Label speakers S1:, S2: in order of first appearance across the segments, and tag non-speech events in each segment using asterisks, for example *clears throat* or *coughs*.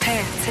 S1: P3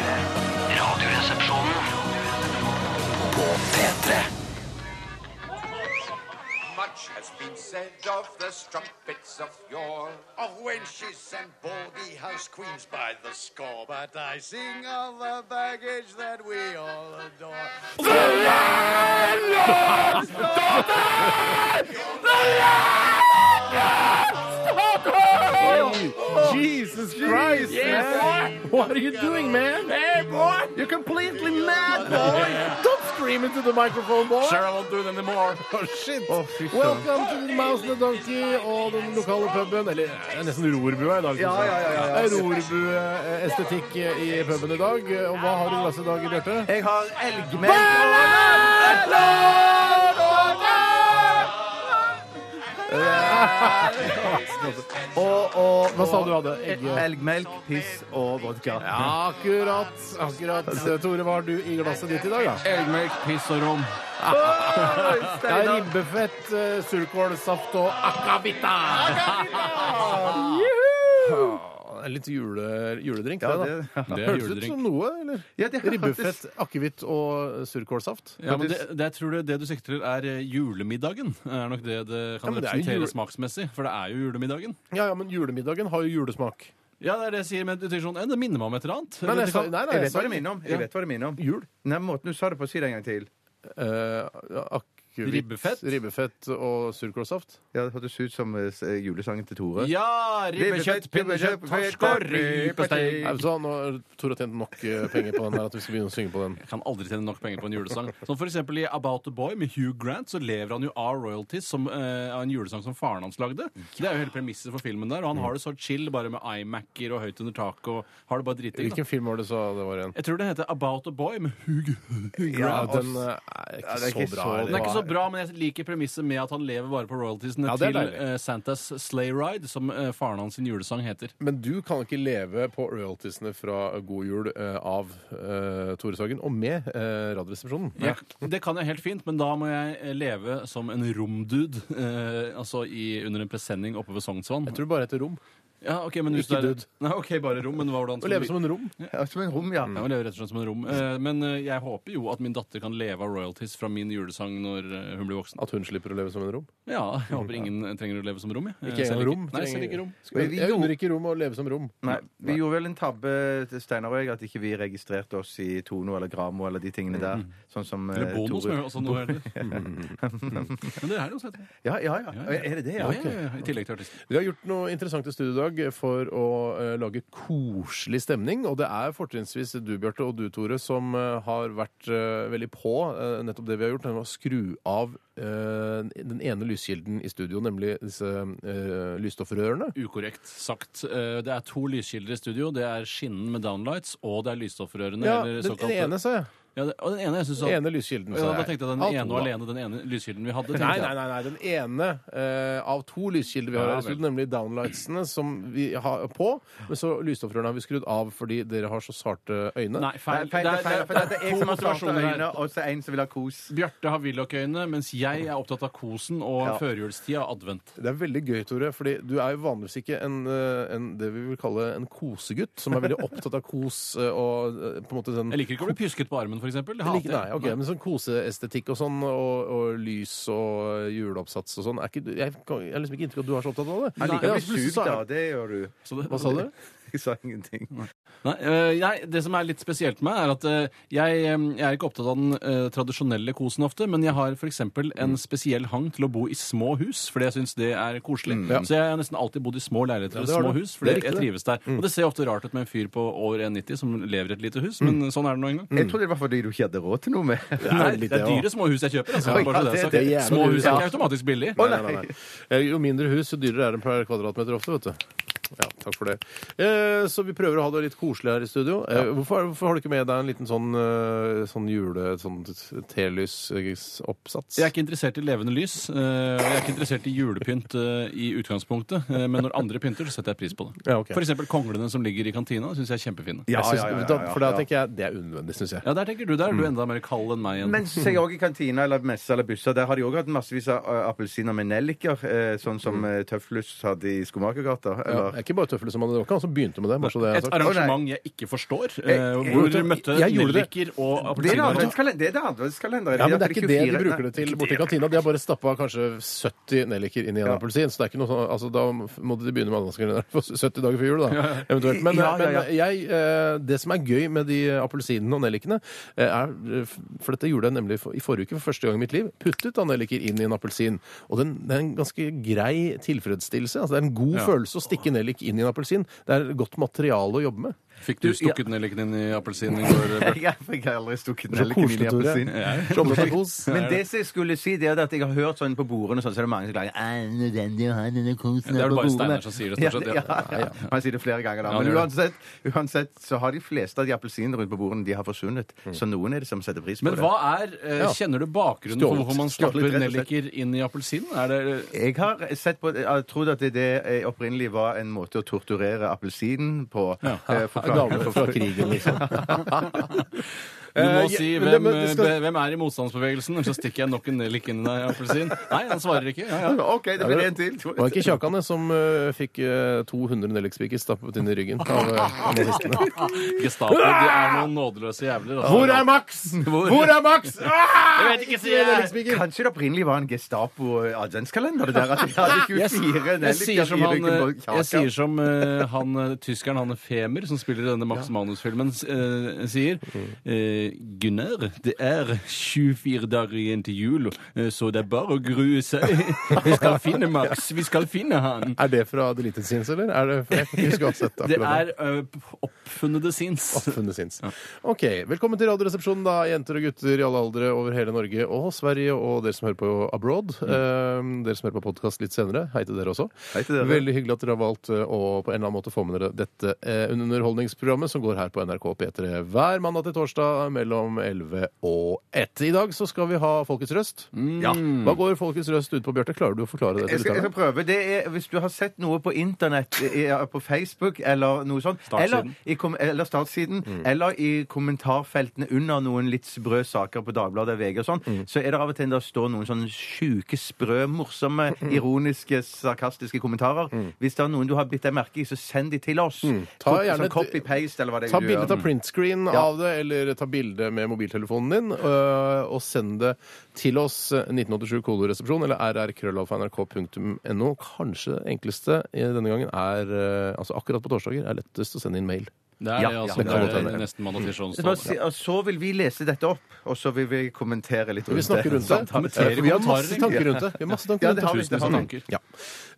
S2: P3. Radioresepsjonen på P3.
S3: Much has been said of the strumpets of yore, of wenches and baldy house queens by the score. But I sing of the baggage that we all adore.
S4: Jesus Christ, man. What are you doing, man? Hey, boy. You're completely mad, boy. Don't scream into the microphone, boy. Sure, I won't do it anymore. *laughs* Oh, shit. Welcome to the Mouse and the Donkey og den lokale puben. Eller eh, det er nesten rorbua i dag. Ja, ja, ja, ja. Rorbue-estetikk i puben i dag. Og hva har du i glasset i dag, Bjarte?
S5: Jeg har elgmelk og, og,
S4: Hva sa du hadde? Egg-
S5: Elgmelk, piss og vodka.
S4: Akkurat. akkurat. Tore, hva har du i glasset ditt i dag, da? Ah.
S6: Elgmelk, piss og rom.
S5: Oi,
S4: Det er
S5: Steinar.
S4: ribbefett, eh, surkålsaft og akavita! Juhu! Litt jule, juledrink,
S5: Ja,
S4: det, da.
S5: det- *laughs*
S6: Det er
S4: Høres ut
S6: juledrink.
S4: som noe, eller?
S5: Ja, det hørtes-
S4: Ribbefett, akevitt og surkålsaft.
S6: Ja, men det, det jeg tror det, det du sikter til, er eh, julemiddagen. Er nok det det
S4: Ja,
S6: kan
S4: men det er jo
S6: representere
S4: jule-
S6: smaksmessig. For det er jo julemiddagen.
S4: Ja, ja, men julemiddagen har jo julesmak.
S6: Ja, det er det jeg sier, men du tenker sånn eh, Det minner meg om et eller annet.
S4: Nei, nei,
S6: Eller
S4: jeg
S6: det
S4: sa,
S6: kan-
S4: nei,
S5: Jeg
S4: nei, jeg
S5: vet
S4: sa
S5: hva det minner om. Jeg vet hva det minner om.
S4: jul.
S5: Nei, måten du sa det på, si det en gang til.
S4: Eh, akevitt,
S6: Ribbefett.
S4: ribbefett og surkålsaft.
S5: Ja, det hørtes ut som eh, julesangen til Tore.
S6: Ja! Ribbekjøtt, pinnekjøtt, torsk og rypestei.
S4: Nei, vet du hva, nå har Tore tjent nok eh, penger på den her at vi skal begynne å synge
S6: *laughs*
S4: på den.
S6: Jeg kan aldri tjene nok penger på en julesang. Som for eksempel i About the Boy med Hugh Grant, så lever han jo av royalties som, eh, av en julesang som faren hans lagde. Det er jo hele premisset for filmen der. Og han har det så chill, bare med iMac-er og høyt under taket, og har det bare dritdigg. da.
S4: Hvilken film var det du sa det var igjen?
S6: Jeg tror den heter About a Boy med Hugh Grant.
S4: Ja,
S5: og-
S4: den
S5: Ja,
S4: eh, er
S5: det
S4: ikke
S5: er
S4: så
S5: ikke
S4: bra.
S5: så
S4: eller?
S6: Den altså. er ikke så bra, men jeg liker premisset med at han lever bare på royaltiesene
S4: Ja, det er
S6: til
S4: deilig.
S6: eh, Santas Sleigh Ride, som eh, faren hans sin julesang heter.
S4: Men du kan ikke leve på royaltiesene fra God jul eh, av eh, Tore Sagen og med eh, Radioresepsjonen.
S6: Jeg, det kan jeg helt fint, men da må jeg eh, leve som en romdude. Eh, altså i, under en presenning oppe ved Sognsvann.
S4: Jeg tror det bare heter rom.
S6: Ja, ok, men hvis
S4: Ikke
S6: det er-
S4: dude.
S6: Nei, ok, bare rom, men hva hvordan
S4: Å leve som en Mm. rom.
S5: Ja, som en rom, ja.
S6: ja, jeg lever rett og slett som en rom. Eh, Men eh, jeg håper jo at min datter kan leve av royalties fra min julesang når eh, hun blir voksen.
S4: At hun slipper å leve som en rom.
S6: Ja, Jeg håper ingen eh, trenger å leve som rom. jeg. Eh,
S4: Ikke
S6: selv
S4: engang rom.
S6: Nei,
S4: trenger-
S6: selv ikke rom.
S4: Skal-
S5: Vi- vi
S4: Jeg
S5: gjorde-
S4: unner ikke rom å leve som rom.
S5: Nei, vi gjorde vel en tabbe, til Steinar og jeg, at ikke vi registrerte oss i Tono eller Gramo eller de tingene der. Sånn som eh,
S6: Eller Bono, som
S5: Tore-
S6: gjør også noe. eller? Men det er noe som heter det.
S5: Ja, ja, ja. Er det det, ja?
S6: Ja, ja, ja, I tillegg til artisten.
S4: Vi har gjort noe interessant i studio i dag for å eh, lage koselig stemning. Og det er fortrinnsvis du, Bjarte, og du, Tore, som eh, har vært eh, veldig på eh, nettopp det vi har gjort, nemlig å skru av eh, den ene lyskilden i studio, nemlig disse eh, lysstoffrørene.
S6: Ukorrekt sagt. Eh, Det er to lyskilder i studio. Det er skinnen med downlights, og det er lysstoffrørene.
S4: Ja,
S6: eller
S4: den,
S6: såkalte-
S4: den ene, sa jeg.
S6: Ja, det- og den ene jeg synes
S4: Den
S6: at-
S4: ene lyskilden.
S6: ja,
S4: sa
S6: Da
S4: jeg.
S6: tenkte jeg den
S4: Av to,
S6: ene og
S4: da.
S6: alene, den ene lyskilden vi hadde. tenkte
S4: Nei,
S6: jeg.
S4: nei, nei, nei, den ene eh, av to lyskilder vi har
S6: Ja,
S4: her i studio, nemlig downlightsene som vi har på, men så lysstoffrørene har vi skrudd av fordi dere har så sarte øyne.
S6: Nei,
S5: Nei,
S6: feil.
S5: feil, det er feil. For det
S6: det
S5: er
S6: er
S5: jeg
S6: to
S5: som har svarte
S6: motivasjoner
S5: øyne,
S6: her.
S5: og så er en som vil ha kos.
S6: Bjarte har villokøyne, mens jeg er opptatt av kosen og
S5: Ja.
S6: førjulstida og advent.
S4: Det er veldig gøy, Tore, fordi du er jo vanligvis ikke en, eh, en det vi vil kalle en kosegutt, som er veldig opptatt av kos eh, og eh, på en måte sånn
S6: Jeg liker ikke å bli pysket på armen, for eksempel. Det
S4: Jeg liker-
S6: hater
S4: Nei,
S6: jeg.
S4: ok, men sånn koseestetikk og sånn, og, og lys og juleoppsats og sånn, er ikke, du- jeg, kan- jeg har liksom ikke inntrykk av at du er så opptatt av det.
S5: Jeg liker å
S4: Ja,
S5: bli
S4: så plutselig
S5: sugd,
S4: så er-
S5: da. Mm. Det gjør du.
S6: Så det-
S4: Hva sa du?
S5: Jeg sa ingenting.
S6: Nei, øh, nei, det som er litt spesielt med meg, er at øh, jeg, øh, jeg er ikke opptatt av den øh, tradisjonelle kosen ofte, men jeg har f.eks. en
S4: Mm.
S6: spesiell hang til å bo i små hus, fordi jeg syns det er koselig.
S4: Mm. Ja.
S6: Så jeg har nesten alltid bodd i små leiligheter
S4: Ja,
S6: og
S4: det har
S6: små
S4: du.
S6: hus,
S4: Det Mm.
S6: fordi
S4: er riktig,
S6: jeg
S4: det.
S6: trives der. Og det ser ofte rart ut med en fyr på over 1,90 som lever i et lite hus, men sånn er det nå en gang.
S5: Jeg trodde det var fordi du ikke hadde råd til noe mer.
S6: Nei,
S4: litt
S6: det er
S4: Mm. det også.
S6: dyre små hus jeg kjøper. Altså,
S5: Oi, ja,
S6: bare så det, er
S5: det-
S6: sagt.
S5: det
S4: er jævlig
S6: små
S4: dyre,
S6: hus er
S4: ja.
S6: ikke automatisk billig.
S4: Nei, nei, nei. Eh, Jo mindre hus, jo dyrere er det per kvadratmeter ofte, vet du. Ja, Takk for det. Eh, så vi prøver å ha det litt koselig her i studio. Eh, hvorfor, hvorfor har du ikke med deg en liten sånn, eh, sånn jule... Sånn telysoppsats?
S6: Jeg er ikke interessert i levende lys. eh, og Jeg er ikke interessert i julepynt eh, i utgangspunktet. eh, Men når andre pynter, så setter jeg pris på det.
S4: Ja, ok.
S6: For eksempel konglene som ligger i kantina, syns jeg er kjempefine.
S4: Jeg synes-
S5: ja, ja, ja,
S4: da- For da
S5: ja.
S4: tenker jeg det er unødvendig, syns jeg.
S6: Ja, der tenker du. Der er du enda mer kald enn meg igjen.
S5: Mens jeg òg i kantina eller messe eller busser, der har de òg hatt massevis av eh, appelsiner med nelliker, eh, sånn som eh, Tøflus hadde i Skomakergata.
S4: Mm. Ja,
S5: Eller?
S4: det er ikke bare tøfler som man drakk, han som begynte med det. Bare så det er altså-
S6: Et
S4: sagt.
S6: arrangement jeg ikke forstår, eh,
S5: Jeg-
S6: hvor
S4: jeg-
S6: dere møtte
S4: jeg gjorde det.
S6: nelliker og
S5: Det er det
S6: appelsiner.
S5: adventskalender- det er det adventskalenderen.
S4: Ja, men
S5: at
S4: det er ikke det
S5: 24
S4: de bruker det til borti kantina. De har bare stappa kanskje 70 nelliker inn i en
S5: Ja.
S4: appelsin. Så det er ikke noe sånn, altså da må de begynne med adventskalender for 70 dager før jul, da. Eventuelt. Men,
S5: Ja, ja, ja.
S4: men jeg, eh, det som er gøy med de appelsinene og nellikene, eh, er For dette gjorde jeg nemlig for, i forrige uke for første gang i mitt liv. Puttet da nelliker inn i en appelsin. Og den, det er en ganske grei tilfredsstillelse. Altså, det er en god følelse å stikke nellik inn i en appelsin. Det er godt materiale å jobbe med.
S6: Fikk du stukket nelliken inn i appelsinen i går?
S5: *laughs*
S6: Bjarte?
S5: Jeg fikk aldri stukket
S4: Så
S5: nelliken inn i
S4: koselig, Tore.
S5: appelsin.
S4: Så kos.
S5: Men det som jeg skulle si, det er at jeg har hørt sånn på bordene sånn, så er det mange som klager «Æ, det er nødvendig å ha denne kosen
S6: Det er
S5: her
S6: vel
S5: på
S6: bare
S5: bordene».
S6: Steinar som sier det, stort
S5: Ja,
S6: sett, ja.
S5: ja, ja. Han sier det flere ganger, da.
S6: Ja, han
S5: Men
S6: gjør
S5: uansett, uansett så har de fleste av de appelsinene rundt på bordene, de har forsvunnet. Så noen er det som setter pris på
S6: Mm. Men
S5: det.
S6: hva er, eh,
S4: Ja.
S6: Kjenner du bakgrunnen for
S4: Stjålet.
S6: hvorfor man
S5: Stjålet,
S6: stapper
S5: rett og slett.
S6: nelliker inn i appelsinen? Er det
S5: Jeg har sett på, jeg trodde at det, det eh, opprinnelig var en måte å torturere appelsinen på. eh, for-
S6: *laughs*
S4: Gaver fra krigen,
S5: *laughs*
S4: liksom.
S6: Du må
S4: Eh, ja,
S6: si
S4: men det-
S6: hvem,
S4: men det skal-
S6: be- hvem er i motstandsbevegelsen, eller så stikker jeg nok en nellik inn i deg, appelsin. Nei, han svarer ikke. Ja, ja.
S5: OK, det blir en til.
S4: Det var ikke Kjakane som eh, fikk eh, 200 nellikspiker stappet inn i ryggen av eh, av nazistene.
S6: *laughs* Gestapo, de er noen nådeløse jævler. altså.
S4: Max?! Hvor er
S6: *laughs*
S4: Max?! Jeg vet ikke, sier
S6: eh,
S5: Kanskje det opprinnelig var en Gestapo-adventskalender? det der at de
S6: *laughs*
S5: hadde 24
S6: Jeg sier som han, eh, jeg sier
S5: sier
S6: som eh, han eh, tyskeren, han Femer, som spiller i denne Max Manus-filmen, s- eh, sier
S4: Mm.
S6: eh, Gunnar, det er 24 dager igjen til jul, eh, så det er bare å grue seg. Vi skal finne Max, vi skal finne han.
S4: Er det fra Deleted Sins, eller? Er det, for *laughs* jeg husker å ha sett
S6: Det
S4: akkurat
S6: er eh, oppfunnede sins.
S5: *laughs*
S4: Oppfunnet Sins. Ok, Velkommen til Radioresepsjonen, da, jenter og gutter i alle aldre over hele Norge og Sverige, og dere som hører på abroad. Eh, dere som hører på podkast litt senere. Hei til dere også.
S5: Mm. Hei til dere.
S4: Veldig hyggelig at dere har valgt eh, å på en eller annen måte få med dere dette eh, underholdningsprogrammet som går her på NRK P3 hver mandag til torsdag mellom 11 og 1. I dag så skal vi ha Folkets røst. Hva går Folkets røst ut på, Bjarte? Klarer du å forklare det?
S5: jeg
S4: til
S5: skal, jeg skal
S4: lytterne?
S5: prøve. Det er, hvis du har sett noe på internett, i- i- på Facebook eller noe sånt, eller,
S6: Startsiden. Mm.
S5: i, kom- eller startsiden, eller i kommentarfeltene under noen litt sprø saker på Dagbladet og VG og sånn,
S6: Mm.
S5: så er det av og til der står noen sånn sjuke, sprø, morsomme,
S6: Mm.
S5: ironiske, sarkastiske kommentarer. Hvis det er noen du har bitt deg merke i, så send de til oss.
S6: Mm.
S4: Ta
S5: Sånn
S4: gjerne et-
S5: copy-paste, eller hva det er
S4: Ta
S5: du gjør.
S4: bilde av printscreen av det, eller ta bilde med mobiltelefonen din, øh, og send det til oss. 1987 koloresepsjon eller rrkrøllalfa.nrk.no. Kanskje det enkleste i denne gangen er øh, altså akkurat på torsdager er lettest å sende inn mail.
S6: Det er,
S5: Ja, ja,
S6: altså, det
S4: det kan
S6: er,
S4: godt hende.
S6: nesten
S5: Mm.
S6: mandag til
S5: Så bare
S6: onsdag.
S5: si- og så vil vi lese dette opp, og så vil vi kommentere litt
S4: Vi
S5: rundt
S4: snakker rundt det.
S6: Kommentarer,
S4: Eh, Vi har
S6: kommentarer,
S4: masse tanker rundt det. Vi har masse tanker
S5: Ja,
S4: rundt
S5: det har vi, det
S6: Tusen
S5: har vi.
S6: tanker.
S4: Ja.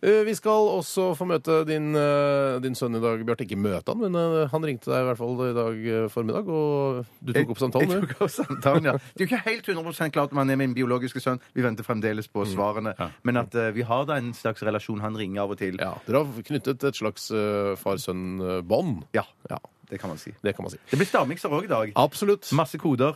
S4: Eh, Vi skal også få møte din, eh, din sønn i dag, Bjarte. Ikke møte han, men eh, han ringte deg i hvert fall i dag eh, formiddag, og du tok opp samtalen.
S5: Jeg
S4: du.
S5: tok opp samtalen, ja. Det er jo ikke helt 100 klart om han er min biologiske sønn. Vi venter fremdeles på
S6: Mm.
S5: svarene. Men at eh, vi har da en slags relasjon. Han ringer av og til.
S4: Ja, Dere har knyttet et slags eh, far-sønn-bånd.
S5: Ja,
S4: Ja,
S5: det kan man si.
S4: det kan man si.
S5: Det blir stavmikser òg i dag.
S4: Absolutt.
S5: Masse koder.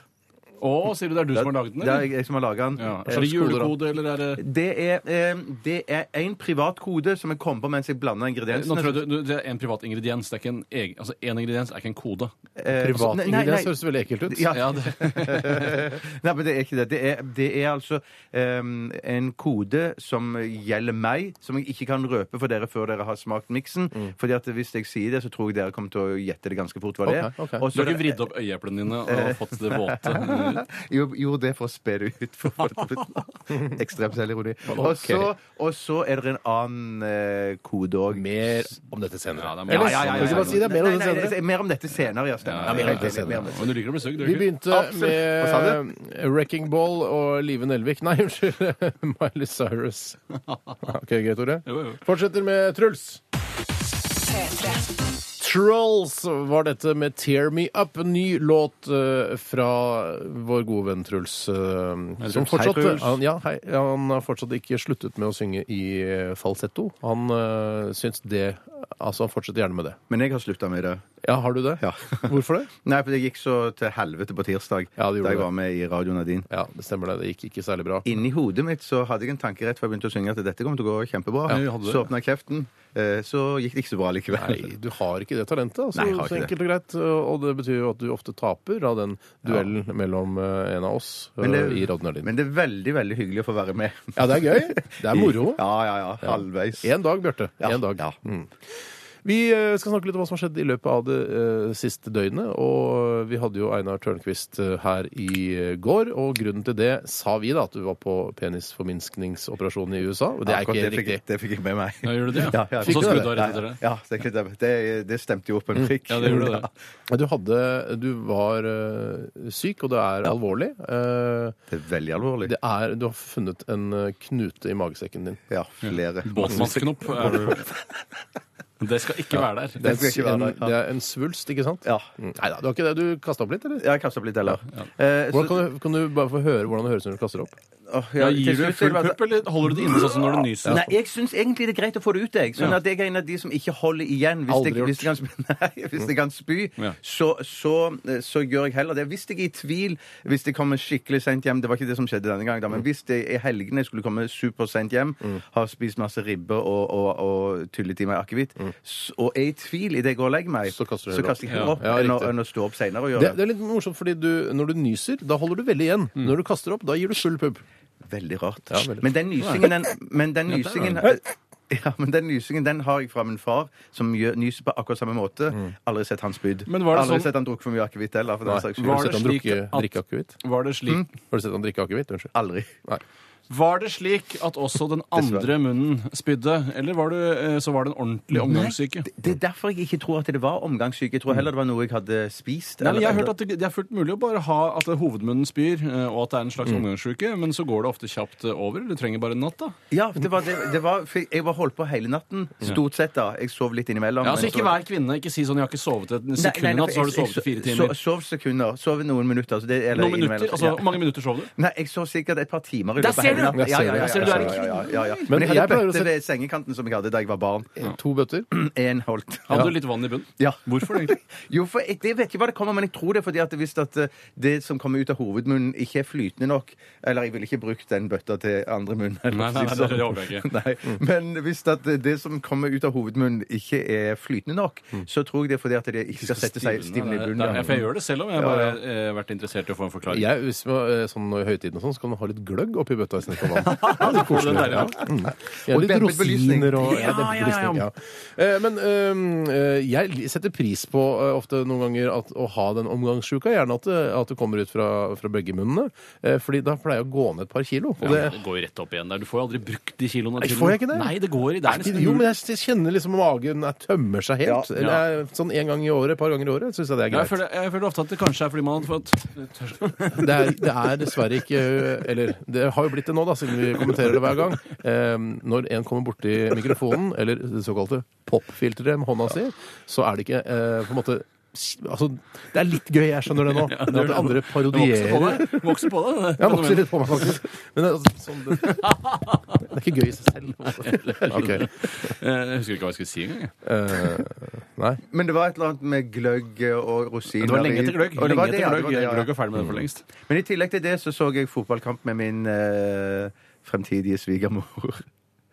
S6: Å, sier du det er du som har laget den?
S5: Det er
S6: Eller?
S5: jeg som har laga den.
S6: Ja.
S5: Eh,
S6: Er det julekode, eller er det
S5: Det er, eh, det er en privat kode som jeg kom på mens jeg blanda
S6: Nå
S5: ingrediensene.
S6: tror jeg du, du, Det er en privat ingrediens. Det er ikke en egen, altså en ingrediens er ikke en kode.
S5: Eh,
S4: Privat
S5: nei, nei, nei.
S4: ingrediens høres veldig ekkelt ut.
S5: Ja.
S6: Ja, det,
S5: *laughs* Nei, men det er ikke det. Det er, det er altså ehm, en kode som gjelder meg, som jeg ikke kan røpe for dere før dere har smakt miksen. Fordi at hvis jeg sier det, så tror jeg dere kommer til å gjette det ganske fort hva det er.
S4: Ok, ok.
S5: Og
S6: du
S5: så
S6: har ikke
S5: er det- Eh.
S6: vridd opp øyeeplene dine og fått det
S5: *laughs*
S6: våte?
S5: jo, gjorde det for å spe det ut. For, *laughs* for, ekstrem selvironi. Og,
S4: Ok.
S5: så- og så er det en annen eh, kode òg.
S4: Mer om dette senere.
S6: Ja, det er mer-
S4: Ellers,
S6: Ja, ja, ja, ja,
S4: hvis jeg bare
S6: ja.
S4: sier det er mer om
S5: Nei,
S4: det
S5: nei, nei,
S4: senere.
S5: det er mer om dette senere, ja. Stemmer.
S4: mer om
S5: Mer-
S4: det
S5: mer om
S4: senere.
S5: det.
S6: Men du liker å bli sugd, du
S4: Vi
S6: ikke?
S4: begynte
S5: Absolutt. Hva sa
S4: med Wrecking Ball og Live Nelvik. Nei, unnskyld. *laughs* Miley Cyrus.
S5: *laughs*
S4: Ok, Greit, Tore.
S6: Jo, jo.
S4: Fortsetter med Truls.
S1: P3.
S4: Trolls var dette med Tear Me Up, en ny låt eh, fra vår gode venn Truls. eh, som
S6: Truls.
S4: fortsatt,
S6: Hei, Truls.
S4: Han, ja, hei, han har fortsatt ikke sluttet med å synge i eh, falsetto. Han eh, syns det Altså, fortsett gjerne med det.
S5: Men jeg har slutta med det.
S4: Ja, har du det?
S5: Ja.
S4: *laughs* Hvorfor det?
S5: Nei, for det gikk så til helvete på tirsdag
S4: Ja, det gjorde
S5: da jeg
S4: det.
S5: var med i Radio Nadine.
S4: Ja, det stemmer det. Det gikk ikke særlig bra.
S5: Inni hodet mitt så hadde jeg en tanke rett før jeg begynte å synge at dette kommer til å gå kjempebra.
S6: Ja, hadde du det?
S5: så åpna jeg kjeften, eh, så gikk det ikke så bra likevel.
S4: Nei, du har ikke det talentet. Altså,
S5: Nei, jeg har
S4: så
S5: ikke
S4: enkelt og greit. eh, Og det betyr jo at du ofte taper av den duellen mellom eh, en av oss
S5: Men det,
S4: eh, i Radio Nardin.
S5: men det er veldig veldig hyggelig å få være med.
S4: Ja, det er gøy. Det er moro.
S5: *laughs* Ja, ja, ja. Halvveis.
S4: En dag, Bjarte.
S5: Ja,
S4: En dag.
S5: ja.
S4: Mm. Vi eh, skal snakke litt om hva som har skjedd i løpet av det eh, siste døgnet. Og vi hadde jo Einar Tørnquist eh, her i eh, går, og grunnen til det sa vi da at du var på penisforminskningsoperasjon i USA. Og det er
S5: Akkurat
S4: ikke
S5: det fikk,
S4: riktig.
S5: Det fikk jeg med meg.
S6: Ja, gjorde du det?
S5: Ja, ja,
S6: Og så
S5: fikk
S6: skulle
S5: det.
S6: du ha rett etter det?
S5: Ja, ja, det, det, det- det stemte jo opp en prikk.
S6: Ja, det gjorde
S5: *laughs*
S6: det.
S4: Du, hadde, du var eh, syk, og det er alvorlig. Eh,
S5: Det er veldig alvorlig.
S4: Det er, du har funnet en eh, knute i magesekken din.
S5: Ja, flere.
S6: Båtsmannsknopp. er du- Det skal ikke være der.
S4: Det
S5: Den skal ikke
S4: er,
S5: være
S4: en,
S5: der, ja.
S4: det er en svulst, ikke sant?
S5: Ja.
S4: Mm. Nei da, du har ikke det. Du kasta opp litt, eller?
S5: Jeg har kastet opp litt, eller? Eh, så-
S4: Hvordan kan, du, kan du bare få høre hvordan det høres ut når du kaster opp?
S5: Åh, ja,
S6: Ja,
S5: til
S6: gir du
S5: slutt-
S6: full pupp, eller holder du det inne sånn som når du nyser?
S5: Nei, jeg syns egentlig det er greit å få det ut. Jeg. Sånn at jeg er en av de som ikke holder igjen. Hvis,
S4: Aldri
S5: jeg,
S4: gjort.
S5: hvis, jeg, kan, sp- *laughs* nei, hvis jeg kan spy,
S6: Ja.
S5: så, så, så gjør jeg heller det. Hvis jeg er i tvil, hvis jeg kommer skikkelig sent hjem Det var ikke det som skjedde denne gangen, da,
S4: Mm.
S5: men hvis det i helgene jeg skulle komme supersent hjem, har spist masse ribbe og, og, og tyllet i meg akevitt, s- og er i tvil idet jeg går og legger meg,
S4: Mm. Så kaster du
S5: så
S4: heller opp.
S5: kaster jeg heller
S4: Ja.
S5: opp
S4: Ja,
S5: enn, å,
S4: riktig.
S5: enn å stå opp seinere og
S4: Det,
S5: gjøre det.
S4: det er litt morsomt, fordi du, når du nyser, da holder du veldig igjen. Når du kaster opp, da gir du full pupp.
S5: Veldig rart.
S4: Ja, veldig.
S5: Men den nysingen, den, men den nysingen ja, men den nysingen den har jeg fra min far, som gjør, nyser på akkurat samme måte.
S6: Mm.
S5: Aldri sett han spydd.
S6: Men var det
S5: Aldri
S6: sånn-
S5: sett han drukket for mye akevitt heller. For den saks
S4: Har
S6: Var
S4: du
S5: skyld.
S6: det
S4: sett han
S6: slik
S4: drukke,
S6: at-
S4: drikke akevitt?
S6: Var det
S5: Mm.
S6: slik
S4: Har du sett han drikke akevitt? Unnskyld.
S5: Aldri.
S4: Nei.
S6: Var det slik at også den andre munnen spydde, eller var det, eh, så var det en ordentlig omgangssyke?
S5: Det, det er derfor jeg ikke tror at det var omgangssyke. Jeg tror
S6: Mm.
S5: heller det var noe jeg hadde spist.
S6: Nei, men jeg har hørt
S5: eller-
S6: at det, det er fullt mulig å bare ha at hovedmunnen spyr, eh, og at det er en slags
S5: Mm.
S6: omgangssyke, men så går det ofte kjapt eh, over. Du trenger bare en natt, da.
S5: Ja, det var, det, det var, for jeg var holdt på hele natten, stort sett. da. Jeg sov litt innimellom.
S6: Ja, altså
S5: men
S6: Ikke
S5: så-
S6: vær kvinne. Ikke si sånn 'jeg har ikke sovet et
S5: Nei,
S6: sekund
S5: nei,
S6: i
S5: nei,
S6: natt', så har du
S5: jeg- jeg
S6: sovet i fire
S5: sov-
S6: timer.
S5: Sov sekunder. Sov noen minutter. Så det, eller
S6: Noen minutter,
S5: innimellom.
S6: altså Hvor mange minutter sov du?
S5: Nei, jeg sov sikkert et par timer i
S6: Der
S5: løpet av
S6: ser
S5: hele
S6: du!
S5: natten. Ja, ja, ja,
S6: Der ser
S5: ja,
S6: du, du er
S5: ja,
S6: ikke
S5: ja, ja, ja. Men
S4: Men
S5: jeg
S4: jeg
S5: hadde
S4: pleier å
S5: bøtte
S4: se-
S5: ved sengekanten som jeg hadde da jeg var barn.
S4: Eh, To bøtter.
S5: En holdt.
S6: Hadde du litt vann i bunnen?
S5: Ja.
S6: Hvorfor det, egentlig?
S5: Jo, for jeg, jeg vet ikke hva det kommer, men jeg tror det er fordi at hvis at eh, det som kommer ut av hovedmunnen, ikke er flytende nok Eller jeg ville ikke brukt den bøtta til andre munn. eller
S6: Nei, nei, nei,
S5: si
S6: det
S5: sånn.
S6: håper jeg
S5: *laughs*
S6: ikke.
S5: Nei, Men hvis at det- det som kommer ut av hovedmunnen, ikke er flytende nok,
S6: Mm.
S5: så tror *laughs* jeg det er fordi at det ikke skal sette seg stivne i bunnen.
S6: Nei, for jeg gjør det selv om jeg bare
S5: Ja,
S6: har vært interessert i å få en forklaring.
S4: Jeg, hvis vi, eh, sånn I høytiden og sånn, så kan du ha litt gløgg oppi bøtta istedenfor vann. Ja, det er
S6: Får du
S4: koselig.
S6: den der, ja?
S4: Ja. Mm. Ja,
S5: Og
S4: litt
S5: dempet belysning.
S4: rosiner og
S6: Ja, ja, ja, ja.
S4: dempet belysning, Eh, Men øhm, eh, jeg setter pris på eh, ofte noen ganger at, å ha den omgangssjuka. Gjerne at det, at det kommer ut fra, fra begge munnene. Eh, fordi da pleier jeg å gå ned et par kilo. Og det,
S6: Ja, det går jo rett opp igjen der. Du får jo aldri brukt de kiloene.
S4: Nei,
S6: til
S4: får jeg
S6: noe.
S4: ikke det?
S6: Nei, det går i det er nesten
S4: jo,
S6: umulig.
S4: men jeg, jeg kjenner liksom magen jeg tømmer seg helt.
S5: Ja.
S4: Eller jeg, sånn en gang i året, et par ganger i året, syns jeg det er
S6: Ja,
S4: greit.
S6: jeg, føler, jeg føler ofte at det kanskje er fordi man har fått
S4: Det er, det er dessverre ikke Eller det har jo blitt det nå, da, siden vi kommenterer det hver gang. Eh, når en kommer borti mikrofonen, eller det såkalte popfilteret med hånda si, så er det ikke eh, på en måte Altså, det er litt gøy, jeg skjønner det nå. Men at det andre parodierer
S6: Vokser på deg.
S4: Ja, vokser litt på meg, faktisk. Men det, er altså, sånn, det, det er ikke gøy i seg selv. Ok.
S6: Eh, Jeg husker ikke hva jeg skulle si engang. jeg.
S4: Eh, nei.
S5: Men det var et eller annet med gløgg og rosiner
S6: Det var
S5: i-
S6: lenge etter gløgg.
S5: Og det var
S6: Lenge
S5: det, ja,
S6: etter
S5: det var
S6: gløgg.
S5: det, ja, Mm. ja.
S6: Gløgg er ferdig med det for lengst.
S5: Men i tillegg til det så så jeg fotballkamp med min eh, fremtidige svigermor.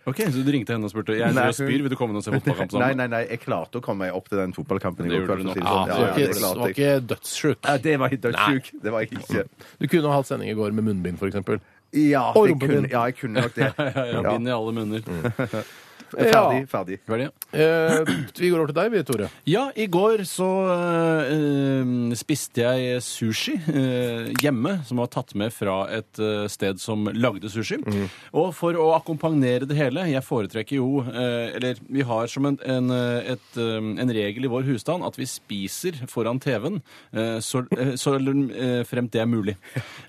S6: Ok, Så du ringte henne og spurte Jeg
S5: Nei,
S6: driver
S5: hun-
S6: og spyr, vil du komme ned og se
S5: *laughs*
S6: fotballkamp
S5: Nei,
S6: sammen?
S5: nei, nei, jeg klarte å komme meg opp til den fotballkampen. i
S6: Det
S5: går
S6: gjorde
S5: kveld,
S6: du nok.
S5: for å si det
S4: Ja,
S5: sånn. Ja,
S4: det var
S5: ja,
S4: ikke,
S5: det
S4: det var
S5: klarte jeg.
S4: ikke dødssjuk.
S5: Ja, det var ikke dødssjuk. Det var jeg ikke.
S4: Du kunne ha hatt sending i går med munnbind, for eksempel.
S5: Ja,
S4: Og
S5: det
S4: rumpen
S5: kunne,
S4: din.
S5: ja, jeg kunne nok
S4: *laughs*
S5: det.
S6: Ja, ja,
S5: Ja. Mm.
S6: Bind i alle munner.
S5: Ferdig. ferdig.
S6: Ferdig.
S4: Eh, vi går over til deg, vi, Tore.
S6: Ja, i går så eh, spiste jeg sushi eh, hjemme, som var tatt med fra et eh, sted som lagde sushi.
S4: Mm.
S6: Og for å akkompagnere det hele Jeg foretrekker jo eh, Eller vi har som en, en, eh, et, eh, en regel i vår husstand at vi spiser foran TV-en eh, så, eh, så eh, fremt det
S4: *laughs*
S6: er mulig.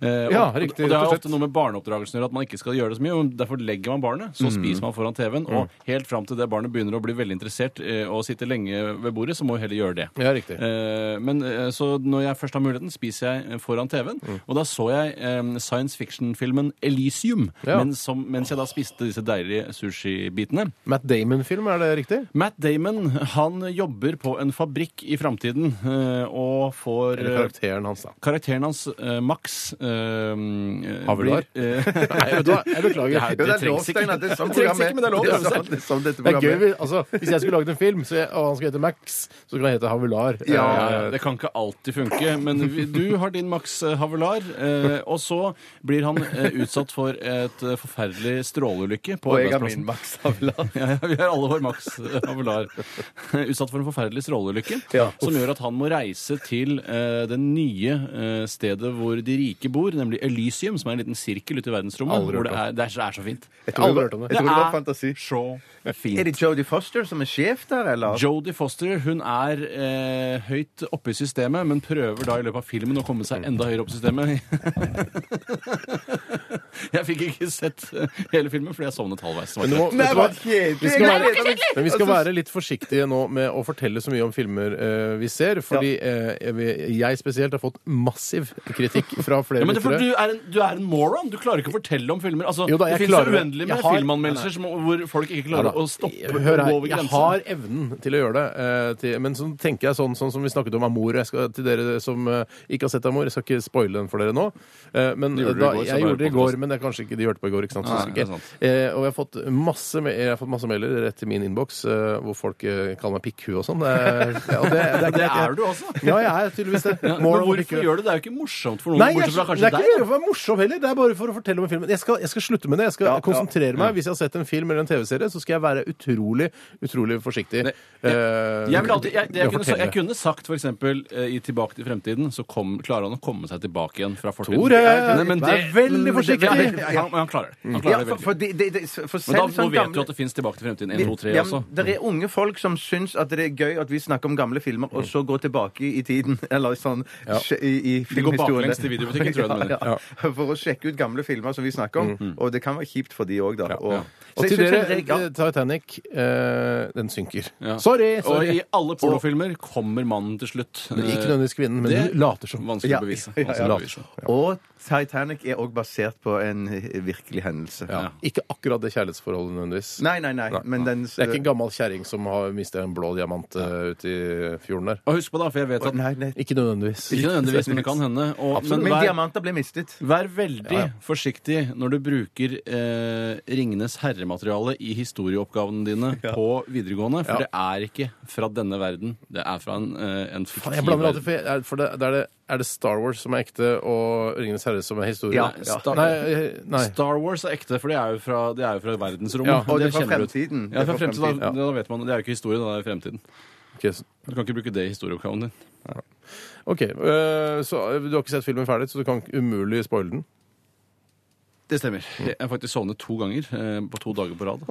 S6: Eh,
S4: Ja,
S6: og,
S4: riktig,
S6: Og det
S4: rett og slett. Mm.
S6: er ofte noe med barneoppdragelsen å gjøre at man ikke skal gjøre det så mye. og Derfor legger man barnet, så spiser man foran TV-en. Og helt fram til det barnet begynner å bli veldig interessert eh, og sitte lenge ved bordet, så må vi heller gjøre det.
S4: Ja, riktig.
S6: Eh, men eh, så når jeg først har muligheten, spiser jeg eh, foran TV-en.
S4: Mm.
S6: Og da så jeg eh, science fiction-filmen Elysium
S4: Ja.
S6: men som, mens jeg da spiste disse deilige sushibitene.
S4: Matt Damon-film, er det riktig?
S6: Matt Damon han jobber på en fabrikk i framtiden eh, og får
S4: Eller
S6: eh,
S4: karakteren hans, da.
S6: Karakteren hans, eh, Max eh,
S4: Havelar?
S6: blir, eh,
S4: *laughs* Nei, vet du hva, jeg *laughs* beklager.
S6: Det er-
S5: Jo, det er
S6: trengs
S5: lov,
S6: ikke.
S5: Steinar. Det er sånn
S4: Det trengs
S5: programmet-
S4: ikke, men det er lov. altså.
S5: Det er sånn- det er sånn dette
S4: Det er gøy,
S5: programmet
S4: vi- altså, Hvis jeg skulle laget en film, så jeg, og han skulle hete Max, så skulle han hete Eh, Havular.
S6: Ja, ja, det kan ikke alltid funke, men vi, du har din Max eh, Havelar. Eh, og så blir han eh, utsatt for et eh, forferdelig stråleulykke på
S5: Og jeg har min
S6: arbeidsplassen.
S5: Max Havlan.
S6: Ja, ja, vi har alle vår Max eh, Havelar *laughs* eh, utsatt for en forferdelig stråleulykke.
S5: Ja.
S6: Som gjør at han må reise til eh, det nye eh, stedet hvor de rike bor, nemlig Elysium, som er en liten sirkel ute i verdensrommet.
S4: Aldri hørt
S6: Hvor det er, det er, så- er så fint.
S5: Jeg tror
S4: Aldri
S5: det
S4: hørt om
S5: var-
S4: det.
S5: jeg tror det var
S6: Det er-
S5: fantasi.
S6: Så fint.
S5: Er det Jodie Foster som er sjef der, eller?
S6: Jodie Foster hun er eh, høyt oppe i systemet, men prøver da i løpet av filmen å komme seg enda høyere opp i systemet. *laughs* jeg fikk ikke sett eh, hele filmen fordi jeg sovnet halvveis.
S4: Men, du må,
S5: Nei,
S4: vet du
S5: hva
S4: hva?
S5: kjedelig!
S4: Vi skal være, men vi skal
S5: Altså,
S4: være litt forsiktige nå med å fortelle så mye om filmer eh, vi ser, fordi eh, jeg- jeg spesielt har fått massiv kritikk fra flere
S6: Ja, men det er
S4: lyttere.
S6: fordi du, er en, du er en moron. Du klarer ikke å fortelle om filmer. Altså,
S4: Jo da,
S6: det
S4: jeg
S6: finnes
S4: klarer
S6: jo
S4: det.
S6: uendelig
S4: Jeg
S6: med
S4: har-
S6: filmanmeldelser som, hvor folk
S4: Ja
S6: ikke klarer
S4: da.
S6: å stoppe og
S4: Hør
S6: gå
S4: her,
S6: over
S4: jeg
S6: grensen.
S4: har evnen til å gjøre det, eh, til, men så tenker jeg sånn, sånn som vi snakket om Amor. Jeg skal, til dere som eh, ikke har sett Amor, jeg skal ikke spoile den for dere nå. Eh, men
S6: Det gjorde du
S4: da,
S6: i går, så
S4: jeg
S6: da er
S4: gjorde det i
S6: det
S4: går,
S6: podcast.
S4: men det er kanskje ikke de hørte på i går. ikke sant? Så
S6: Nei,
S4: skal
S6: det er
S4: ikke-
S6: sant.
S4: Eh, og jeg har fått masse, me- jeg har fått masse mailer rett til min innboks eh, hvor folk eh, kaller meg pikkhue og sånn. Eh, ja, og det, det er
S6: *laughs* Det
S4: greit.
S6: er du også.
S4: Ja, jeg er tydeligvis det.
S6: Ja, men
S4: Moron og
S6: hvorfor
S4: pikkhue.
S6: gjør du det? Det er jo ikke morsomt for noen,
S4: Nei, jeg,
S6: bortsett fra
S4: det
S6: kanskje
S4: er
S6: deg.
S4: ikke for å være morsom heller. Det er bare for å fortelle om filmen. Jeg skal, jeg skal slutte med det. Jeg skal konsentrere
S6: Mm.
S4: meg. Hvis jeg har sett en film eller en TV-serie, så skal jeg være utrolig, utrolig forsiktig.
S6: Nei,
S4: eh,
S6: Jeg, ville aldri, jeg, det,
S4: med å
S6: jeg, kunne, sa-
S4: fortelle.
S6: jeg kunne sagt for eksempel eh, i Tilbake til fremtiden, så kom, klarer han å komme seg tilbake igjen fra fortiden.
S4: Tore,
S6: Ja, nei, men
S4: vær veldig
S6: men det-
S4: forsiktig.
S6: ja, men han, men han klarer det. Han
S5: Mm. Ja,
S6: klarer
S5: for,
S6: det veldig
S5: for,
S6: fint.
S5: de, de, de, for
S6: Men da,
S5: selv
S6: nå
S5: sånn
S6: vet du
S5: gamle-
S6: at det fins Tilbake til fremtiden 1, 2, 3
S5: Ja, men
S6: også.
S4: altså.
S5: Det er unge folk som syns at det er gøy at vi snakker om gamle filmer, og så går tilbake i tiden. *laughs* Eller sånn sj- i, i filmhistorien.
S6: baklengs til videobutikken, tror jeg du mener.
S5: *laughs* Ja, ja. For å sjekke ut gamle filmer som vi snakker om. Og det kan være kjipt for de òg, da. Og,
S4: Mm. Og
S5: Så jeg
S4: til
S5: synes
S4: dere,
S5: en reg- ja.
S4: eh, Titanic, eh, den synker.
S6: Ja.
S4: Sorry!
S6: Og i
S4: sorry.
S6: alle pornofilmer kommer mannen til slutt.
S4: Men Ikke nødvendigvis kvinnen, men
S6: det-
S4: hun later som.
S6: Vanskelig
S5: Ja.
S6: å bevise.
S5: Ja, ja,
S6: Vanskelig å
S4: ja.
S6: bevise.
S5: og Titanic er òg basert på en eh, virkelig hendelse.
S4: Ja. Ikke akkurat det kjærlighetsforholdet nødvendigvis.
S5: Nei, nei, nei, men den
S4: Det er ikke en gammel kjerring som har mista en blå diamant eh, ute i fjorden der.
S6: Og husk på, da, for jeg vet at
S5: Nei, nei.
S4: Ikke nødvendigvis.
S6: Ikke nødvendigvis, men det kan hende. Og, men
S5: Men
S6: vær,
S5: diamanter ble mistet.
S6: vær veldig forsiktig når du bruker eh, Ringenes herremateriale i historieoppgavene dine
S4: *laughs*
S6: på videregående, for det er ikke fra denne verden. Det er fra en, eh, en
S4: Faen,
S6: fiktiv
S4: jeg blander alltid,
S6: verden.
S4: for, jeg, er- for det, det er, det, er det Star Wars som er ekte, og Ringenes herre som er historie?
S5: Ja,
S4: Nei,
S5: ja.
S4: Star, nei, eh, nei.
S6: Star Wars er ekte, for det er jo fra, det er jo fra verdensrommet.
S4: Ja,
S5: Og det er fra
S6: kjenner du til.
S5: fremtiden.
S6: Ja, fra fremtiden. Da,
S4: Ja.
S6: da vet man, Det er jo ikke historie, da, det er fremtiden.
S4: Ok, så-
S6: Du kan ikke bruke det i historieoppgaven din.
S4: ok, øh, så øh, du har ikke sett filmen ferdig, så du kan umulig spoile den?
S6: Det stemmer. Jeg har faktisk sovnet to ganger eh, på to dager på rad.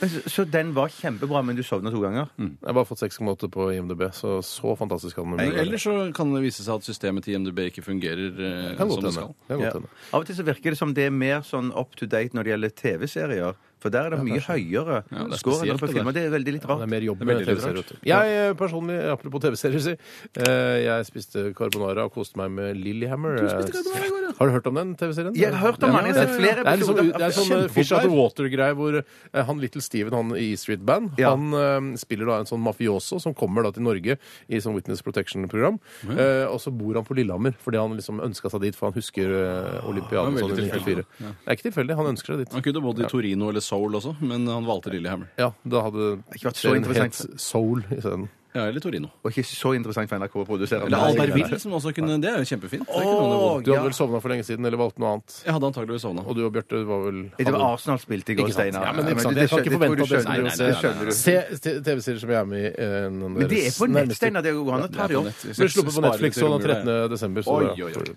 S5: Men Så, så den var kjempebra, men du sovna to ganger?
S4: Jeg har bare fått 6,8 på IMDb, så så fantastisk kan den umulig være.
S6: Eller så kan det vise seg at systemet til IMDb ikke fungerer eh,
S4: Kan
S6: som
S4: godt
S6: det
S4: hende.
S6: skal.
S4: Kan godt
S5: Ja.
S4: hende.
S5: Av og til så virker det som det er mer sånn up to date når det gjelder TV-serier. For der er det mye høyere
S6: det er
S5: score enn
S6: spesielt,
S5: på
S6: det
S5: filmer. Det er veldig litt
S4: Det er
S5: rart.
S4: mer jobb
S6: Det er
S4: med
S6: veldig
S4: TV-serier.
S6: rart.
S4: vet du. Jeg eh, personlig, apropos TV-serier, si, eh, jeg spiste carbonara og koste meg med Lillehammer. Har du hørt om den TV-serien?
S5: Jeg har hørt om den, jeg har sett flere
S4: Det er, liksom,
S5: episoder.
S4: det er sånn eh,
S5: Kjempepopulær.
S4: Fish Out of Water-greie hvor eh, han Little Steven, han i E Street Band,
S5: Ja.
S4: han eh, spiller da en sånn mafioso som kommer da til Norge i sånn Witness Protection-program. Eh, og så bor han på Lillehammer fordi han liksom ønska seg dit, for han husker eh, Olympiaden
S6: Det er
S4: sånn i 94.
S6: veldig
S4: Det er ikke tilfeldig, han ønsker seg dit.
S6: Han kunne bodd i Torino eller Seoul også, men han valgte Lillehammer.
S4: Ja, da hadde
S5: ikke vært så
S4: den
S5: interessant.
S4: het Soul isteden.
S6: Ja, eller Torino.
S5: Og ikke så interessant for NRK å produsere.
S6: Eller
S5: Nei, nei, nei.
S6: Albertville, som også kunne Det er jo kjempefint. Det er ikke noe
S5: Åh,
S6: vondt.
S4: Du hadde
S5: ja.
S4: vel sovna for lenge siden, eller valgte noe annet.
S6: Jeg hadde antageligvis sovna.
S4: Og du og Bjarte var vel
S5: Det var Arsenal spilte i går,
S4: Ikke sant.
S5: Steinar.
S4: Ja, men ikke
S5: du-
S4: sant.
S5: det
S4: Jeg kan ikke
S5: skjønner- jeg tror du skjønner
S4: forvente at det-
S6: Nei,
S5: det.
S6: nei, nei,
S5: Det skjønner du.
S4: Se t- TV-serier som jeg er med i. eh, noen
S5: Men det er
S4: deres
S5: på nett,
S4: nærmeste-
S5: Steinar. Det går an å ta
S6: Det
S5: det
S6: er på
S5: opp.
S6: nett. Jeg
S4: Ble
S6: skal
S4: sluppet på
S6: spare
S4: Netflix
S6: litt
S4: og den
S6: romjula, jeg.
S4: 13. desember. Så
S6: Oi,
S4: det-
S6: oi, oi.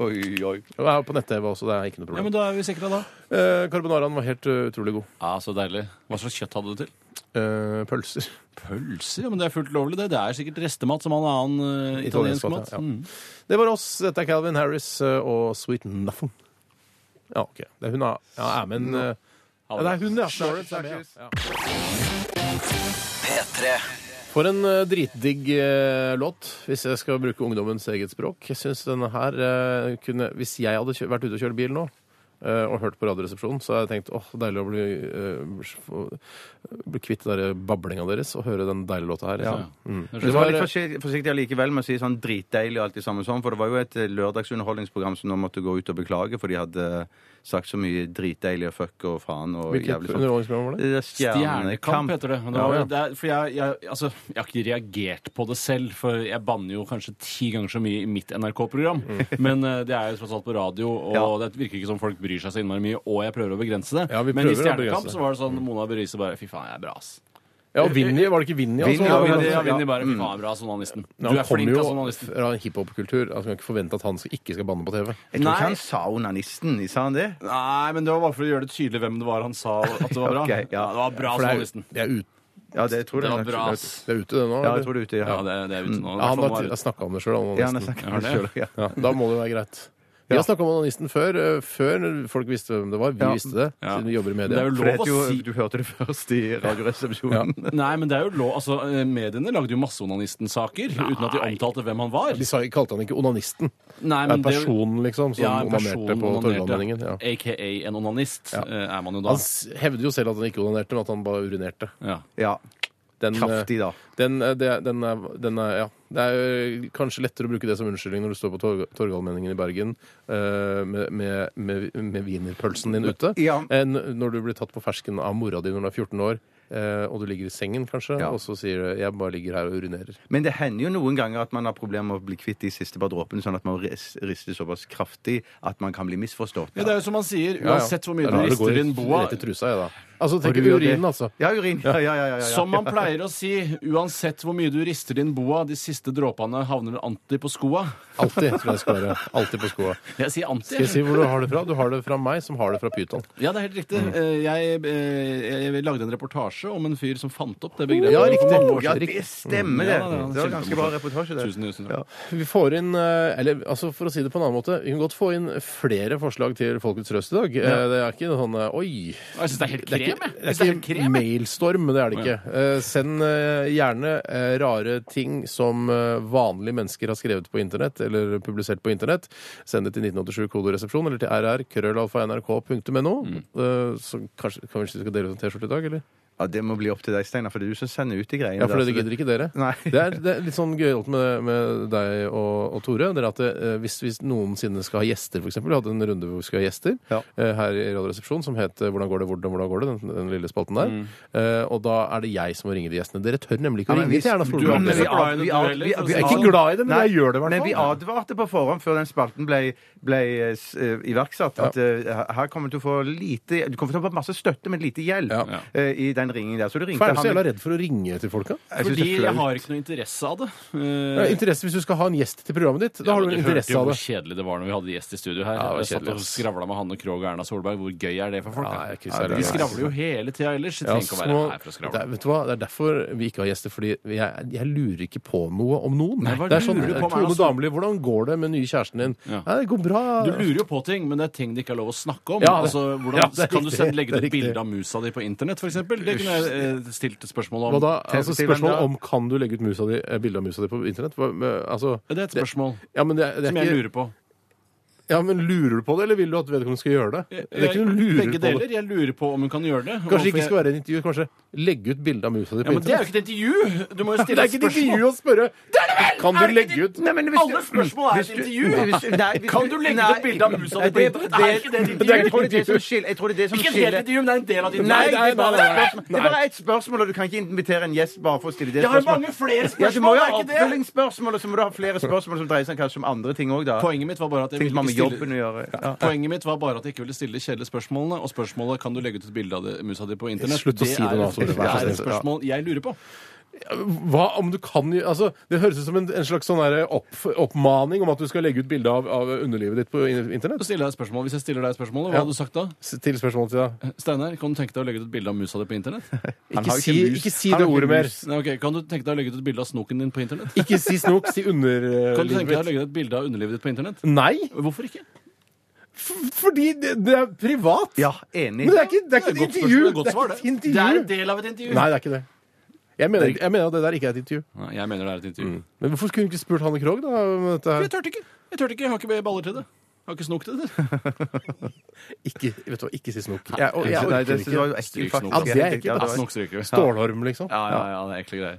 S5: Oi, oi.
S4: Og jeg er på nett-TV også, det er ikke noe
S6: Ja,
S4: problem.
S6: men da er vi sikre, da.
S4: Eh, carbonaraen var helt eh, utrolig god.
S6: Ja, Så deilig. Hva slags kjøtt hadde du til?
S4: Eh, pølser. *laughs*
S6: Pølser? Ja, men det er fullt lovlig, det. Det er sikkert restemat som all annen eh,
S4: Italiensk
S6: italiensk
S4: mat,
S6: mat.
S4: ja.
S6: Mm.
S4: Det var oss. Dette er Calvin Harris eh, og Sweet Nothing. Ja, OK. Det er hun er, ja, er med en eh, Ja, det er hun, ja.
S5: Lawrence er med,
S4: ja.
S7: P3
S4: For en eh, dritdigg eh, låt, hvis jeg skal bruke ungdommens eget språk. Jeg synes denne her eh, kunne Hvis jeg hadde kjø vært ute og kjørt bil nå eh, og hørt på Radioresepsjonen, så hadde jeg tenkt åh, deilig å bli, eh, få- bli kvitt den der bablinga deres og høre den deilige låta her. liksom. Mm.
S5: Men så var jeg litt forsiktig, forsiktig allikevel med å si sånn dritdeilig og alt det samme sånn, for det var jo et eh, lørdagsunderholdningsprogram som nå måtte gå ut og beklage, for de hadde sagt så mye dritdeilig og fuck og faen og
S4: Hvilket
S5: jævlig sånn.
S4: underholdningsprogram var det?
S5: Det er
S6: Stjernekamp heter det. Men det,
S5: Ja,
S6: var,
S5: ja.
S6: det er, for jeg, jeg, altså, jeg har ikke reagert på det selv, for jeg banner jo kanskje ti ganger så mye i mitt NRK-program. *laughs* Men eh, det er jo tross alt på radio, og det virker ikke som folk bryr seg så innmari mye, og jeg prøver å begrense det.
S4: Ja, vi
S6: men i
S4: prøver å begrense
S6: Stjernekamp
S4: det.
S6: så var det sånn Mona Berise bare Fy faen, jeg er bra, ass.
S4: Ja, og Vinni, var det ikke Vinni?
S5: Vinni, ja,
S6: Ja,
S5: Vinni,
S6: men
S4: Han-
S6: det
S5: ja.
S6: er Vinni bare Fy faen, jeg er bra, journalisten. Du
S4: han
S6: er
S4: kommer
S6: flink,
S5: altså,
S6: ass,
S4: jo
S6: journalisten.
S4: fra en hiphop-kultur. Altså, man kan ikke forvente at han skal- ikke skal banne på TV.
S5: Jeg tror
S6: Nei.
S5: ikke han sa onanisten, sa han det?
S6: Nei, men det var bare for å gjøre det tydelig hvem det var han sa at det var bra.
S5: Ok, ja.
S6: Det var
S4: For det
S6: bra,
S4: er,
S6: journalisten.
S4: det er, ut,
S5: Ja, det tror
S6: Det
S5: jeg.
S6: var bra, ass.
S4: det er ute, det nå?
S5: Ja,
S4: eller?
S5: jeg tror det er ute. Ja,
S6: Ja, det, det er sånn ute
S4: Ja,
S6: nå.
S4: han
S6: Hvertfall
S4: har
S6: var-
S4: snakka om det sjøl.
S5: ja han har snakket om det
S6: Ja,
S5: selv, *laughs* ja.
S4: Ja, da må det være greit. Vi har snakka om onanisten før, eh, før folk visste hvem det var. Vi
S5: Ja.
S4: visste det,
S6: Ja.
S4: siden vi jobber i
S6: Men det
S4: media.
S6: er jo
S5: For det
S6: lov
S5: heter
S6: å
S5: jo,
S6: si
S5: du hørte det først i radioresepsjonen.
S6: Nei, men det er jo lov Altså, eh, mediene lagde jo masse onanisten-saker uten at de omtalte hvem han var.
S4: De sa, kalte han ikke onanisten.
S6: Nei,
S4: Det er
S6: men det-
S4: personen, liksom, som
S6: Ja, en person
S4: onanerte på
S6: onanerte.
S4: Torgallmenningen. Ja.
S6: AKA en onanist
S4: Ja. Altså,
S6: eh, er man jo da.
S4: Han s- hevder jo selv at han ikke onanerte, men at han bare urinerte.
S6: Ja.
S5: Ja,
S4: Den, eh,
S5: kraftig da.
S4: Den, eh, det- den er, den er, ja. Det er jo kanskje lettere å bruke det som unnskyldning når du står på Torg Torgallmenningen i Bergen eh, med, med, med, med wienerpølsen din ute,
S5: Ja.
S4: enn når du blir tatt på fersken av mora di når du er 14 år, eh, og du ligger i sengen kanskje,
S5: Ja.
S4: og så sier du 'jeg bare ligger her og urinerer'.
S5: Men det hender jo noen ganger at man har problemer med å bli kvitt de siste par dråpene, sånn at man ris- rister såpass kraftig at man kan bli misforstått.
S6: Det er jo som han sier,
S4: Ja, ja.
S6: uansett hvor mye
S4: Det
S6: du
S4: er rart det går
S6: rister inn boa
S4: Rett i trusa, jeg, da. Altså,
S5: Og
S4: tenk
S5: du gjør det.
S4: urin, altså.
S5: Ja, urin. Ja, ja, ja, ja, ja.
S6: Som man pleier å si, uansett hvor mye du rister inn boa, de siste dråpene havner alltid på skoa.
S4: Alltid, tror jeg skal være. Alltid på skoa.
S6: Jeg sier
S4: Skal
S6: anti.
S4: jeg si hvor du har det fra? Du har det fra meg, som har det fra Pyton.
S6: Ja, det er helt riktig.
S4: Mm.
S6: Eh, Jeg, eh, jeg lagde en reportasje om en fyr som fant opp det begrepet.
S4: Ja, riktig.
S6: For mange år
S5: Ja,
S6: siden.
S5: det stemmer, det.
S6: Ja, ja, ja.
S5: Det var ganske bra reportasje, det.
S6: Tusen, tusen takk.
S4: Vi får inn eh, Eller altså for å si det på en annen måte, vi kan godt få inn flere forslag til Folkets Røst i dag. Eh, Det er ikke noe sånn eh, Oi!
S6: Jeg syns det er helt krem, jeg.
S4: ikke, det
S6: Jeg synes
S4: er
S6: helt
S4: ikke
S6: krem, jeg.
S4: mailstorm, det er det ikke. Eh, Send eh, gjerne eh, rare ting som eh, vanlige mennesker har skrevet på internett, eller publisert på internett. Send det til 1987 kodoresepsjon, eller til rr krøllalfa.nrk.no.
S6: Mm.
S4: Eh, Så kanskje, kanskje vi skal dele ut en T-skjorte i dag, eller?
S5: Ja, Det må bli opp til deg, Steinar, for det er du som sender ut de greiene.
S4: Ja, for
S5: der,
S4: det
S5: så
S4: gidder ikke dere.
S5: Nei.
S4: Det, er, det er litt sånn gøyalt med, med deg og, og Tore. Det er at eh, hvis, hvis noensinne skal ha gjester, f.eks. Vi hadde en runde hvor vi skulle ha gjester
S5: Ja.
S4: eh, her i Radioresepsjonen som het eh, 'Hvordan går det, hvordan, hvordan går det?' Den, den lille spalten der. Eh, og da er det jeg som må ringe de gjestene. Dere tør nemlig ikke
S5: Mm. Ja,
S4: å
S5: men
S4: ringe
S5: hvis-
S4: til
S5: du
S4: Erna
S5: er
S4: Solberg.
S5: ikke så
S4: Dere-
S5: glad i det, du heller, for å
S4: Jeg er
S5: si det
S4: ikke glad i det, men
S5: altså, Nei,
S4: jeg gjør det i hvert
S5: Men vi
S4: fall.
S5: advarte på forhånd før den spalten ble, ble eh, s- eh, iverksatt, at eh, her kommer du til å få lite Du kommer til å få masse støtte, men lite hjelp
S4: Ja.
S5: eh, i den ringingen der. Så du
S4: Hvorfor
S5: ringte
S4: er du så jævla redd for å ringe til folka?
S5: Jeg synes
S6: Fordi
S5: det er
S6: jeg
S5: flaut.
S6: har ikke noe interesse av det.
S4: Ja,
S6: Eh,
S4: interesse hvis du skal ha en gjest til programmet ditt. Da
S6: Ja,
S4: har
S6: men
S4: du en
S6: hørte
S4: interesse
S6: jo
S4: av
S6: hvor
S4: det.
S6: kjedelig det var når vi hadde gjest i studio her.
S4: Ja, det var
S6: jeg satt
S4: kjedelig,
S6: og
S4: ass.
S6: skravla med Hanne Krogh og Erna Solberg. Hvor gøy er det for folk?
S4: Nei,
S6: da?
S4: jeg er ikke særlig
S6: de
S4: glad i det.
S6: skravler jo hele tida ellers. De
S4: Ja,
S6: trenger ikke å være
S4: så-
S6: her for å
S4: det, er-
S6: skravle.
S4: vet du hva, det er derfor vi ikke har gjester, fordi jeg, jeg lurer ikke på noe om noen.
S6: Nei, hva
S4: det er sånn,
S6: lurer du på om Erna
S4: Tone
S6: Sol-
S4: Damli, hvordan går det med den nye kjæresten din?
S6: Ja.
S4: Nei, det går bra.
S6: Du lurer jo på ting, men det er ting det ikke er lov å snakke om.
S4: Ja, det-
S6: altså, hvordan
S4: ja, det er
S6: Kan du
S4: riktig,
S6: sende, legge
S4: det er
S6: ut et
S4: riktig.
S6: bilde av musa di på internett, f.eks.? Det kunne jeg eh, stilt spørsmål om.
S4: Hva da? Altså,
S5: til hvem
S4: spørsmål
S5: da?
S4: om kan du legge ut musa di, eh, bilde av musa di på internett? Hva, med- altså,
S6: Ja, Det er et spørsmål
S4: ja, men det, er- det er
S6: som jeg
S4: ikke,
S6: lurer på.
S4: ja, men lurer du på det, eller vil du at vedkommende skal gjøre det? Det er ikke noe lurer
S6: Begge
S4: på
S6: deler.
S4: det.
S6: Jeg lurer på om hun kan gjøre det.
S4: Kanskje det ikke skal være en intervju, kanskje legge ut bilde av musa di
S6: ja,
S4: på
S6: men Det er jo
S4: internett?
S6: ikke et intervju! Du må jo
S4: Det er
S6: stille
S4: ikke
S6: et
S4: et intervju
S6: spørsmål.
S4: å spørre! Kan
S6: Er
S4: du
S6: det
S4: legge
S6: ikke-
S4: ut?
S5: Nei, men hvis
S6: Alle spørsmål er et
S5: hvis du-
S6: intervju!
S5: Hvis- nei, hvis
S6: Kan
S5: du-
S6: du legge
S5: nei,
S6: ut et bilde av musa di på
S5: det-
S6: internett? Er ikke det et intervju?
S5: Jeg tror det er det som skiller Jeg tror det er det som
S6: Ikke et
S5: skiller
S6: helt intervju, men det er en del av ditt
S5: Nei, det
S6: Nei,
S5: er bare
S6: nei,
S5: et
S6: nei.
S5: spørsmål. Det er bare ett spørsmål, og du kan ikke invitere en gjest bare for å stille det
S6: Jeg har
S5: spørsmålet.
S6: mange flere
S5: Ja, du må
S6: spørsmål,
S5: jo ha
S6: er ikke det?
S5: oppfølgingsspørsmål, og så må du ha flere spørsmål som dreier seg kanskje om andre ting òg, da.
S6: Poenget mitt var bare at jeg
S5: Ting som
S6: ville
S5: har med
S6: ikke
S5: jobben
S6: stille
S5: å gjøre. Ja.
S6: Poenget mitt var bare at jeg ikke ville stille de kjedelige spørsmålene. Og spørsmålet kan du legge ut et bilde av det, musa di på internett.
S4: Slutt å si det
S6: er,
S4: nå,
S6: et-
S4: Tore,
S6: det
S4: vær så
S6: er et
S4: snill.
S6: spørsmål jeg lurer på.
S4: Hva om du kan gjø- altså, Det høres ut som en, en slags sånn der opp, oppmaning om at du skal legge ut bilde av, av underlivet ditt på in-
S6: Så
S4: internett.
S6: stiller jeg et spørsmål. Hvis jeg stiller deg et spørsmål, hva
S4: Ja.
S6: hadde du sagt da?
S4: S- Til spørsmålet til deg.
S6: Steinar, kan du tenke deg å legge ut et bilde av musa di på internett?
S5: Han
S4: Ikke
S5: har jo
S4: si,
S5: mus.
S4: ikke si
S5: Han
S4: det
S5: har jo ikke
S4: ordet mer.
S5: mus.
S6: Nei, ok, Kan du tenke deg å legge ut et bilde av snoken din på internett?
S4: Ikke si snok, si
S6: Kan du tenke deg å
S4: underlivet.
S6: legge ut et bilde av underlivet ditt på internett?
S4: Nei!
S6: Hvorfor ikke?
S4: F- Fordi det, det er privat.
S5: Ja, enig.
S4: Men det er ikke, det er ikke et
S6: Det er et godt
S4: intervju.
S6: spørsmål,
S4: Det
S6: godt
S4: er
S6: svar,
S4: ikke
S6: det.
S4: et intervju.
S6: Det er en del av et intervju.
S4: Nei, det er ikke det. Jeg mener, ikke- jeg mener at det der ikke er et intervju.
S6: Nei, Jeg mener det er et intervju.
S4: Men hvorfor skulle hun ikke spurt Hanne Krogh, da? om dette her?
S6: Mm. Jeg tørte ikke. Jeg tørte ikke. Jeg har ikke baller til det. Jeg har ikke snok til det.
S4: Ikke, vet du hva, ikke si snok. Jeg, og, jeg
S5: Nei,
S4: orker
S5: det synes jeg
S4: ikke.
S5: var jo ekkelt, faktisk.
S4: Ja, det er ekkelt,
S5: Ja,
S4: altså.
S5: var-
S6: Snok stryker vi.
S4: Stålorm, liksom.
S6: Ja, ja, ja, det er ekle greier.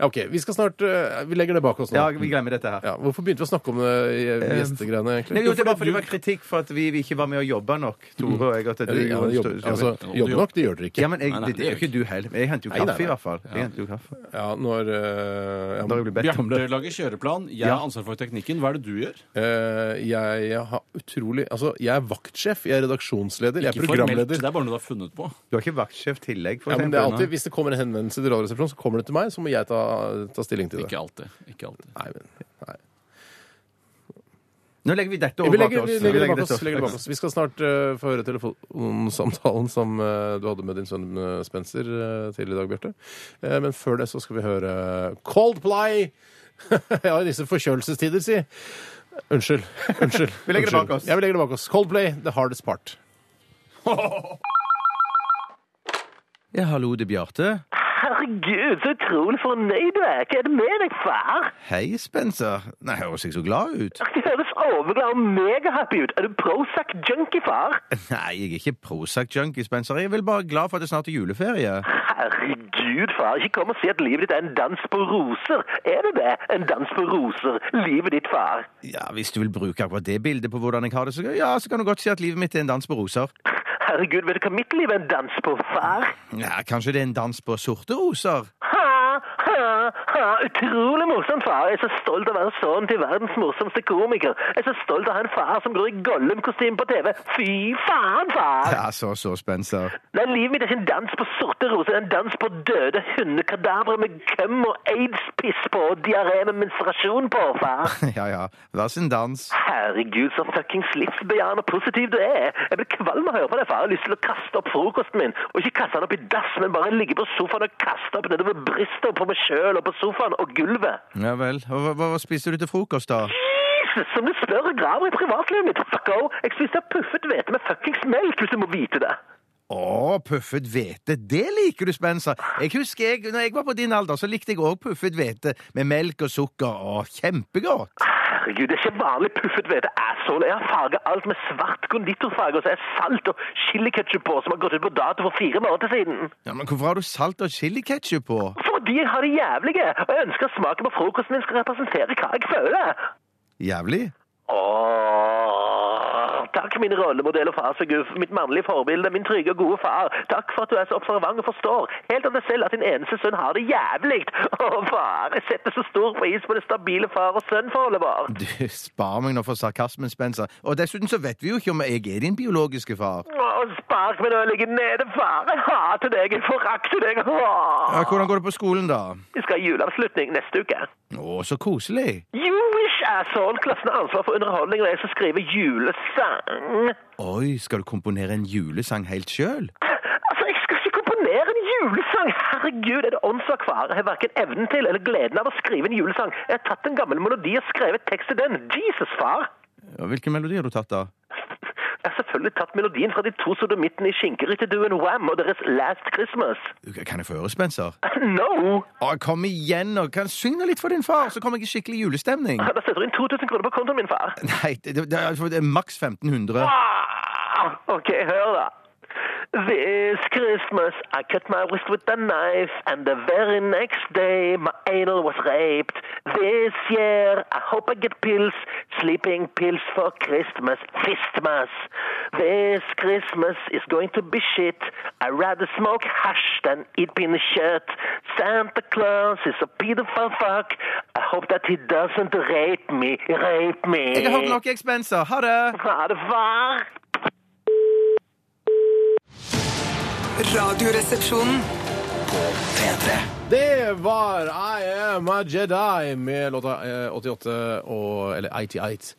S4: Ja, OK, vi skal snart eh, Vi legger det bak oss nå.
S5: Ja, vi glemmer dette her.
S4: Ja, hvorfor begynte vi å snakke om det i
S5: Eh,
S4: i gjestegreiene,
S5: Nei,
S4: egentlig?
S5: jo, det var fordi det var kritikk for at vi, vi ikke var med og jobba nok, Tore og jeg. At
S4: Ja,
S5: det,
S4: det- ja, det jobber, altså, jobber nok, det gjør dere ikke.
S5: ja, men jeg,
S6: Nei, nei,
S5: det, det er jo ikke du heller. Jeg henter jo
S4: Nei, nei,
S5: kaffe, i
S4: nei.
S5: hvert fall. Jeg henter jo kaffe.
S4: Ja, når eh, ja,
S5: Når jeg blir bedt om det.
S6: Bjarte lager kjøreplan. Jeg har ansvar for teknikken. Hva er det du gjør?
S4: eh, jeg, jeg har utrolig Altså, jeg er vaktsjef, jeg er redaksjonsleder, jeg er
S6: Ikke formelt.
S4: programleder.
S6: Det er bare noe du har funnet på.
S5: Du har ikke vaktsjef tillegg, for
S4: Ja, men det er
S5: eksempel.
S4: alltid, hvis det kommer en henvendelse til Radioresepsjonen, så kommer det til meg, så må jeg ta, ta stilling til det.
S6: Ikke alltid. Ikke alltid.
S4: Nei, men, nei.
S5: Nå legger vi dette
S4: Vi
S5: over bak
S4: legger,
S5: oss.
S4: vi legger det bak
S5: dette
S4: oss. legger det bak oss. Vi skal snart eh, få høre telefonsamtalen som eh, du hadde med din sønn eh, Spencer eh, til i dag, Bjarte. Eh, men før det så skal vi høre Coldplay! *laughs* ja, i disse forkjølelsestider, si. Unnskyld. Unnskyld.
S5: *laughs* Vi legger det
S4: Unnskyld.
S5: bak oss.
S4: Ja, vi legger det bak oss. Coldplay, The Hardest Part.
S5: Ja, hallo, det er Bjarte.
S7: Herregud, så utrolig fornøyd du er. Hva er det med deg, far?
S5: Hei, Spencer. Nei, høres jeg så glad
S4: *laughs*
S5: ut?
S7: Du høres overglad og megahappy ut. Er du Prozac-junkie, far?
S5: Nei, jeg er ikke Prozac-junkie, Spencer. Jeg er vel bare glad for at det snart er juleferie.
S7: Herregud, far. Ikke kom og si at livet ditt er en dans på roser. Er det det? En dans på roser. Livet ditt, far.
S5: Ja, Hvis du vil bruke akkurat det bildet på hvordan jeg har det, så, ja, så kan du godt si at livet mitt er en dans på roser.
S7: Herregud, vet du hva mitt liv er en dans på, far?
S5: Ja, Kanskje det er en dans på sorte roser?
S7: Ha, ha, ha. Utrolig morsom far. Jeg er så stolt av å være sønnen til verdens morsomste komiker. Jeg er så stolt av å ha en far som går i Gollum-kostyme på TV. Fy faen, far!
S5: Ja, så så, Spencer. *laughs*
S7: Nei, livet mitt er ikke en dans på sorte roser, det er en dans på døde hundekadavre med køm og aids-piss på og diaré med menstruasjon på, far.
S5: Ja ja, hver sin dans.
S7: Herregud, så fuckings livsbejaende og positiv du er. Jeg blir kvalm av å høre på deg, far. Jeg har lyst til å kaste opp frokosten min. Og ikke kaste den opp i dass, men bare ligge på sofaen og kaste opp nedover brystet og på meg sjøl og på sofaen og gulvet.
S5: Ja vel. Og Hva, hva, hva spiser du til frokost, da?
S7: Jesus, som du spør og graver i privatlivet mitt, fucko! Jeg spiste puffet hvete med fuckings melk, hvis du må vite det.
S5: Å, puffet hvete. Det liker du, Spencer. Jeg husker jeg, når jeg var på din alder, så likte jeg òg puffet hvete med melk og sukker. Å, kjempegodt.
S7: Herregud, det er ikke vanlig puffet hvete, asshole. Jeg har farget alt med svart konditorfarge, og så er salt og chiliketchup på, som har gått ut på dato for fire måneder siden.
S5: Ja, Men hvorfor har du salt og chiliketchup på?
S7: Fordi jeg har det jævlige, og jeg ønsker at smaken på frokosten min skal representere hva jeg føler.
S5: Jævlig.
S7: Åh, takk min rollemodell og farsuguf, mitt mannlige forbilde, min trygge og gode far. Takk for at du er så observant og forstår, helt av deg selv, at din eneste sønn har det jævlig. Åh, far, jeg setter så stor pris på det stabile far- og sønnforholdet vår.
S5: Du, Spar meg nå for sarkasmen, Spencer. Og dessuten så vet vi jo ikke om jeg er din biologiske far.
S7: Åh, spark meg når jeg ligger nede, far. Jeg hater deg, jeg forakter deg.
S5: Ja,
S7: Åh.
S5: hvordan går det på skolen, da?
S7: Vi skal ha juleavslutning neste uke.
S5: Å, så koselig.
S7: Jewish asshole, klassen har ansvar for underholdning, og jeg skal skrive julesang.
S5: Oi, skal du komponere en julesang helt sjøl?
S7: Altså, jeg skal ikke komponere en julesang! Herregud, er det åndssvak fare? Jeg har hverken evnen til eller gleden av å skrive en julesang. Jeg har tatt en gammel melodi og skrevet tekst til den. Jesus, far!
S5: Hvilken melodi har du tatt, da?
S7: Jeg har selvfølgelig tatt melodien fra de to sodomittene i skinkerytterduen Wham og deres Last Christmas. *laughs*
S5: Kan jeg få høre, Spencer?
S7: No!
S5: Å, kom igjen nå! Kan synge litt for din far, så kommer jeg i skikkelig julestemning.
S7: Da setter du inn 2000 kroner på kontoen min, far.
S5: Nei, det, det, det er- det er maks 1500.
S7: Ah, ok, hør da. This Christmas I cut my wrist with a knife and the very next day my anal was raped. This year I hope I get pills, sleeping pills for Christmas, Fistmas. This Christmas is going to be shit. I rather smoke hash than eat peanut shit. Santa Claus is a pedophile fuck. I hope that he doesn't rape me, rape me.
S5: Jeg har hørt nok, jeg, Spencer. Ha det!
S7: Ha det, far.
S1: Radioresepsjonen.
S7: P3.
S4: Det var I Am A Jedi med låta eh, 88 og Eller 88.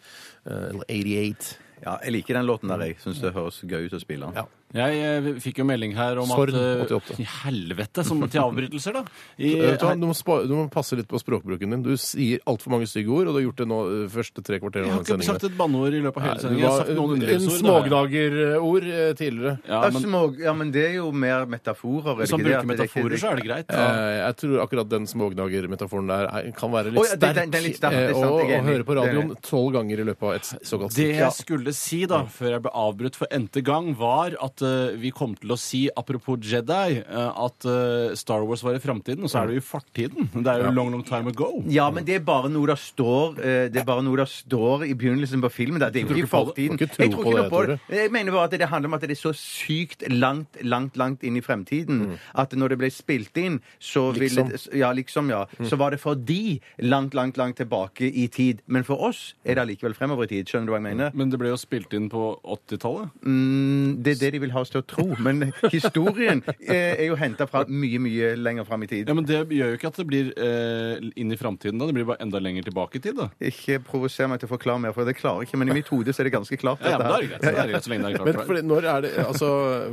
S4: eh, Eller 88.
S5: Ja, jeg liker den låten der, jeg. Syns det høres gøy ut å spille den.
S4: Ja.
S6: Jeg eh, fikk jo melding her om
S4: Sorn,
S6: at eh,
S4: 88.
S6: I helvete! Som til avbrytelser, da. I,
S4: Eh, vet Du, hva, du, må spa, du må passe litt på språkbruken din. Du sier altfor mange stygge ord, og du har gjort det nå eh, første tre kvarter
S6: jeg
S4: av den
S6: har ikke sagt
S4: sendingen.
S6: et banneord i løpet av hele
S4: Nei, du
S6: sendingen. Jeg
S4: var
S6: har sagt noen
S4: en- en
S6: underlivsord. det har jeg.
S4: smågnagerord eh, tidligere.
S6: Ja,
S5: Ja,
S6: men
S5: små- ja, men det er jo mer metaforer. er det
S6: hvis han
S5: ikke det?
S6: bruker
S5: At det er ikke-
S6: metaforer, så er det greit.
S4: Eh, Jeg tror akkurat den smågnagermetaforen der er- kan være litt
S5: Å, ja, det-
S4: sterk.
S5: den- den er litt sterk, det er
S4: eh,
S5: sant,
S4: og
S5: jeg er
S4: å
S5: enig.
S4: høre på
S5: Det er
S4: radioen
S5: enig.
S4: tolv ganger i løpet av et s- såkalt
S6: Det
S4: stikk.
S6: jeg skulle si, da, før jeg ble avbrutt for n-te gang, var at eh, vi kom til å si, apropos Jedi, eh, at eh, Star Wars var i framtiden, og så er det jo i fortiden. Det er jo long, long time ago.
S5: Ja, men det er bare noe der står eh, Det er bare noe der står i begynnelsen på filmen. da. Det er jo ikke i
S4: tror ikke på det?
S5: fortiden.
S4: Du kan ikke tro
S5: Jeg tror
S4: på
S5: ikke noe
S4: det,
S5: på det.
S4: Tore.
S5: Jeg mener bare at det handler om at det er så sykt langt, langt, langt inn i fremtiden at når det ble spilt inn, så ville
S4: Liksom.
S5: det- Ja, liksom, ja. Så var det for de langt, langt, langt tilbake i tid. Men for oss er det allikevel fremover i tid. Skjønner du hva jeg mener?
S6: Men det ble jo spilt inn på 80-tallet.
S5: Mm, det er det de vil ha oss til å tro. Men historien eh, er jo henta fra mye, mye lenger fram i tid.
S6: Ja, men det gjør jo ikke at det blir eh, inn i framtiden, da. Det blir bare enda lenger tilbake i tid, da.
S5: Ikke provoser meg til å forklare mer, for det klarer jeg ikke. Men i mitt hode så er det ganske klart.
S6: Ja, ja,
S5: dette
S6: men da
S5: her.
S6: er det greit. Da er det greit så lenge det
S4: Men
S6: er klart. for
S4: fordi,
S6: deg.
S4: når er det Altså,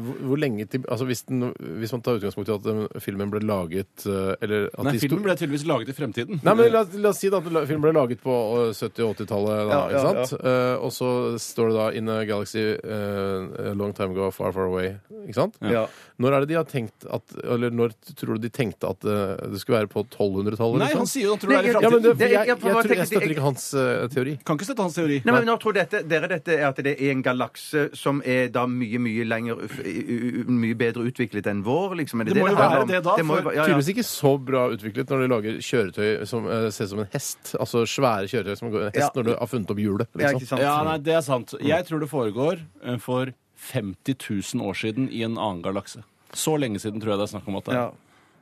S4: hvor, hvor lenge til altså, hvis, den, hvis man tar utgangspunkt i at den filmen ble laget eh, Eller at
S6: Nei,
S4: histo-
S6: filmen ble tydeligvis laget i fremtiden.
S4: Nei,
S5: Mm.
S4: men la, la oss si da at la- filmen ble laget på eh, 70- og 80-tallet. da,
S5: Ja, ja,
S4: ikke sant? Eh, og så står det da 'In a galaxy eh, a long time ago, far, far away'. Ikke sant?
S5: Ja.
S4: Når er det de har tenkt at Eller når tror du de tenkte at eh, det skulle være på 1200-tallet?
S6: Nei,
S4: liksom?
S6: han sier jo at han tror det er i
S5: Nei,
S4: ja, men det,
S6: framtiden.
S4: jeg,
S5: Det-
S4: jeg,
S5: jeg-
S4: jeg,
S5: for hva
S4: tror- jeg
S5: tenker-
S4: støtter ikke hans eh, teori.
S6: Kan ikke støtte hans teori.
S5: Nei, men nå tror dette, dere dette er at det er en galakse som er da mye, mye lenger uff- u- u- Mye bedre utviklet enn vår, liksom. Er
S6: Det må jo
S5: handler
S6: være
S5: om?
S6: det da,
S5: må jo
S6: for
S5: være- ja, ja.
S4: Tydeligvis ikke så bra utviklet når de lager kjøretøy som eh, ser ut som en hest. Altså svære kjøretøy som går en hest
S5: Ja.
S4: når du har funnet opp hjulet.
S5: Ja,
S4: Liksom.
S5: ikke sant?
S6: Ja, nei, det er sant. Jeg tror det foregår eh, for 50 000 år siden i en annen galakse. Så lenge siden tror jeg det er snakk om at det
S5: Ja.
S6: er.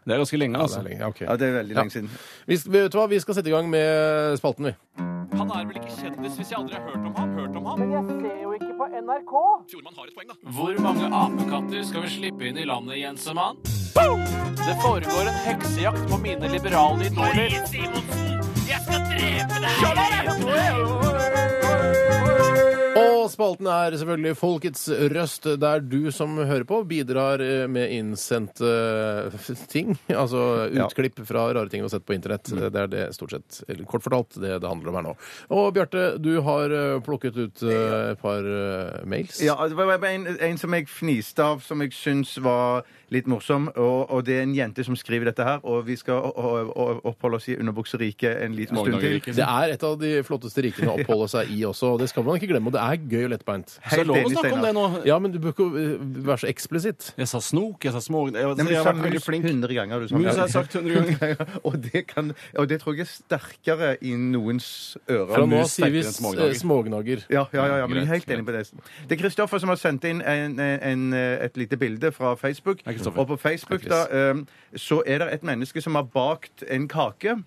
S6: Det er ganske lenge,
S4: Det
S6: altså.
S4: er lenge, ja, ok.
S5: ja, det er veldig lenge siden.
S4: Vi, vet du hva? vi skal sette i gang med spalten, vi.
S6: Han er vel ikke kjendis hvis jeg aldri har hørt om ham? Hørt om ham? Fjordmann har et poeng, da.
S8: Hvor mange apekatter skal vi slippe inn i landet, Jensemann? Det foregår en heksejakt på mine liberale idoler.
S4: Og spalten er selvfølgelig Folkets røst, der du som hører på, bidrar eh, med innsendte eh, *laughs* ting. Altså utklipp fra rare ting du har sett på internett.
S6: Mm.
S4: Det er det stort sett, eller kort fortalt, det det handler om her nå. Og Bjarte, du har eh, plukket ut eh, et par eh, mails.
S5: Ja, det var en, en som jeg fniste av, som jeg syns var litt morsom. Og, og det er en jente som skriver dette her, og vi skal o- o- o- oppholde oss i underbukseriket en liten stund til.
S6: Smågnageriket.
S4: Det er et av de flotteste rikene å oppholde seg i også, og det skal man ikke glemme. Og det er gøy og lettbeint.
S6: Så det er lov å
S5: enig,
S6: snakke om det nå.
S4: Ja, men du bør ikke eh, være så eksplisitt.
S6: Jeg sa snok, jeg sa smågn... Jeg,
S5: Nei, men du
S6: jeg
S5: sa
S6: har vært veldig
S5: mus
S6: flink.
S5: 100 ganger. Du sa.
S6: Mus har jeg sagt 100 ganger.
S5: *laughs* og, det kan, og det tror jeg er sterkere i noens ører.
S4: Fra
S6: mus
S4: nå av sier vi
S6: sterkere enn
S4: s-
S6: smågnager.
S4: smågnager.
S5: Ja, ja, ja, ja men jeg er
S6: Greit,
S5: helt enig på det. Det er Kristoffer som har sendt inn en, en, et lite bilde fra Facebook.
S6: Hei, Kristoffer.
S5: Og på Facebook da, eh, så er det et menneske som har bakt en kake.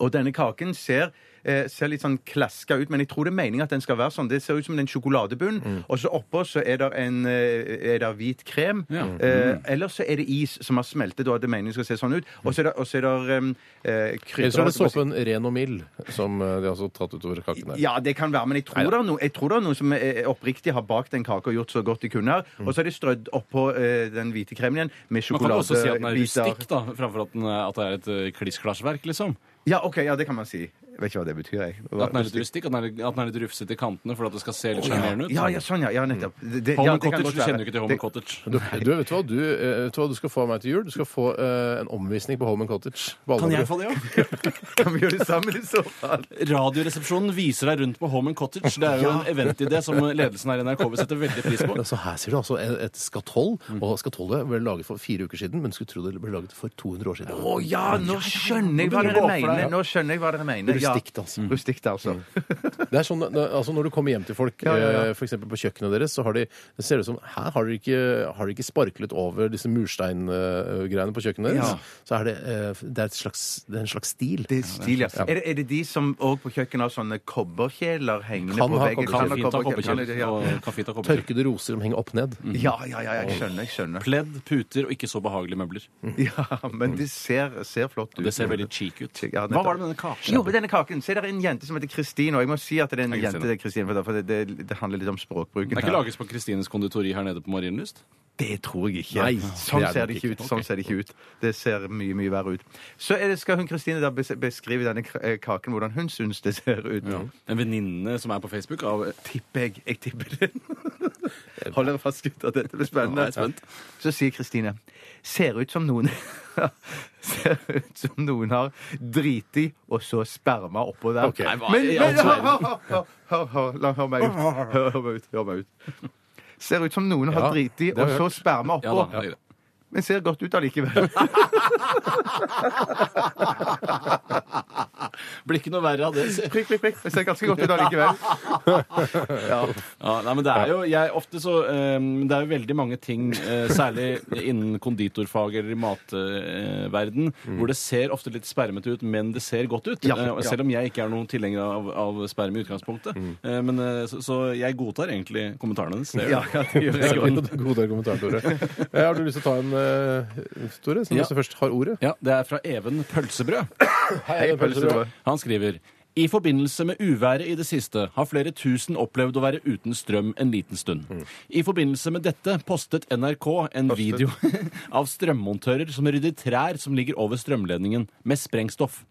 S5: Og denne kaken ser eh, Ser litt sånn klaska ut, men jeg tror det er meningen at den skal være sånn. Det ser ut som en sjokoladebunn, og så oppå så er det en eh, er det hvit krem.
S6: Ja.
S5: Eh, Eller så er det is som har smeltet, og at det er meningen skal se sånn ut. Og så er det, og så er det um, eh, krydder
S4: Eller så er det
S5: holdt jeg på å si.
S4: såpen ren og mild som eh, de har så tatt utover kaken her.
S5: Ja, det kan være, men jeg tror, det er, no, jeg tror det er noen som eh, oppriktig har bakt en kake og gjort så godt de kunne her. Og så har de strødd oppå eh, den hvite kremen igjen med
S6: Man kan jo også si at den er rustikk,
S5: sjokoladebiter.
S6: da, framfor at, den, er- at det er et eh, kliss-klassverk, liksom.
S5: Ja, ok, ja, det kan man si. Jeg vet ikke hva det betyr, jeg. Hva-
S6: At den er litt rustikk, at den er, litt- at den er litt rufsete i kantene for at det skal se litt sjarmerende ut.
S5: Ja, ja, sånn, ja. ja nettopp. Det, det, ja, det
S6: Home
S5: kan
S6: Cottage,
S5: godt
S6: du
S5: være.
S6: kjenner jo ikke til Home
S5: Det-
S6: Cottage.
S4: Du, du, vet, du, hva? Du, eh, vet du hva du skal få av meg til jul? Du skal få eh, en omvisning på Holmen Cottage. på
S6: Kan jeg
S4: Alnabru.
S6: få det, ja?
S5: Kan vi gjøre det sammen i så fall?
S6: Radioresepsjonen viser deg rundt på Home and Cottage. Det er jo en eventidé som ledelsen her i NRK vil sette veldig pris på.
S4: Ja, Så her ser du altså et et skatoll.
S5: Mm.
S4: Og skatollet ble laget for fire uker siden, men skulle tro det ble laget for 200 år siden.
S5: Å ja, nå skjønner jeg hva dere
S4: begynner det å gå for deg,
S5: mener.
S4: ja.
S5: Nå skjønner jeg hva dere mener. ja.
S4: Rustikt,
S6: Mm.
S4: altså.
S5: Rustikt, altså.
S4: Det er sånn, det- altså Når du kommer hjem til folk,
S5: Ja, ja, ja.
S4: eh, for eksempel på kjøkkenet deres, så har de, det ser det ut som Her har de ikke, har de ikke sparklet over disse mursteingreiene på kjøkkenet deres.
S5: Ja.
S4: Så er det, eh, det, er et slags, det er en slags stil.
S5: Det er stilig, altså. Er, det, er det de som òg på kjøkkenet har sånne kobberkjeler hengende
S4: Kan
S5: på
S4: ha
S5: veggen?
S4: kobberkjeler.
S6: Kaffefint av
S5: Kan det-
S6: kobberkjell
S5: ja.
S6: og kaffefint av kobberkjell.
S4: Tørkede roser som henger opp ned. *laughs*
S5: Ja, ja, ja, jeg skjønner. jeg skjønner.
S6: Pledd, puter og ikke så behagelige møbler.
S5: Ja, men det ser, ser flott ut.
S6: Det ser veldig cheek ut.
S5: Ja, nettopp.
S6: Hva var det med denne kaken?
S5: Jo, men denne saken så er det en jente som heter Kristin, og jeg må si at det er en
S6: Hei, Christine.
S5: jente det er Kristin, for det- for det, det, det handler litt om språkbruken.
S6: Det er
S5: her.
S6: ikke lages på Kristines konditori her nede på Marienlyst?
S5: Det tror jeg ikke.
S4: Nei,
S5: sånn
S4: det er
S5: ser
S4: det
S5: det ikke ut. Sånn ser det ikke ut. Det ser mye, mye verre ut. Så er det, skal hun Kristine da bes- beskrive denne k- eh, kaken, hvordan hun syns det ser ut.
S6: En venninne som er på Facebook av
S5: Tipper jeg. Jeg tipper det. *laughs* Hold dere fast, gutter. Dette blir spennende.
S6: Ja, jeg er spent.
S5: Så sier Kristine Ser ut som noen *laughs* Ser ut som noen har driti og så sperma oppå der.
S4: Ok. Nei,
S6: hva
S5: men
S6: i
S5: men
S6: all
S5: hør, hør, hør, hør, hør, la- hør meg ut. Hør, hør meg ut. Hør meg ut. Ser ut som noen har
S4: Ja,
S5: driti
S4: det har
S5: og
S4: jeg
S5: så sperma
S6: Ja
S5: oppå.
S6: da, det er greit.
S5: Men ser godt ut allikevel. *laughs*
S6: Blir ikke noe verre av det. sier jeg.
S5: Prikk, prikk, prikk. Det ser ganske godt ut allikevel.
S6: Ja, nei, men det er jo jeg, ofte så eh, Det er jo veldig mange ting, eh, særlig innen konditorfag eller i matverden, hvor det ser ofte litt spermete ut, men det ser godt ut.
S5: Ja,
S6: Eh, og
S5: ja.
S6: Selv om jeg ikke er noen tilhenger av, av sperm i utgangspunktet. Eh, men, eh, så, så jeg godtar egentlig kommentarene hennes. Det gjør *laughs* jeg.
S4: Det er god, god kommentar, Tore. Eh, Har du lyst til å ta en, eh, Tore, som
S6: Ja.
S4: også først har ordet?
S6: Ja, Det er fra Even Pølsebrød.
S4: Hei,
S5: Pølsebrød.
S6: Han skriver i forbindelse med uværet i det siste har flere tusen opplevd å være uten strøm en liten stund. I forbindelse med dette postet NRK en video *laughs* av strømmontører som rydder trær som ligger over strømledningen med sprengstoff.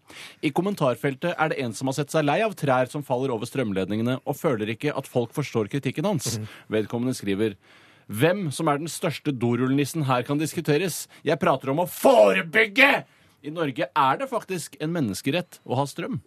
S6: I kommentarfeltet er det en som har sett seg lei av trær som faller over strømledningene, og føler ikke at folk forstår kritikken hans. Vedkommende skriver hvem som er den største dorullnissen her kan diskuteres. Jeg prater om å forebygge! I Norge er det faktisk en menneskerett å ha strøm.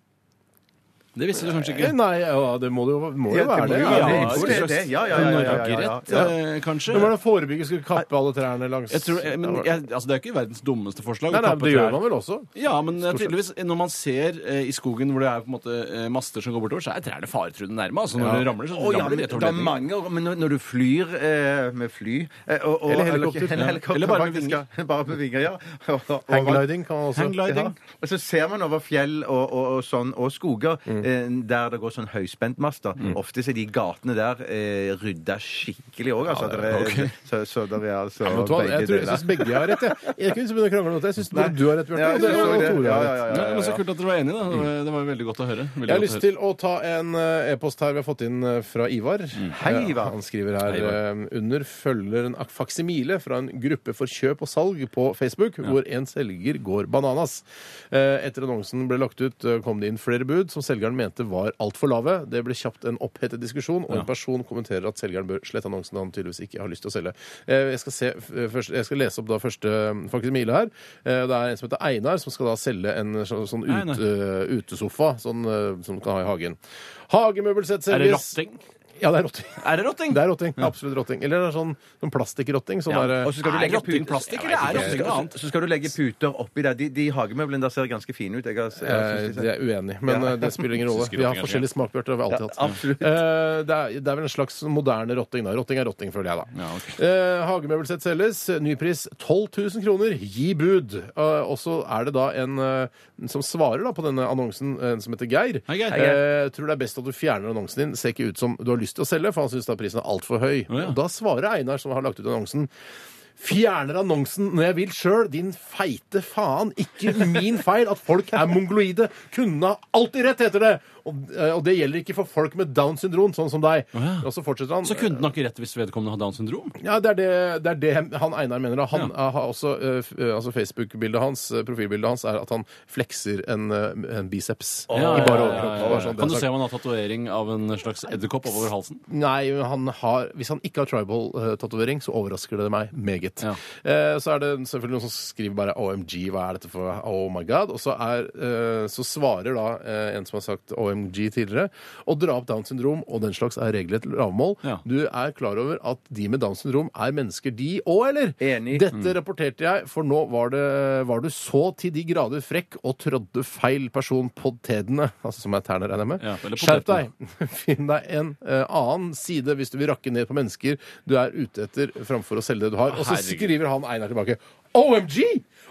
S6: Det visste du kanskje ikke?
S4: Eh, Nei, ja, det må det jo, må
S5: Ja,
S4: jo
S5: det
S4: være
S5: må
S4: det.
S5: jo
S4: Ja,
S5: være
S4: det
S5: det.
S4: er
S5: Jo,
S4: ikke
S5: det er
S4: slags-
S5: det. Ja, ja, ja, ja, ja, ja,
S6: Norgerett,
S5: ja.
S6: eh, kanskje?
S4: Men hvordan forebygger skal vi kappe alle trærne langs
S6: Jeg tror, eh, men jeg, altså, det er ikke verdens dummeste forslag.
S4: Nei,
S6: å
S4: nei,
S6: kappe
S4: det
S6: trær.
S4: gjør man vel også?
S6: Ja, men eh, tydeligvis eh, når man ser eh, i skogen hvor det er på en måte eh, master som går bortover, så er trærne faretruende nærme. Altså når det ramler, så
S5: Å, ja,
S6: ramler
S5: det
S6: de rett
S5: det
S6: over
S5: er
S6: ledningen.
S5: mange, men når, når du flyr eh, med fly eh, og, og,
S4: Eller helikopter.
S5: Eller,
S4: Ja.
S5: helikopter,
S6: Eller bare med
S5: faktisk,
S6: vinger.
S5: ja. Bare med vinger, ja. Og- og-
S4: Hanggliding kan man også.
S6: Hanggliding.
S5: Ja. Og så ser man over fjell og, og, og, sånn, og skoger
S4: Mm.
S5: eh, der det går sånn høyspentmaster. Ofte så er de gatene der eh, rydda skikkelig òg, altså. at det er- så, så det er altså
S4: Vet du hva, jeg tror- jeg
S5: deler.
S4: syns begge har rett. Jeg, jeg kunne ikke begynne å krangle om dette. Jeg syns både du har rett, Bjarte.
S5: Ja,
S4: og det-
S5: jeg tror
S4: og
S5: det.
S4: Tore
S5: Ja,
S4: har
S5: ja,
S4: rett.
S5: ja,
S6: Ja,
S5: ja,
S6: men
S5: ja.
S6: Så kult at dere var enige. da. Det var- Det var veldig godt å høre. Veldig
S4: Jeg har
S6: godt å
S4: lyst
S6: høre.
S4: til å ta en eh, e-post her vi har fått inn eh, fra Ivar.
S5: Hei,
S4: Eh,
S5: Ivar.
S4: Han skriver her
S6: Hei, Ivar.
S4: eh, under følger en faksimile fra en gruppe for kjøp og salg på Facebook, hvor en selger går bananas. Eh, Etter annonsen ble lagt ut, eh, kom det inn flere bud som selgeren mente var altfor lave. Det ble kjapt en opphetet diskusjon, og en person kommenterer at selgeren bør slette annonsen han tydeligvis ikke har lyst til å selge. Eh, Jeg skal, se, f- først, jeg skal lese opp da første eh, faksimile her. Eh, Det er en som heter Einar, som skal da selge en sånn sånn
S6: Nei, nei.
S4: ut, eh, utesofa sånn, eh, som du kan ha i hagen. Hagemøbelsett
S6: Er det
S4: selges
S6: rotting?
S4: Ja, det er rotting.
S6: Er det rotting?
S4: Det er rotting, Absolutt rotting. Eller det er sånn, sånn plastikkrotting. Sånn
S5: Ja,
S4: der,
S5: og så skal du
S6: Er
S5: legge
S6: rotting
S5: pute-
S6: plastikk,
S5: Jeg
S6: eller
S5: vet
S6: er
S5: ikke.
S6: rotting noe annet?
S5: Så- Så skal du legge puter oppi der. De, de hagemøblene der ser ganske fine ut. Jeg har, jeg har
S4: eh,
S5: synes
S4: det
S5: de-
S4: er uenig, men eh, det spiller
S5: *laughs*
S4: ingen rolle. Vi har forskjellige smakbjørter. Det har vi alltid
S5: Ja,
S4: hatt.
S5: absolutt.
S4: Eh, det, er, det er vel en slags moderne rotting. Da. Rotting er rotting, føler jeg, da.
S6: Ja, ok.
S4: Eh, hagemøbelsett selges. Ny pris 12 000 kroner. Gi bud. Eh, og så er det da en eh, som svarer da på denne annonsen, eh, en som heter Geir.
S6: Hei, Geir.
S4: Eh, tror det er best at du fjerner annonsen din. Ser ikke ut som du har lyst til å selge, for han syns prisen er altfor høy.
S6: Å, ja.
S4: Og da svarer Einar, som har lagt ut annonsen. Fjerner annonsen når jeg vil sjøl, din feite faen. Ikke min feil at folk er mongoloide. Kunne ha alltid rett, heter det! Og, eh, og det gjelder ikke for folk med Downs syndrom, sånn som deg.
S6: ja.
S4: Og så fortsetter han.
S6: Så kunden har ikke rett hvis vedkommende har Downs syndrom?
S4: Ja, det er det, det er det han Einar mener. Da. Han eh, har også eh, f- eh, altså Facebook-bildet hans, eh, profilbildet hans, er at han flekser en, eh, en biceps
S6: Ja,
S4: i bare
S6: ja, ja, ja,
S4: overkropp.
S6: ja.
S4: Bare sånn,
S6: Kan du
S4: den
S6: se
S4: sak-
S6: om han har tatovering av en slags edderkopp over halsen?
S4: Nei, men han har, hvis han ikke har tribal-tatovering, så overrasker det meg meget.
S6: Ja.
S4: Eh, så er det selvfølgelig noen som skriver bare OMG, hva er dette for Oh my God? Og så, er, eh, så svarer da eh, en som har sagt OMG tidligere, å dra opp Downs syndrom og den slags er regelrett lavmål.
S6: Ja.
S4: Du er klar over at de med Downs syndrom er mennesker, de òg, eller?
S5: Enig.
S6: Mm.
S4: Dette rapporterte jeg, for nå var, det, var du så til de grader frekk og trådde feil person på tedene, altså som er tærne, regner jeg med.
S6: Ja, eller på
S4: Skjerp deg! *laughs* Finn deg en eh, annen side hvis du vil rakke ned på mennesker du er ute etter, framfor å selge det du har. Og så
S6: Herregud.
S4: skriver han Einar tilbake. OMG!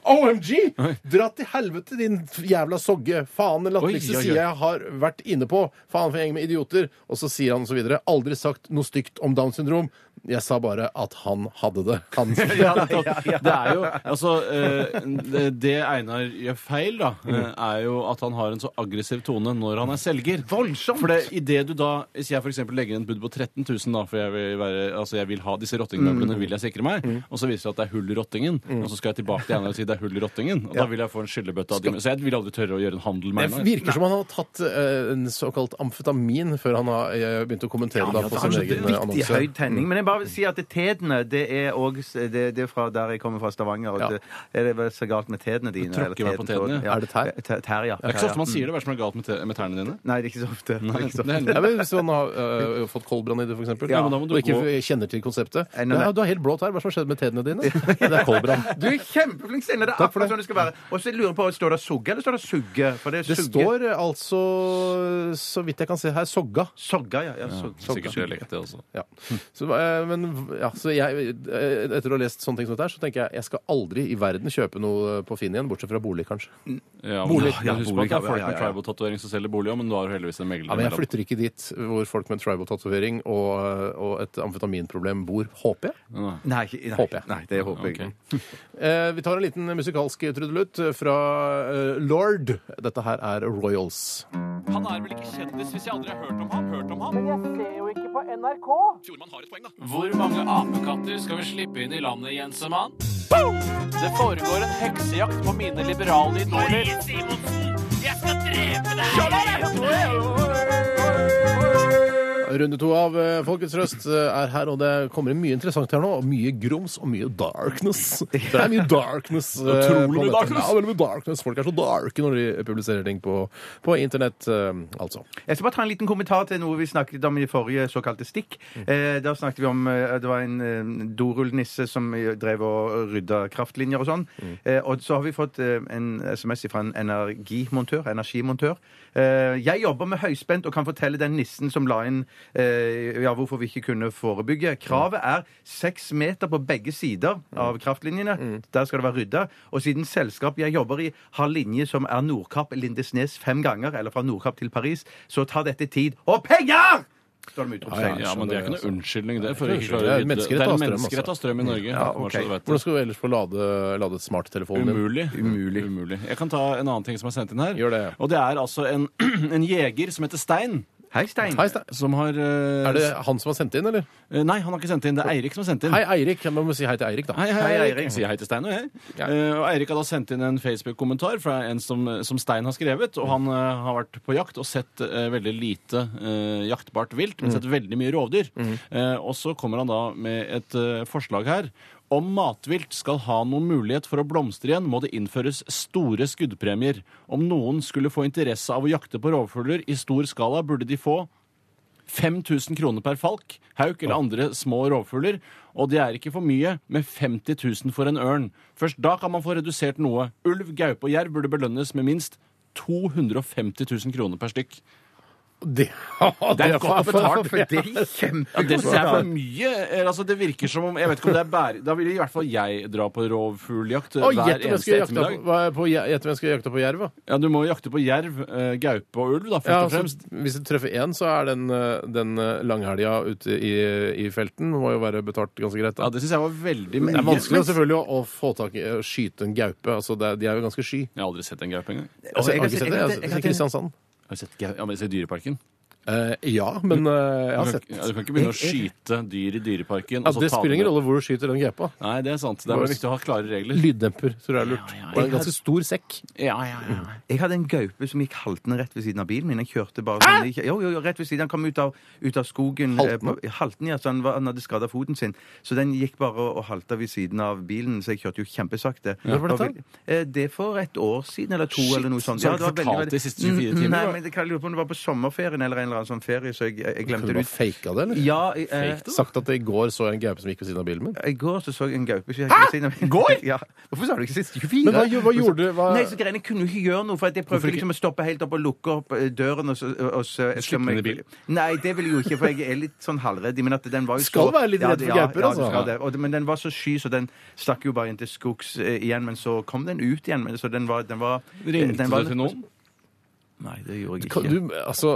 S4: OMG! Dra til helvete, din f- jævla sogge. Faen, den
S6: Oi,
S4: latterligste
S6: oi, oi.
S4: sida jeg har vært inne på. Faen for en gjeng med idioter. Og så sier han og så videre. Aldri sagt noe stygt om Downs syndrom. Jeg sa bare at han hadde det.
S6: *laughs*
S4: Han
S6: Ja, nettopp. *laughs* Det er jo Altså, eh, det, det Einar gjør feil, da,
S4: Mm.
S6: eh, er jo at han har en så aggressiv tone når han er selger.
S5: Voldsomt!
S6: For det, i det du da, Hvis jeg f.eks. legger inn et bud på 13 000, da, for jeg vil, være, altså jeg vil ha disse
S4: Mm.
S6: rottingmøblene, vil jeg sikre meg, og så viser det seg at det er hull i rottingen, og så skal jeg tilbake til Einar og si det er hull i rottingen, og da vil jeg få en skyllebøtte av dem. Så jeg vil aldri tørre å gjøre en handel med
S4: Det
S6: Einar.
S4: virker som han har tatt eh, en såkalt amfetamin før han har eh, begynt å kommentere da, på sin
S5: Kanskje det
S4: egen
S5: er viktig
S4: annonse.
S5: høy tenning. Men jeg bare vil si at det Tedene det er også det, det er fra der jeg kommer fra, Stavanger.
S4: Ja.
S5: At det, er det vel så galt med tedene dine?
S6: Tråkker
S5: eller
S6: meg på
S5: teden-
S6: tedene?
S5: Ja.
S4: Er det tær?
S5: Tær, tær, ja.
S6: Det er ikke så ofte man
S4: Mm.
S6: sier det, hva er det som er galt med, te med tærne
S4: *laughs*
S6: dine?
S5: Nei, det er ikke så ofte. Det er ikke så ofte.
S6: Det
S4: sånn. Ja,
S6: hender.
S4: men hvis han har eh, fått koldbrann i det, f.eks.,
S6: Ja,
S4: ja,
S6: men da må
S4: og
S6: du
S4: ikke
S6: gå-
S4: kjenner til konseptet
S5: Nei, nei, nei.
S4: ja, 'Du har helt blått her. Hva som har skjedd med tennene dine?' Ja, det er koldbrann.
S5: *laughs* Du er kjempeflink, Steinar. Det er
S4: Takk
S5: akkurat
S4: for det.
S5: sånn det skal være. Og så lurer jeg på, står det sugge, eller står det sugge? For det er
S4: Det
S5: sugge.
S4: står eh, altså, så vidt jeg kan se her, sogga.
S5: Sogga, ja. ja, sog- sogga.
S6: Sikkert dialekt, Sånn det også.
S4: Ja. Så, eh, men, ja, så jeg, eh, etter å ha lest sånne ting som dette, her, så tenker jeg jeg skal aldri i verden kjøpe noe på Finn igjen, bortsett fra bolig, kanskje.
S6: Ja, men,
S4: Bolig.
S6: men husk på at det
S5: Ja, ja,
S6: er folk
S5: ja,
S6: med
S5: ja.
S6: tribal-tatovering som selger bolig òg, men du har heldigvis en megler
S4: Ja, men jeg
S6: imellom.
S4: flytter ikke dit hvor folk med tribal-tatovering og, øh, og et amfetaminproblem bor, håper jeg.
S5: Nei, nei,
S4: Håper jeg.
S5: nei, det håper jeg.
S6: Ok.
S4: Eh, vi tar en liten musikalsk trudelutt fra eh, Lord. Dette her er Royals.
S8: Han er vel ikke kjendis hvis jeg aldri har hørt om ham? Hørt om ham? Men jeg ser jo ikke på NRK. Fjordmann har et poeng, da. Hvor mange apekatter skal vi slippe inn i landet, Jensemann? Det foregår en heksejakt på mine liberale idoler.
S4: Runde to av eh, Folkets røst eh, er her, og det kommer inn mye interessant her nå. og Mye grums og mye darkness. Det er mye darkness. eh,
S6: Utrolig
S4: på
S6: mye
S4: nettet.
S6: darkness.
S4: Ja, veldig mye darkness. Folk er så darke når de publiserer ting på, på internett, eh, altså.
S5: Jeg skal bare ta en liten kommentar til noe vi snakket om i forrige såkalte stikk. Eh, da snakket vi om eh, Det var en eh, dorullnisse som drev og rydda kraftlinjer og sånn. Eh, og så har vi fått eh, en SMS fra en energimontør. energimontør. Eh, jeg jobber med høyspent og kan fortelle den nissen som la inn eh, ja, hvorfor vi ikke kunne forebygge. Kravet er seks meter på begge sider av kraftlinjene. Der skal det være rydda. Og siden selskapet jeg jobber i har linje som er Nordkapp Lindesnes fem ganger, eller fra Nordkapp til Paris, så tar dette tid og penger! Står det med utropstegn.
S6: Ja, men det er ikke noe unnskyldning det. For å ikke
S4: Det
S6: klare
S4: er
S6: å
S4: menneskerett
S6: vite- det er
S4: av
S6: en
S4: strøm,
S6: menneskerett av strøm i Norge. bare så
S5: ok.
S6: du vet det.
S4: Hvordan skal du ellers få lade, lade smarttelefonen din?
S6: Umulig. Umulig. Jeg kan ta en annen ting som er sendt inn her.
S4: Gjør det.
S6: Og det er altså en, *clears throat* en jeger som heter Stein.
S5: Hei, Stein.
S4: Hei, Stein.
S6: Som har eh,
S4: Er det han som har sendt det inn, eller?
S6: eh, Nei, han har ikke sendt det inn. Det er Eirik som har sendt det inn.
S4: Hei, Eirik. Jeg må si hei til Eirik, da.
S6: Hei, hei,
S5: Hei,
S6: Eirik.
S5: Eirik.
S6: Sier hei til Stein og jeg.
S4: Ja.
S6: Eh, og Eirik har da sendt inn en Facebook-kommentar fra en som, som Stein har skrevet. Og han eh, har vært på jakt og sett eh, veldig lite eh, jaktbart vilt,
S4: Mm.
S6: men sett veldig mye rovdyr. Eh, og så kommer han da med et eh, forslag her. Om matvilt skal ha noen mulighet for å blomstre igjen, må det innføres store skuddpremier. Om noen skulle få interesse av å jakte på rovfugler i stor skala, burde de få 5000 kroner per falk, hauk eller andre små rovfugler. Og det er ikke for mye med 50 000 for en ørn. Først da kan man få redusert noe. Ulv, gaupe og jerv burde belønnes med minst 250 000 kroner per stykk.
S4: Det, *laughs*
S6: Det er godt betalt,
S5: For det er
S6: Det synes jeg er for
S5: kjempegodt.
S6: mye. Eh, Altså, det virker som om Jeg vet ikke om det er bære... Da ville i hvert fall jeg dra på rovfugljakt eh,
S4: Og
S6: hver
S4: gjett hvem jeg
S6: eneste
S4: skulle jakta på,
S6: ettermiddag.
S4: hva- på, gjett hvem jeg skulle jakta på jerv, da.
S6: Ja, du må jo jakte på jerv, eh, gaupe og ulv, da, først
S4: Ja,
S6: og fremst.
S4: altså, hvis du treffer én, så er den, eh, den eh, langhelga ute i, i felten må jo være betalt ganske greit. Da.
S6: Ja, det syns jeg var veldig mye.
S4: Det er vanskelig altså. da, selvfølgelig å, å få tak i å skyte en gaupe. Altså, det, er- de er jo ganske sky.
S6: Jeg har aldri sett en gaupe engang. Jeg
S4: Altså, jeg
S5: jeg-
S4: har ikke sett
S5: jeg-
S4: det.
S5: jeg-
S4: Jeg, I Kristiansand.
S6: har sett, gau- ja, men jeg har sett Dyreparken.
S4: Eh, ja, men eh, jeg har
S6: Du kan
S4: sett Altså,
S6: ikke- ja, du kan ikke begynne å skyte dyr i dyreparken.
S4: ja,
S6: og så
S4: Det
S6: ta
S4: spiller
S6: dem
S4: ingen
S6: med-
S4: rolle hvor du skyter den gaupa.
S6: Nei, det er sant. Det er
S4: Bare-
S6: bare viktig å ha klare regler.
S4: Lyddemper tror jeg er lurt.
S6: Ja, ja, ja.
S4: Og en ganske stor sekk.
S6: Ja, ja, ja.
S5: Jeg hadde en gaupe som gikk haltende rett ved siden av bilen min. Jeg kjørte bare sånn ikke- Jo, jo, jo, rett ved siden. Han kom ut av, ut av skogen eh,
S4: Haltende?
S5: på- haltende, ja, så han, var, han hadde skada foten sin. Så den gikk bare og og halta ved siden av bilen, så jeg kjørte jo kjempesakte.
S4: Når var dette?
S5: Og vi- eh, Det er for et år siden eller to,
S6: Shit,
S5: eller noe sånt.
S6: så har du fortalt det i siste 24 timer,
S5: Mm, Nei,
S6: da.
S5: men jeg kan lure på om det var på sommerferien eller en eller eller annen sånn ferie, så jeg, jeg
S4: Kunne
S5: glemte
S4: du
S5: det
S4: bare
S5: ut.
S4: faka det, eller?
S5: Ja, jeg, eh,
S4: Sagt at i går så jeg en gaupe som gikk ved siden av bilen min.
S5: i går så så jeg en gaupe Hæ? Går? *laughs* Ja. Hvorfor sa du ikke sist 24?
S4: Men hva gjorde- hva gjorde du? Hva-
S5: Nei, så greiene jeg kunne jo ikke gjøre noe, for at jeg prøvde
S4: ikke?
S5: liksom å stoppe helt opp og lukke opp eh, døren og så, og så
S6: Slippe den i bilen?
S5: Nei, det ville jeg jo ikke, for jeg er litt sånn halvredd. Men at den var jo
S4: Skal
S5: så-
S4: være litt
S5: Ja,
S4: redd for
S5: ja,
S4: gauper,
S5: ja,
S4: altså.
S5: du skal det. Og, det- men den var så sky, så den stakk jo bare inn til skogs eh, igjen. Men så kom den ut igjen. Men, så den var, den var
S6: Ringte
S5: den var,
S6: du til noen?
S5: Nei, det gjorde jeg ikke.
S4: Kan du, altså,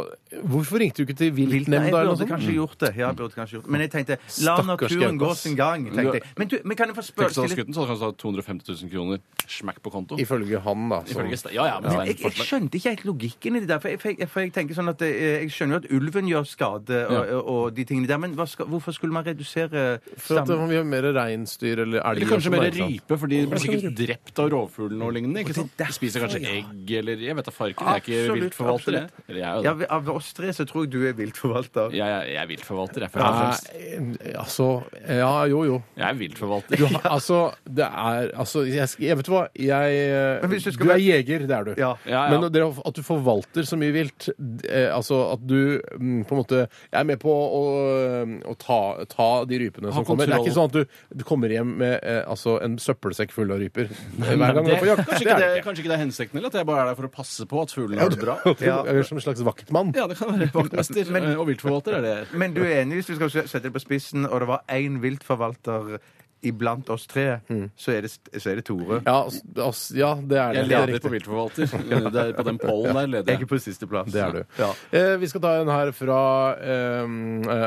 S4: hvorfor ringte du ikke til
S5: Nei, jeg
S4: viltnemnda eller noe
S5: burde
S4: sånt?
S5: kanskje gjort det. Ja, jeg burde kanskje gjort det. Men jeg tenkte, la
S4: Stakkars
S5: naturen
S4: gaupe,
S5: gå
S4: ass.
S5: sin gang. tenkte jeg. Men, du, men kan jeg få spørre
S6: Tenk sånn
S5: stille-
S6: skutten, så hadde han hatt 250 000 kroner smekk på konto.
S4: Ifølge han, da. Så.
S6: Ifølge Ste- Ja, ja, men
S5: Men jeg,
S6: Stein,
S5: jeg
S6: fortsatt.
S5: skjønte ikke helt logikken i det der. For jeg, for jeg, for jeg tenker sånn at eh, jeg skjønner jo at ulven gjør skade og,
S6: Ja.
S5: og, og de tingene der, men hva skal, hvorfor skulle man redusere
S4: For at
S5: stammen?
S4: vi har mer reinsdyr eller elg.
S6: Eller
S4: og
S6: kanskje
S4: sånn,
S6: mer
S4: ikke sant?
S6: rype, for de blir sikkert drept av rovfuglen og lignende. ikke sant?
S5: derfor,
S6: De spiser kanskje
S5: ja.
S6: egg eller Jeg vet da farken. Jeg er ikke
S5: Absolutt,
S6: viltforvalter, jeg. Eller jeg er jo
S5: Ja,
S6: det.
S5: vi- av oss tre så tror jeg du er viltforvalter.
S6: Jeg, jeg, jeg er viltforvalter, jeg. Først og fremst.
S4: Nei, altså Ja, jo, jo.
S6: Jeg er viltforvalter.
S5: *laughs*
S4: Du, har- altså, det er Altså, jeg, sk- jeg vet du hva jeg,
S5: Men hvis du
S4: du,
S5: skal
S4: er
S5: være-
S4: jeger, det er du.
S5: Ja.
S6: Ja, ja.
S4: Men det at du forvalter så mye vilt d- eh, Altså at du mm, på en måte er med på å, å ta, ta de rypene som kommer. Det er
S6: kontroll.
S4: ikke sånn at du, du kommer hjem med eh, altså, en søppelsekk full av ryper hver gang du
S6: *laughs* Det,
S4: er på jakt. Det
S6: kanskje, ikke
S4: er
S6: det,
S4: det ikke.
S6: kanskje ikke det er hensikten, eller at jeg bare er der for å passe på at fuglen har det
S5: *laughs*
S6: bra.
S4: Ja. Eller som en slags vaktmann.
S6: Ja, det kan være vaktmester
S5: Men-
S6: eh, og viltforvalter. er det.
S5: Men du er enig hvis vi skal sette det på spissen, og det var én viltforvalter iblant oss tre,
S4: Mm.
S5: så, er det, så er det Tore.
S4: Ja, s- ass- ja, det er det.
S6: Jeg
S4: Det er
S6: leder
S4: riktig.
S6: på *laughs* viltforvalter. Det er på den pollen der
S5: Jeg er
S6: leder
S5: ikke
S6: jeg.
S5: på siste plass.
S4: Det er du.
S5: Ja.
S4: Eh, vi skal ta en her fra eh,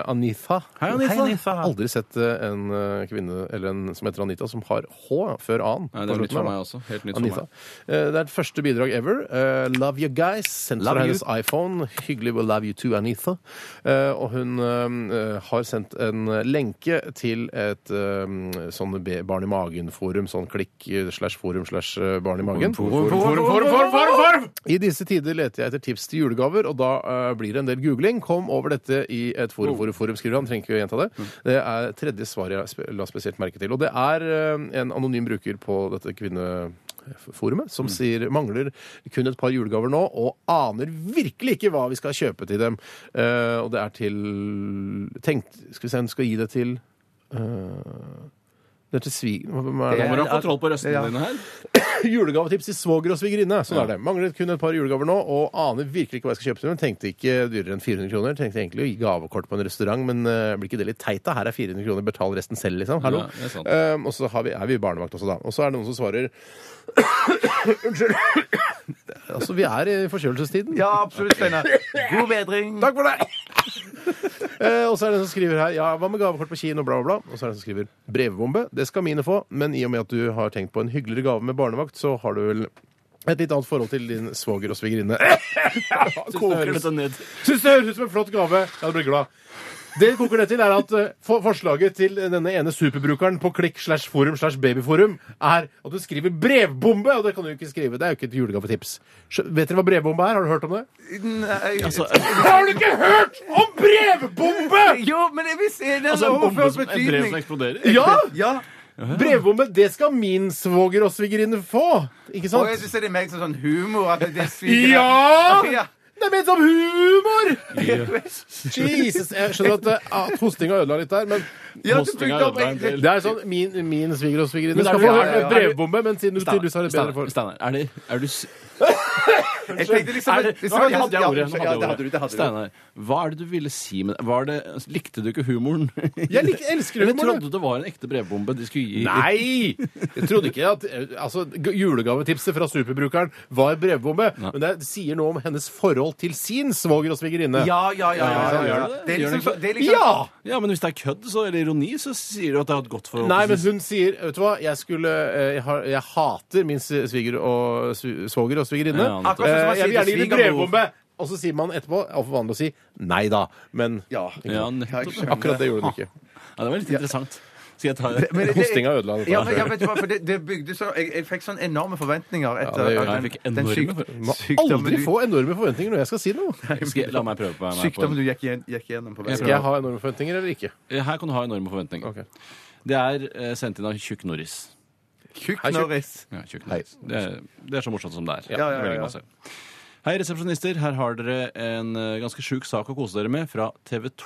S4: Anitha.
S6: Hei, Anitha. Hei, Anitha.
S4: Aldri sett eh, en eh, kvinne eller en som heter Anita, som har H før A-en.
S6: Nei, det er nytt for meg også. Helt nytt for
S4: Anita.
S6: meg.
S4: Eh, det er et første bidrag ever. Eh, love you guys. Sendt
S5: Love
S4: fra
S5: you.
S4: hennes iPhone. Hyggelig we love you too, Anita. Eh, og hun eh, har sendt en lenke til et eh, sånn be- barn i magen-forum. Sånn klikk eh, slash forum slash eh, barn i magen. I disse tider leter jeg etter tips til julegaver, og da eh, blir det en del googling. Kom over dette i et forum, forum, forum, skriver han. Trenger ikke å gjenta det. Det er tredje svar jeg spe- la spesielt merke til. Og det er eh, en anonym bruker på dette kvinneforumet som sier mangler kun et par julegaver nå, og aner virkelig ikke hva vi skal kjøpe til dem. Eh, og det er til Tenkt Skal vi se, hun skal gi det til eh, det er til svig... Hvem er det?
S6: Må du ha kontroll på røstene dine her?
S4: *laughs* Julegavetips til svoger og svigerinne. Sånn er det. Manglet kun et par julegaver nå, og aner virkelig ikke hva jeg skal kjøpe til dem. Tenkte ikke dyrere enn 400 kroner. Tenkte egentlig å gi gavekort på en restaurant, men eh, blir ikke det litt teit, da? Her er 400 kroner, betal resten selv, liksom. Hallo.
S6: Ja, det er sant.
S4: Eh, og så har vi, er vi i barnevakt også, da. Og så er det noen som svarer *coughs*
S6: *coughs*
S4: Unnskyld. altså, vi er i forkjølelsestiden.
S5: Ja, absolutt, Steinar. God bedring.
S4: Takk for det! *laughs* Eh, og så er det en som skriver her Ja, hva med gavekort på kino, bla, bla, bla. Og så er det en som skriver brevbombe. Det skal mine få, men i og med at du har tenkt på en hyggeligere gave med barnevakt, så har du vel et litt annet forhold til din svoger og svigerinne. Koker dette ned. Syns det høres ut som en flott gave. Ja, du blir glad. Det koker det til, er at eh, for forslaget til denne ene superbrukeren på klikk slash forum slash babyforum er at du skriver brevbombe, og det kan du jo ikke skrive. Det er jo ikke et julegavetips. Skjø- Vet dere hva brevbombe er? Har du hørt om det?
S5: Nei.
S6: Altså,
S4: Har du ikke hørt om brevbombe?!
S5: Jo, men jeg visste det er
S6: Altså,
S5: en
S6: en bombe
S5: overført
S6: som, et brev
S5: betydning.
S6: som eksploderer?
S4: Ja!
S5: Ja.
S4: Brevbombe, det skal min svoger og svigerinne få! Ikke
S5: Og jeg
S4: sant?
S5: syns det er mer sånn humor at det sviker.
S4: Ja!
S5: Ja.
S4: Det er ment som humor! *laughs* Jesus, Jeg skjønner at, eh, at hostinga ødela litt der, men
S5: Ja, du
S6: Postinga
S5: brukte opp
S6: ødela en del.
S5: egentlig-
S4: det er sånn Min, min sviger og svigerinne
S6: Men er
S4: skal
S6: du-
S4: få
S6: er du-
S4: en brevbombe, men siden du tydeligvis har et bedre
S6: Steinar,
S4: forhold
S6: Steinar, er det- er du s-
S5: Jeg tenkte liksom
S6: Er det,
S5: hvis det
S6: nå
S5: var-
S6: hadde jeg
S5: ja,
S6: ordet.
S5: ja, det
S6: Nå hadde jeg
S5: hadde du, det
S6: ordet.
S5: hadde du.
S6: Steinar, hva er det du ville si med det? Var det? Likte du ikke humoren?
S4: Jeg lik- elsker
S6: *laughs* Eller
S4: humoren, jeg.
S6: trodde det var en ekte brevbombe de skulle gi?
S4: Nei! Jeg trodde ikke at eh, altså, g- julegavetipset fra superbrukeren var brevbombe, men det sier noe om hennes forhold til sin svoger og svigerinne.
S5: Ja, ja, ja. ja, ja,
S6: Gjør
S5: ja.
S6: det det?
S5: Det er
S6: Gjør
S5: liksom
S6: det
S5: så- det er liksom
S4: ja!
S6: Ja, men hvis det er kødd så, eller ironi, så sier du at det har et godt forhold.
S4: Nei, men hun sier Vet du hva, jeg skulle eh, Jeg, har, jeg hater min s- sviger og sv- svoger og svigerinne.
S6: Ja, nettopp.
S5: Akkurat som
S4: Eh,
S5: man
S4: jeg vil
S5: sier
S4: gjerne
S5: til
S4: gi dem
S5: svigermor.
S4: brevbombe! Og så sier man etterpå Det er for vanlig å si nei da, men
S5: Ja.
S6: ja, nettopp. ja,
S4: akkurat det gjorde hun ikke.
S6: det var litt interessant. Skal jeg ta det?
S5: Men *laughs* det-
S4: Hostinga ødela dette.
S5: Ja, men, ja, vet du hva, for det, det bygde så jeg, jeg fikk sånn enorme forventninger etter
S4: det gjør
S5: at
S6: jeg. Jeg fikk
S5: den, den
S6: enorme
S5: syk,
S6: forventninger.
S4: Man må
S5: sykdommen,
S4: aldri
S5: du,
S4: få enorme forventninger når jeg skal si
S5: *laughs*
S4: noe.
S6: *laughs* Skal jeg, la meg prøve på meg på
S5: sykdommen du gikk, igjen- gikk gjennom på
S6: Jeg
S5: veien.
S4: Skal jeg ha enorme forventninger eller ikke?
S6: en. Her kan du ha enorme forventninger.
S4: Ok.
S6: Det er eh, sendt inn av Tjukk Norris.
S5: Tjukk
S4: Hei, tjukk.
S5: Norris.
S6: Ja, Tjukk Norris. Det, er- det er så morsomt som det er.
S5: ja, ja,
S6: Veldig
S5: ja.
S6: masse. Hei, resepsjonister. Her har dere en eh, ganske sjuk sak å kose dere med fra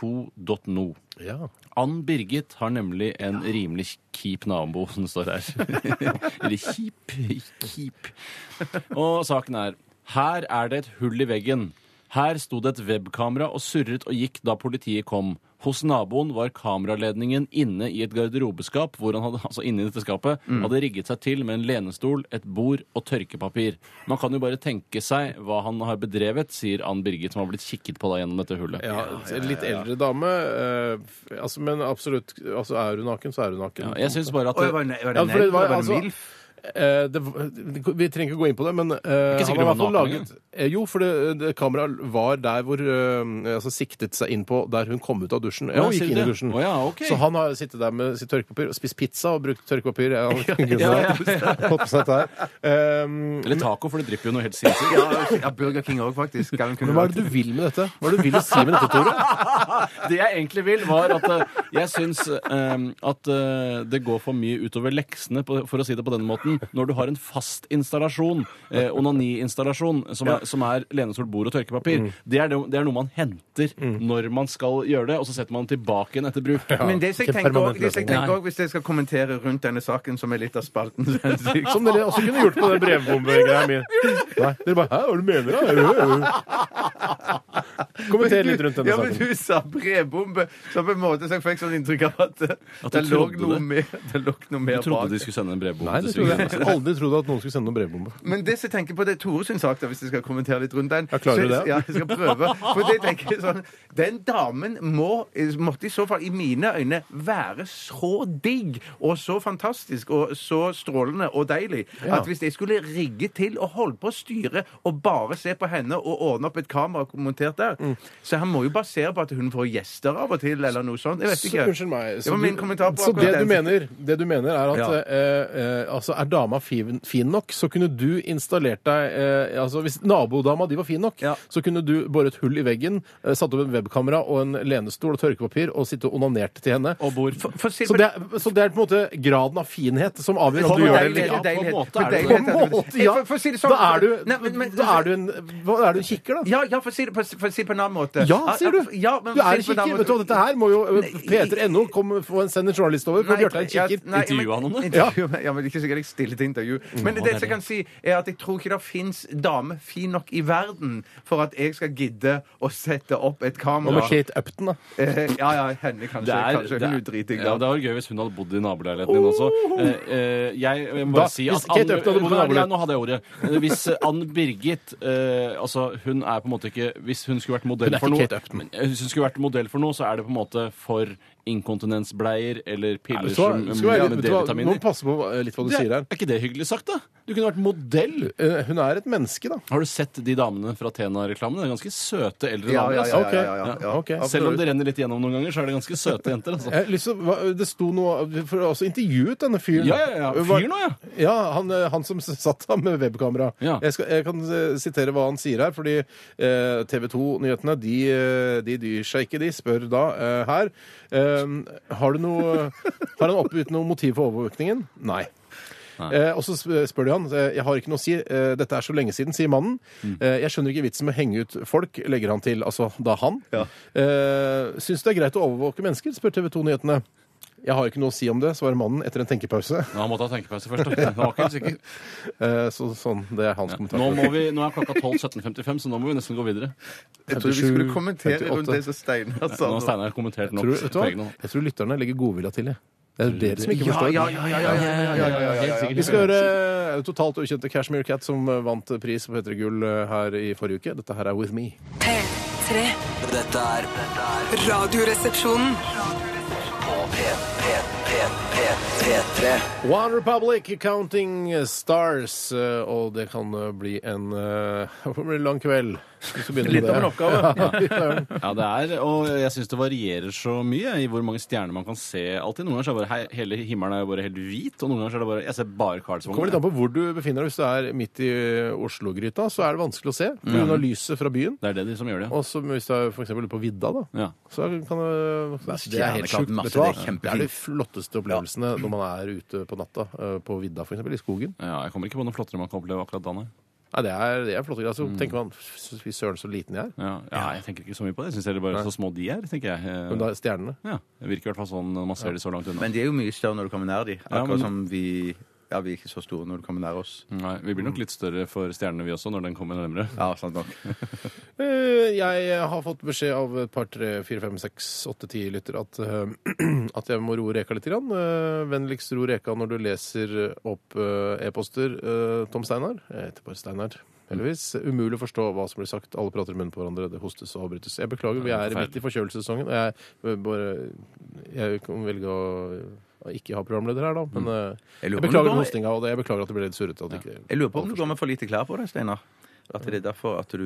S6: tv2.no.
S4: Ja.
S6: Ann Birgit har nemlig en rimelig kjip nabo, som det står her. Eller kjip. Kjip. Og saken er Her er det et hull i veggen. Her sto det et webkamera og surret og gikk da politiet kom. Hos naboen var kameraledningen inne i et garderobeskap, hvor han hadde, altså inne i dette skapet, hadde rigget seg til med en lenestol, et bord og tørkepapir. Man kan jo bare tenke seg hva han har bedrevet, sier Ann Birgit, som har blitt kikket på da gjennom dette hullet.
S4: Ja, en litt eldre dame. eh, f- altså, men absolutt, altså, er hun naken, så er hun naken.
S6: Ja, jeg synes bare at
S5: Oi, var det, var det
S4: Ja,
S5: en
S4: for det
S5: elv, eller
S4: var,
S5: var det
S4: altså,
S5: en MILF?
S4: eh, det, var- vi trenger ikke gå inn på det, men eh, han har i
S6: ikke sikkert det var
S4: hvert fall
S6: naken
S4: laget, eh, Jo, for det, det, kameraet var der hvor eh, altså, siktet seg inn på der hun kom ut av dusjen. Ja,
S6: Å,
S4: hun
S6: sier
S4: gikk inn i
S6: du det?
S4: dusjen.
S6: Å, ja, ok.
S4: Så han har sittet der med sitt tørkepapir og spist pizza og brukt tørkepapir.
S6: *laughs*
S4: Ja, han kunne Fått på seg dette her. Um,
S6: Eller taco, for det drypper jo noe helt sinnssykt.
S5: Ja, ja, Burger King òg, faktisk. Kan kunne
S4: men hva er det du vil med dette? Hva er det du vil si med dette, Tore?
S6: *laughs* Det jeg egentlig vil, var at eh, jeg syns eh, at eh, det går for mye utover leksene, på, for å si det på denne måten, når du har en fast installasjon, eh, onaniinstallasjon, som, er- som er lenestol, bord og tørkepapir.
S4: Mm.
S6: Det, er det, det er noe man henter når man skal gjøre det, og så setter man den tilbake igjen etter bruk.
S5: Men det som jeg
S4: Ikke
S5: tenker også, det
S4: permanent
S5: som jeg
S4: løsning.
S5: tenker også, hvis jeg skal kommentere rundt denne saken, som er litt av spalten
S4: *laughs*
S5: så er det sikkert-
S4: Som dere også kunne gjort på den brevbombegreia mi. Nei, dere bare Hæ, hva er det du mener? da? Ø, ø, ø. Kommenter litt rundt denne
S5: ja, men
S4: saken.
S5: Du sa brevbombe, så på en måte så jeg fikk sånn inntrykk av at,
S6: du
S5: det, lå
S6: trodde
S5: noe
S6: det.
S5: mer, det lå noe mer
S6: Jeg trodde
S5: bak.
S6: de skulle sende en brevbok
S4: Nei, det trodde jeg faktisk aldri trodde at noen skulle sende noen brevbombe.
S5: Men det som jeg tenker på, det er Tore sin sak, da, hvis jeg skal kommentere litt rundt den.
S4: Ja, klarer du
S5: Så-
S4: det?
S5: Ja, jeg skal prøve. For det tenker jeg sånn, Den damen må, måtte i så fall, i mine øyne, være så digg og så fantastisk og så strålende og deilig at hvis jeg skulle rigge til og holde på å styre og bare se på henne og ordne opp et kamera montert der
S4: Mm.
S5: Så han må jo basere på at hun får gjester av og til, eller noe sånt. Jeg vet
S4: Så,
S5: ikke.
S4: unnskyld meg.
S5: Det var min kommentar på
S4: så
S5: akkurat
S4: det du,
S5: den.
S4: mener, det du mener, er at
S5: Ja.
S4: eh, eh, altså, er dama fin, fin nok, så kunne du installert deg eh, altså Hvis nabodama di var fin nok,
S5: Ja.
S4: så kunne du boret hull i veggen, eh, satt opp en webkamera og en lenestol og tørkepapir og sitte og onanert til henne.
S6: Og bord.
S5: For, for,
S4: Så det, er- så det er på en måte graden av finhet som avgjør om
S5: På
S4: du gjør det
S5: deilighet,
S4: eller ikke.
S5: på deilighet,
S6: måte
S5: på
S6: er det det.
S5: deilighet,
S4: På en måte, ja.
S5: For- for å si det sånn-
S4: Da er du,
S5: Nei, men- men-
S4: da er du en hva, Er du en kikker, da?
S5: Ja, ja, for å si det på, for å si det på en annen måte. Ah,
S4: Ja, sier du!
S5: Ja, men
S4: du
S5: for å
S4: er en
S5: si det på en
S4: kikker.
S5: annen
S4: Vet du, hva,
S5: måte.
S4: dette her må jo eh,
S5: Nei,
S4: P3.no komme- få en send en journalist over, for
S5: Nei,
S4: Bjørte er en kikker.
S5: nei, men-
S6: Intervjua han
S5: *laughs*
S6: om det?
S5: Ja. ja, men ikke sikkert jeg stille til intervju. Men det,
S6: det er
S5: som jeg kan si, er at jeg tror ikke det fins dame fin nok i verden for at jeg skal gidde å sette opp et
S4: Hva med
S5: kamera.
S4: Kate Upton, da?
S5: Eh, Ja, ja, henne kanskje.
S6: Det er,
S5: kanskje
S6: det,
S5: hun er
S6: er,
S5: driting,
S6: ja, det
S5: da.
S6: hadde vært gøy hvis hun hadde bodd i naboleiligheten din også. Eh, eh, jeg, jeg må
S4: Da-
S6: bare si at
S4: hvis Kate
S6: Ann-
S4: Upton hadde bodd i
S6: Ja,
S4: naboleiligheten.
S6: Nå hadde jeg ordet. Eh, Hvis eh, Ann Birgit eh, Altså, hun er på en måte ikke Hvis hun skulle vært modell
S4: Hun er
S6: for
S4: ikke
S6: noe
S4: Kate Upton.
S6: men, eh, Hvis hun skulle vært modell for noe, så er det på en måte for inkontinensbleier eller piller
S4: Så,
S6: som
S4: skal være,
S6: med
S4: vet du hva, du må
S6: D-vitaminer.
S4: passe på eh, litt hva du
S6: Det,
S4: sier
S6: er
S4: her.
S6: ikke det hyggelig sagt, da? Du kunne vært modell.
S4: Eh, Hun er et menneske, da.
S6: Har du sett de damene fra Tena-reklamene? Det er ganske søte eldre
S5: Ja,
S6: damer.
S5: ja,
S6: altså.
S5: ja, ja, ja, ja, ja.
S4: Ok.
S6: Selv om det renner litt gjennom noen ganger, så er det ganske søte jenter. altså.
S4: Jeg har lyst til å- hva- Det sto noe For jeg har også intervjuet denne fyren.
S6: Ja, ja, ja.
S4: Hva-
S6: Fyr nå, ja.
S4: Ja, han, eh, han som s- satt der med webkamera.
S6: Ja.
S4: Jeg, skal, jeg kan eh, sitere hva han sier her, fordi eh, TV 2-nyhetene de, eh, de dyr seg ikke. De spør da eh, her eh, Har du noe Har han oppgitt noe motiv for overvåkningen? Nei. Eh, og så sp- spør de han eh, Jeg har ikke noe å si. Eh, dette er så lenge siden, sier mannen. Eh, jeg skjønner ikke vitsen med å henge ut folk, legger han til. Altså da han. Eh, Syns du det er greit å overvåke mennesker? spør TV 2-nyhetene. Jeg har ikke noe å si om det, svarer mannen etter en tenkepause.
S6: Nå måtte jeg tenke på seg først. da. Det var ikke helt sikker.
S4: Eh, så sånn, Det er hans kommentar.
S6: Nå, må vi, nå er klokka 12.17.55, så nå må vi nesten gå videre.
S5: Jeg tror vi
S4: 57,
S5: skulle kommentere rundt
S4: 58.
S5: det som Steinar
S6: Nå har
S5: sa. nå.
S6: Steinar kommentert nok.
S4: Tror, du- vet du
S6: på egen
S4: hva?
S6: hånd.
S4: Jeg tror lytterne legger godvilja til. Jeg. Det er dere som ikke
S5: Ah, Ja,
S4: forstår.
S5: ja, ja, ja, ja, ja, ja, ja, ja, ja.
S4: Vi skal høre eh, totalt ukjente Cashmere Cat, som vant pris på P3 Gull eh, her i forrige uke. Dette her er With Me.
S1: P3.
S2: Dette er dette er
S1: Radioresepsjonen.
S2: på P, P, P, P, P3.
S4: One Republic, Counting Stars. eh, Og det kan eh, bli en eh, *laughs* det blir en lang kveld. Hvis du begynner med
S5: Litt av en
S4: det. *laughs*
S5: oppgave.
S6: Ja, det er, og jeg syns det varierer så mye i hvor mange stjerner man kan se alltid. Noen ganger så er bare hei, hele himmelen er jo bare helt hvit, og noen ganger så er det bare Jeg ser bare
S4: kommer litt an
S6: Karlsvogn.
S4: på hvor du befinner deg. Hvis du er midt i eh, Oslo-gryta, så er det vanskelig å se
S5: Mm.
S4: pga. lyset fra byen.
S6: Det er det de som gjør det.
S4: Og så hvis du er for eksempel på vidda, da,
S6: Ja.
S4: så kan du Det er
S5: stjerneklart
S4: helt sjukt.
S5: masse,
S4: Vet du hva?
S5: det er kjempefint.
S4: Det er de flotteste opplevelsene når man er ute på natta eh, på vidda, for eksempel i skogen.
S6: Ja, jeg kommer ikke på noe flottere man kan oppleve akkurat da, nei.
S4: Nei, det er, det er flotte greier. Så
S5: Mm.
S4: tenker man fy søren, så liten jeg er.
S6: Ja, ja, jeg tenker ikke så mye på det. Jeg syns heller bare så små de er, tenker jeg. Eh,
S4: Men da er stjernene
S6: Ja, Det virker i hvert fall sånn når man ser de så langt unna.
S5: Men de er jo mye større når du kommer nær de.
S6: Ja,
S5: Akkurat
S6: men-
S5: som vi Ja, vi er ikke så store når du kommer nær oss.
S4: Mm.
S6: Nei, Vi blir nok litt større for stjernene, vi også, når den kommer nærmere.
S5: Ja, sant nok.
S4: Eh, Jeg har fått beskjed av et par, tre, fire, fem, seks, åtte, ti lytter at, eh, *clears throat* at jeg må roe reka litt. Grann. Eh, Vennligst ro reka når du leser opp eh, e-poster, eh, Tom Steinar. Jeg heter bare Steinar. Heldigvis. Umulig å forstå hva som blir sagt. Alle prater i munnen på hverandre. Det hostes og avbrytes. Jeg beklager, vi er midt i forkjølelsessesongen. og Jeg, eh, bare, jeg kan velge å å ikke ha programleder her, da. Men eh,
S5: Jeg lurer på om
S4: jeg beklager
S5: det var-
S4: den hostinga, og det- jeg beklager at det ble litt surrete. at det ikke-
S5: Jeg lurer på om du går med for lite klær på deg, Steinar. At det er derfor at du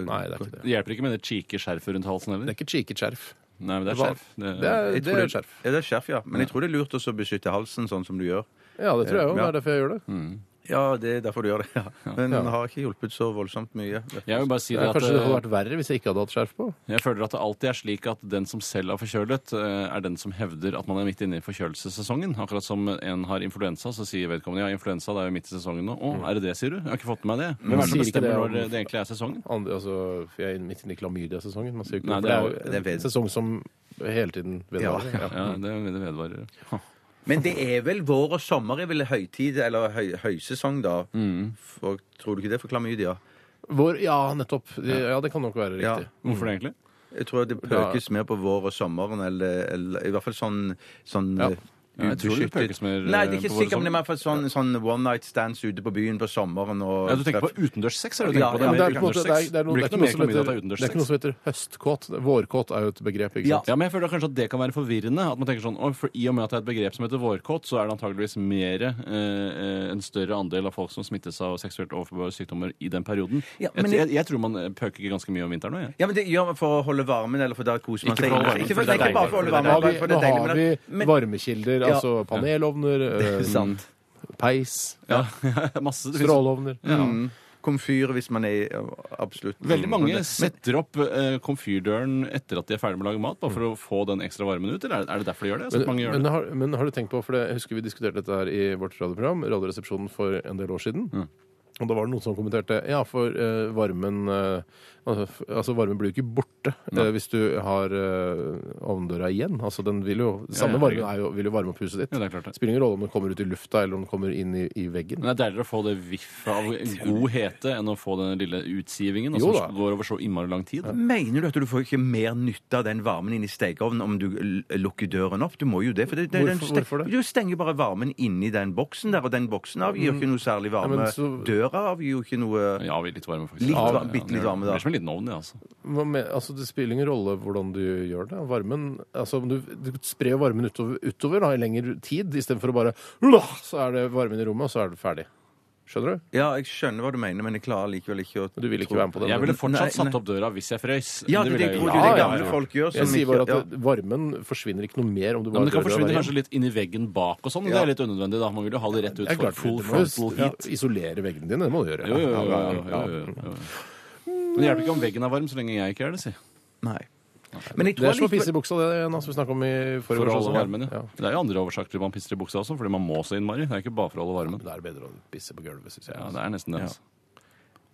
S5: eh,
S4: Nei, det er ikke det.
S6: Det hjelper ikke med det cheeky skjerfet rundt
S4: Det
S6: halsen heller.
S4: er ikke kiket skjerf.
S6: Nei, men det er
S4: Hva?
S6: skjerf. Det,
S4: Det er,
S5: Jeg
S4: det
S5: tror
S4: er et skjerf.
S5: Ja, det er skjerf, ja. Men jeg tror det er lurt også å beskytte halsen sånn som du gjør.
S4: Eh, Ja, det tror jeg òg.
S5: Ja.
S4: Det er derfor jeg gjør det.
S5: Ja, det er derfor du gjør det. Ja. Men
S4: Ja.
S5: den har ikke hjulpet så voldsomt mye.
S6: Jeg vil bare si det
S4: Ja,
S6: at
S4: kanskje det hadde
S6: eh,
S4: vært verre hvis jeg ikke hadde hatt skjerf på.
S6: jeg føler at det alltid er slik at den som selv er forkjølet, eh, er den som hevder at man er midt inne i forkjølelsessesongen. Akkurat som en har influensa, så sier vedkommende ja, influensa, det er jo midt i sesongen nå. Å, er det det, sier du? Jeg har ikke fått med meg det. Hvem er det
S4: sier
S6: som
S4: ikke det
S6: bestemmer
S4: om-
S6: når det egentlig er sesongen?
S4: Andre, altså, for jeg er midt inne i klamydia-sesongen. Man sier jo ikke
S6: Nei,
S4: for
S6: det er jo-
S4: det,
S5: det
S4: er
S5: er
S4: en
S5: ved-
S4: sesong som hele tiden vedvarer. Ja.
S6: Ja, det, det vedvarer.
S5: Men det er vel vår og sommer er vel høytid, eller høy, høysesong, da.
S4: Mm.
S5: For, tror du ikke det for klamydia?
S4: Vår, ja, nettopp. Ja, det kan nok være
S5: Ja.
S4: riktig.
S6: Hvorfor det egentlig?
S5: Jeg tror det pøkes mer på vår og sommeren, eller, eller i hvert fall sånn, sånn
S4: Ja.
S5: eh,
S6: Ja, jeg tror det
S5: ubeskyttet.
S6: pøkes
S5: Nei,
S6: mer,
S5: det er
S6: eh, på
S5: ikke sikkert,
S6: vår og
S5: men det er i hvert fall sånn, sånn one night stands ute på byen på sommeren og
S6: Ja, Du tenker på utendørssex? er det du
S5: Ja,
S6: tenker
S5: ja,
S6: på?
S4: Men
S6: mer
S4: det er, på en måte, det, er,
S6: utendørssex.
S4: det, er noe, det, er
S6: Blir ikke
S4: ikke noe
S6: noe mer
S4: som
S6: klamydia at
S4: heter, det
S6: det er
S4: er ikke noe
S6: utendørssex.
S4: som heter høstkåt. Vårkåt er jo et begrep, ikke
S5: Ja.
S4: sant?
S6: Ja, men jeg føler kanskje at det kan være forvirrende. At man tenker sånn, «Å, for I og med at det er et begrep som heter vårkåt, så er det antageligvis mer, eh, en større andel av folk som smittes av seksuelt overførbare sykdommer i den perioden.
S5: Ja,
S6: jeg,
S5: men
S6: jeg, jeg tror man eh, pøker ganske mye om vinteren òg. jeg.
S5: Ja, men det gjør man for å holde varmen, eller for da koser man
S6: Ikke
S5: seg.
S6: for å holde varmen,
S5: Ikke for,
S6: for det er
S5: nei, ikke bare for å holde
S4: Nå har
S5: varmen,
S4: vi,
S5: bare for det
S4: nå
S5: er
S4: har vi
S5: deilig. Men,
S4: varmekilder,
S5: Ja.
S4: altså panelovner, eh,
S5: sant.
S4: peis,
S6: Ja. *laughs* Masse, det finnes-
S4: strålovner.
S5: Mm. Komfyr hvis man er absolutt Sånn.
S6: Veldig
S5: Men
S6: mange
S5: det-
S6: setter opp eh, komfyrdøren etter at de er ferdig med å lage mat, bare for å få den ekstra varmen ut, eller er det- er det derfor de gjør det? Så
S4: Men,
S6: at mange gjør
S4: men,
S6: det?
S4: har, men har du tenkt på, for det, jeg husker vi diskuterte dette her i vårt radioprogram, Radioresepsjonen, for en del år siden.
S6: Mm.
S4: Og da var det noen som kommenterte ja, for eh, varmen eh, altså, f- altså varmen blir jo ikke borte eh, hvis du har eh, ovndøra igjen. Altså den vil jo, Samme
S6: ja,
S4: varmen
S6: herregud.
S4: er jo, vil jo varme opp huset ditt.
S6: Ja, det er klart det.
S4: Spiller ingen rolle om den kommer ut i lufta eller om den kommer inn i, i veggen.
S6: Men det er deiligere å få det viffet av god hete enn å få den lille utsivingen og
S4: Jo
S6: som
S4: da.
S6: går over så innmari lang tid.
S5: Mener du at du får ikke mer nytte av den varmen inn i stekeovnen om du l- lukker døren opp? Du må jo det. For det, det, den
S4: Hvorfor-
S5: ste-
S4: hvorfor det?
S5: Du stenger bare varmen inni den boksen der, og den boksen avgir jo ikke noe særlig varme.
S4: Mm. Ja, men så-
S5: Døra avgir jo ikke noe
S6: Ja, vi er litt varme, faktisk.
S5: Litt
S6: ja,
S5: var- bitte litt varme, da.
S6: Det blir som en liten ovn, ja, altså.
S4: Hva med, altså Det spiller ingen rolle hvordan du gjør det. Varmen, altså Du, du sprer jo varmen utover, utover da, i lengre tid istedenfor å bare Så er det varmen i rommet, og så er du ferdig. Skjønner du?
S5: Ja, jeg skjønner hva du mener, men jeg klarer likevel ikke å
S4: Du vil ikke være med på det?
S6: Jeg ville
S5: Nei,
S6: fortsatt
S5: nei.
S6: satt opp døra hvis jeg frøys.
S5: Ja, det, det,
S6: ville jeg
S5: tror
S6: gjort.
S5: du
S4: Ja,
S5: det
S4: ja,
S5: gamle
S4: ja.
S5: folk gjør.
S4: Jeg
S5: som
S4: sier
S5: ikke-
S4: bare at
S5: ja.
S4: det- varmen forsvinner ikke noe mer om du
S6: Ja,
S4: bare
S6: men det
S4: dør
S6: kan
S4: av
S6: forsvinne
S4: varmen.
S6: kanskje litt inn i veggen bak og sånn. og Det er litt unødvendig, da. Man vil jo ha det rett
S4: Det
S6: ut
S4: er
S6: for
S4: klart,
S6: sånn full
S4: du må
S6: frontal
S4: jo
S6: heat.
S4: isolere veggene dine. Det må du gjøre.
S6: Jo, jo, jo, jo,
S4: Ja, ja,
S6: jo,
S4: ja.
S6: jo, jo. Men det hjelper ikke om veggen er varm så lenge jeg ikke er det, si.
S5: Nei. Men jeg
S4: Det
S5: tror
S4: er som å pisse i
S5: likevel
S4: buksa, det Nas, vi snakka om i
S6: For
S4: forrige
S6: å holde
S4: år.
S6: varmen, ja. Det er jo andre årsaker til at man pisser i buksa også, fordi man må så innmari. Det er ikke bare for å holde varmen.
S4: Det er bedre å pisse på gulvet, syns jeg.
S6: Ja, det er nesten det. Altså.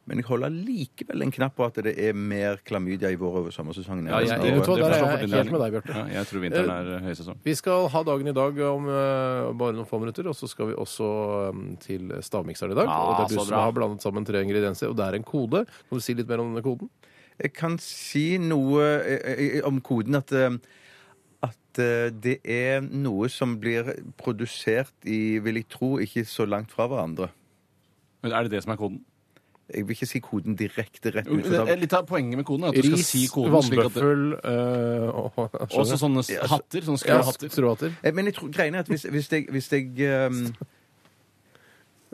S5: Men jeg holder likevel en knapp på at det er mer klamydia i vår over sommersesongen.
S6: Ja, jeg-
S4: det- vet du hva,
S6: det
S4: der er
S6: forstår
S4: jeg
S6: fortellingen.
S4: helt med deg, Bjarte.
S6: Ja, jeg tror vinteren er eh, høysesong.
S4: Vi skal ha dagen i dag om eh, bare noen få minutter, og så skal vi også eh, til stavmikseren i dag.
S6: Ja,
S4: og det er du
S6: så
S4: som
S6: bra.
S4: har blandet sammen tre ingredienser, og det er en kode. Kan du si litt mer om denne koden?
S5: Jeg kan si noe eh, eh, om koden at eh, at eh, det er noe som blir produsert i, vil jeg tro, ikke så langt fra hverandre.
S6: Men er det det som er koden?
S5: Jeg vil ikke si koden direkte rett ut.
S6: Det
S5: for da-
S6: er litt av poenget med koden er at du skal
S4: Ris,
S6: si koden slik at det
S4: vannbøffel eh, og,
S6: Også sånne s-
S5: Ja, så-
S6: hatter. Sånne
S4: ja,
S6: skruehatter.
S4: skruehatter.
S5: Eh, Men jeg tror, greien er at hvis, hvis jeg, hvis jeg, ehm,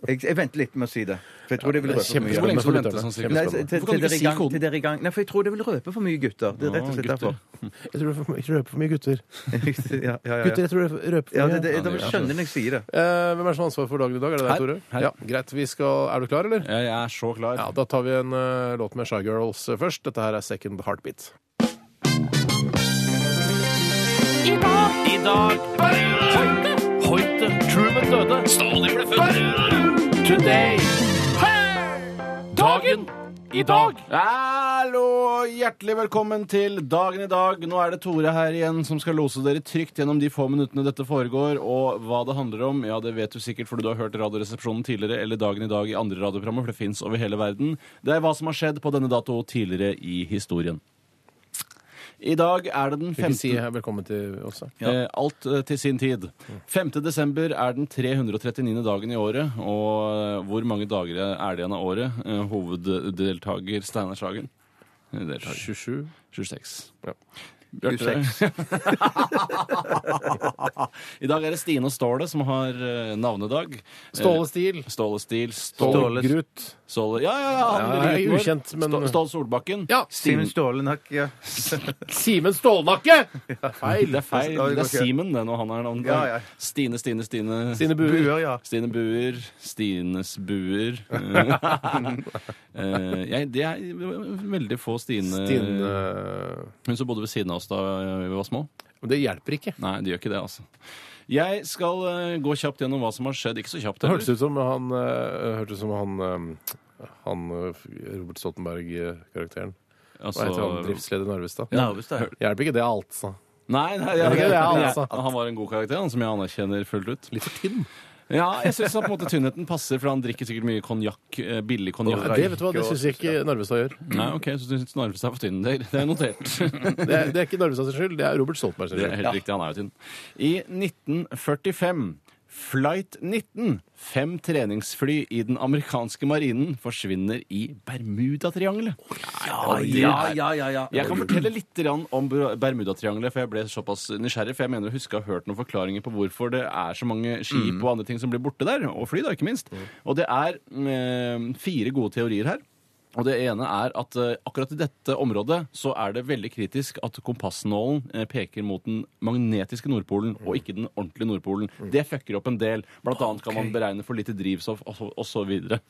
S5: jeg Jeg venter litt med å si det. For jeg tror det vil
S4: det er
S5: røpe for mye.
S6: Hvor lenge skal du
S4: Ja,
S6: vente
S5: Nei,
S4: men
S6: sånn cirka?
S5: til,
S6: Hvorfor
S5: til,
S6: kan du
S5: dere i
S6: ikke si
S5: gang, til
S6: koden?
S5: dere i gang. Nei, for jeg tror det vil røpe for mye gutter. Det er rett og slett
S6: Å, gutter.
S5: derfor.
S4: Jeg tror det er for mye- jeg røper for mye gutter.
S5: *laughs* ja, ja, ja,
S4: Gutter,
S5: ja.
S4: jeg tror det røper for
S5: ja
S4: mye.
S5: det, det,
S6: Ja, det
S5: da
S6: gjør
S5: skjønner jeg når jeg sier det.
S4: Eh, hvem er det som har ansvaret for dagen i dag? Er det deg,
S6: Her.
S4: Tore?
S6: Her.
S4: Ja, greit. Vi skal... Er du klar, eller?
S6: Ja, Jeg er så klar.
S4: Ja, Da tar vi en eh, låt med Shy Girls eh, først. Dette her er Second Heartbeat.
S8: I dag Hoite Hoite Truman døde Stalin ble født Today Dagen i dag!
S6: Hallo! Hjertelig velkommen til Dagen i dag. Nå er det Tore her igjen som skal lose dere trygt gjennom de få minuttene dette foregår. Og hva det handler om, ja, det vet du sikkert fordi du har hørt Radioresepsjonen tidligere eller Dagen i dag i andre radioprogrammer, for det fins over hele verden. Det er hva som har skjedd på denne dato tidligere i historien. I dag er det den
S4: Vil ikke si
S6: 15.
S4: her velkommen til oss, da.
S6: Eh, alt eh, til sin tid. 5. desember er den 339. dagen i året, og eh, hvor mange dager er det igjen av året? Eh, hoveddeltaker Steinar Sagen. Eh, Deltaker.
S4: 27.
S6: 26.
S4: Ja.
S6: Bjarte- I dag er det Stine og Ståle som har eh, navnedag. Eh,
S4: Ståle Stil.
S6: Ståle Stil. Ståle,
S4: Ståle Grut.
S6: Ståle Ja, ja, ja! han
S4: Ja,
S6: lille
S4: jeg er
S6: gutten vår.
S4: ukjent, men-
S6: Stå- Ståle Solbakken.
S4: Ja.
S5: Simen Stålenakk, ja.
S4: Simen Stålnakke!
S6: Feil. Det er feil.
S5: Ja, det
S6: Det
S5: går
S6: er
S5: ikke.
S6: Simen, det, når han er navnet.
S5: Ja, ja.
S6: Stine, Stine, Stine.
S4: Sine buer.
S5: Buer, ja.
S6: Stine Buer, Stines
S4: *laughs*
S6: Buer Eh, jeg, Det er veldig få Stine,
S4: Stine
S6: Hun som bodde ved siden av oss da vi var små.
S4: Men Det hjelper ikke.
S6: Nei, det gjør ikke det, altså. Jeg skal eh, gå kjapt gjennom hva som har skjedd. Ikke så kjapt.
S4: Det
S6: heller.
S4: hørtes ut som han eh, hørtes ut som han eh, han eh, Robert Stoltenberg-karakteren. Hva heter han?
S6: Altså,
S4: Driftsleder i Narvestad.
S5: Narvestad.
S4: Hjelper ikke det, altså.
S6: nei, nei, jeg,
S4: Det er ikke det,
S6: jeg-
S4: altså.
S6: han var en god karakter, han som jeg anerkjenner fullt ut. Litt for tynn. Ja, jeg syns tynnheten passer, for han drikker sikkert mye konjakk. eh, Billig
S4: Ja,
S6: konjakk.
S4: det vet du hva, det syns jeg ikke Narvestad gjør.
S6: Nei, OK, så du syns Narvestad er for tynn. Det er- det er notert.
S4: Det er, det er ikke Narvestads skyld, det er Robert Stoltenbergs
S6: Det er
S4: skyld.
S6: helt riktig, han er jo tynn. I 1945, Flight 19, fem treningsfly i den amerikanske marinen, forsvinner i Bermudatriangelet. Ja, Mm.
S5: ja, ja, ja.
S6: Jeg kan fortelle litt grann om Ber- Bermudatriangelet, for jeg ble såpass nysgjerrig. For jeg mener å huske å ha hørt noen forklaringer på hvorfor det er så mange skip og andre ting som blir borte der. Og fly, da, ikke minst. Og det er mm, fire gode teorier her. Og det ene er at eh, akkurat i dette området så er det veldig kritisk at kompassnålen eh, peker mot den magnetiske Nordpolen, og ikke den ordentlige Nordpolen. Det fucker opp en del. Blant annet kan man beregne for lite drivstoff og så- og så videre.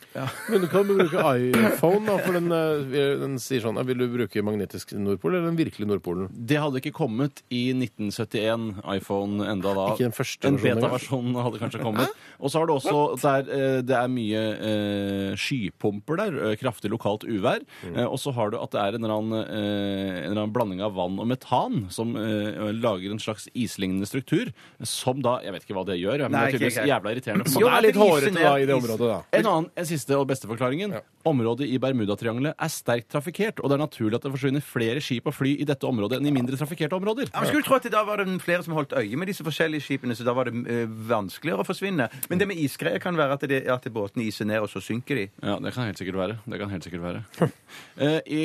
S4: Men du kan bruke iPhone, da, for den, eh, den sier sånn ja, Vil du bruke magnetisk Nordpol eller den virkelige Nordpolen?
S6: Det hadde ikke kommet i 1971, iPhone enda da.
S4: Ikke den første
S6: En
S4: versjonen engang.
S6: beta-versjon hadde kanskje kommet. Og så har du også der eh, det er mye eh, skypumper der, eh, kraftig lokalt uvær.
S5: Mm.
S6: Eh, og så har du at det er en eller, annen, eh, en eller annen blanding av vann og metan som eh, lager en slags islignende struktur, som da Jeg vet ikke hva det gjør, men
S5: Nei,
S6: det er
S5: ikke
S6: tydeligvis
S5: jeg.
S6: jævla irriterende. for
S5: Jo, det
S6: meg.
S5: er litt hårete da i det
S4: området, da.
S6: En annen en siste og beste forklaringen. Området i Bermudatriangelet er sterkt trafikkert, og det er naturlig at det forsvinner flere skip og fly i dette området enn i mindre trafikkerte områder.
S5: Ja, men skulle tro at Da var det flere som holdt øye med disse forskjellige skipene, så da var det eh, vanskeligere å forsvinne. Men det med isgreier kan være at, det, at båtene iser ned, og så synker de.
S6: Ja, det kan helt sikkert være. Det kan helt sikkert være. *laughs* Eh, I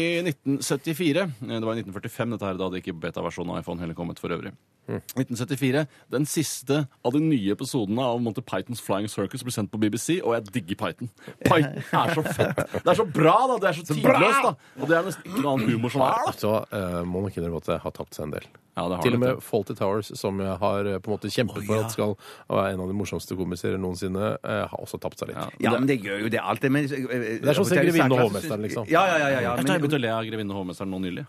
S6: 1974 eh, Det var i 1945 dette her, da hadde ikke beta-versjonen av iPhone heller kommet for øvrig. 1974, Den siste av de nye episodene av Monty Pythons Flying Circus ble sendt på BBC, og jeg digger Python. Python er så fett! Det er så bra, da! Det er så tidløst, da! Og det er nesten ikke noe annen humor som er, da.
S4: Så eh, må man innrømme at det har tapt seg en del.
S6: Ja, det har
S4: Til og
S6: det,
S4: med Faulty Towers, som jeg har eh, på en måte kjempet for at skal være en av de morsomste komiserier noensinne, eh, har også tapt seg litt.
S5: Ja, men det gjør jo det alltid. Men, eh, det
S4: er sånn Grevinne og hovmesteren, liksom.
S5: Ja, ja, ja. ja, ja.
S6: Jeg har
S5: Men,
S6: begynt å le av Grevinne og hovmesteren nå nylig.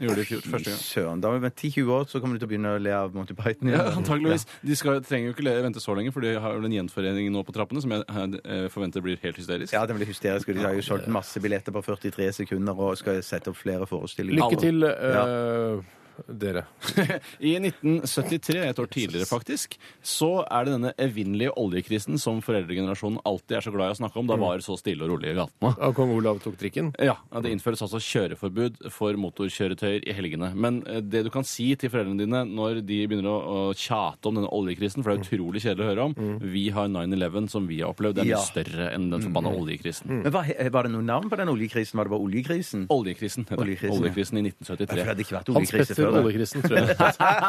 S6: Jeg gjorde det i fjor, første gang.
S5: Søren, da har vi vært 10-20 år, så kommer du til å begynne å le av Monty Python.
S6: Ja, antageligvis. De skal, trenger jo ikke le, vente så lenge, for de har vel en gjenforening nå på trappene som jeg eh, forventer blir helt hysterisk.
S5: Ja, den blir hysterisk. og De har jo solgt masse billetter på 43 sekunder og skal sette opp flere forestillinger.
S4: Lykke til, eh, dere.
S6: *laughs* I 1973, et år tidligere faktisk, så er det denne evinnelige oljekrisen som foreldregenerasjonen alltid er så glad i å snakke om. Da var det så stille og rolig i gatene.
S4: Ja, Kong Olav tok trikken.
S6: Ja, Det innføres altså kjøreforbud for motorkjøretøyer i helgene. Men eh, det du kan si til foreldrene dine når de begynner å, å tjate om denne oljekrisen,
S5: Mm.
S6: for det er utrolig kjedelig å høre om, vi har 9-11 som vi har opplevd. Det er mye
S5: Ja. Mm.
S6: større enn den forbanna oljekrisen.
S5: Men hva, Var det noe navn på den oljekrisen? Var det bare oljekrisen?
S6: Oljekrisen heter det.
S5: Oljekrisen, ja.
S6: Oljekrisen i
S5: Ja, for det
S6: 1973.
S5: hadde ikke vært
S4: Hans
S5: oljekrise
S4: Petter
S5: før. da.
S4: Ollekrisen,
S5: *laughs*
S4: tror jeg.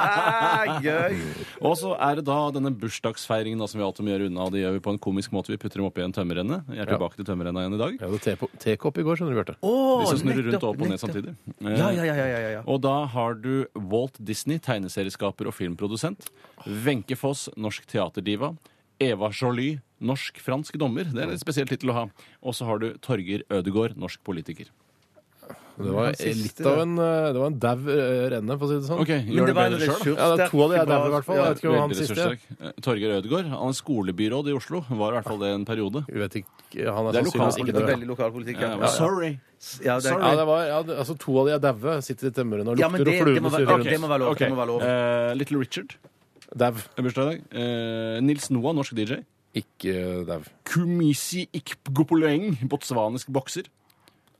S5: Ah, Gøy!
S6: Og så er det da denne bursdagsfeiringen da, som vi alltid må gjøre unna. Det gjør vi på en komisk måte. Vi putter dem oppi en tømmerrenne. Jeg er tilbake til tømmerrenna igjen i dag.
S4: Jeg hadde te på- tekopp i går, skjønner du, Bjarte.
S5: Oh,
S6: De som snurrer rundt og opp og ned samtidig. Eh,
S5: Ja, ja, ja, ja, ja, ja.
S6: Og da har du Walt Disney, tegneserieskaper og filmprodusent. Wenche Foss, norsk teaterdiva. Eva Jolie, norsk-fransk dommer. Det er et spesielt tittel å ha. Og så har du Torger Ødegaard, norsk politiker.
S4: Det var
S5: siste,
S4: litt av en eh, Det var en dau eh, renne, for å si det sånn.
S6: Ok,
S5: Men
S6: gjør det
S5: var en
S6: bedre sjøl.
S5: ressurssterk
S4: Ja, det er to av de er
S5: bas-
S4: daue, i hvert fall.
S5: Ja.
S4: Jeg vet ikke om han siste er.
S6: Torgeir Eh, Ødegaard, han er skolebyråd i Oslo. Var i hvert fall det en periode.
S4: Vi vet ikke. Han er,
S6: Det
S4: sannsynligvis
S6: er
S4: ikke
S6: lokalpolitikk,
S5: Det er
S4: død.
S5: veldig lokalpolitikk.
S6: Ja, sorry.
S5: Ja, det,
S4: Ja, det var, ja, det- altså, to av de er daue. Sitter i temmeren og
S5: Ja, men
S4: lukter
S5: det-
S4: og
S5: det må
S4: fluene
S5: være-
S4: surrer
S5: ok, det må
S4: rundt.
S5: være lov.
S6: Ok,
S5: Det må være lov.
S6: eh, Little Richard,
S4: Dau.
S6: er bursdag i dag. Eh, Nils Noah, norsk DJ.
S4: Ikke dau.
S6: Kumisi Ikpgopoleng, botswanisk bokser.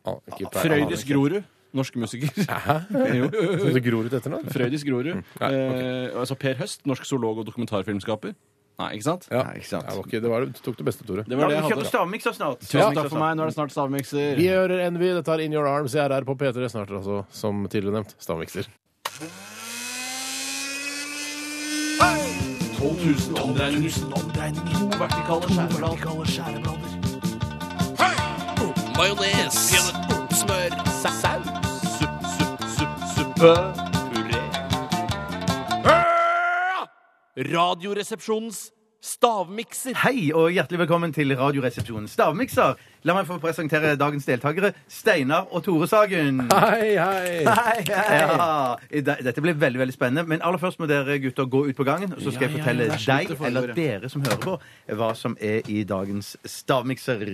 S4: Ah, ikke pleier-
S6: Frøydis
S4: han
S6: Grorud, norsk musiker.
S4: er ikke-
S6: *laughs* Jo.
S4: Så det gror ut etternavn?
S6: Frøydis Grorud.
S4: Ja, ok.
S6: Eh, altså Per Høst, norsk zoolog og dokumentarfilmskaper. Nei, ikke sant?
S4: Ja.
S5: Nei, ikke sant.
S4: Ja, ok, det var, du tok det beste, Tore.
S6: Det
S5: Ja,
S6: var det
S5: vi
S6: jeg
S5: kjører
S6: hadde.
S5: stavmikser snart.
S6: Tusen takk for meg. Nå er det snart stavmikser.
S4: Vi hører Envy. Dette er In Your Arms. Jeg er her på P3 snart, altså, som tidligere nevnt. Stavmikser.
S6: 12 000 omdreininger. To vertikale skjæreblader. Majones. Smør. Saus. Supp, supp, supp, suppe. Puré. Radioresepsjonens stavmikser.
S5: Hei og hjertelig velkommen til Radioresepsjonen Stavmikser. La meg få presentere dagens deltakere, Steinar og Tore Sagen.
S4: Hei, hei!
S5: Hei, hei. Ja, i de- dette blir veldig veldig spennende. Men aller først må dere gutter gå ut på gangen, så skal jeg fortelle deg, eller dere som hører på, hva som er i dagens stavmikser.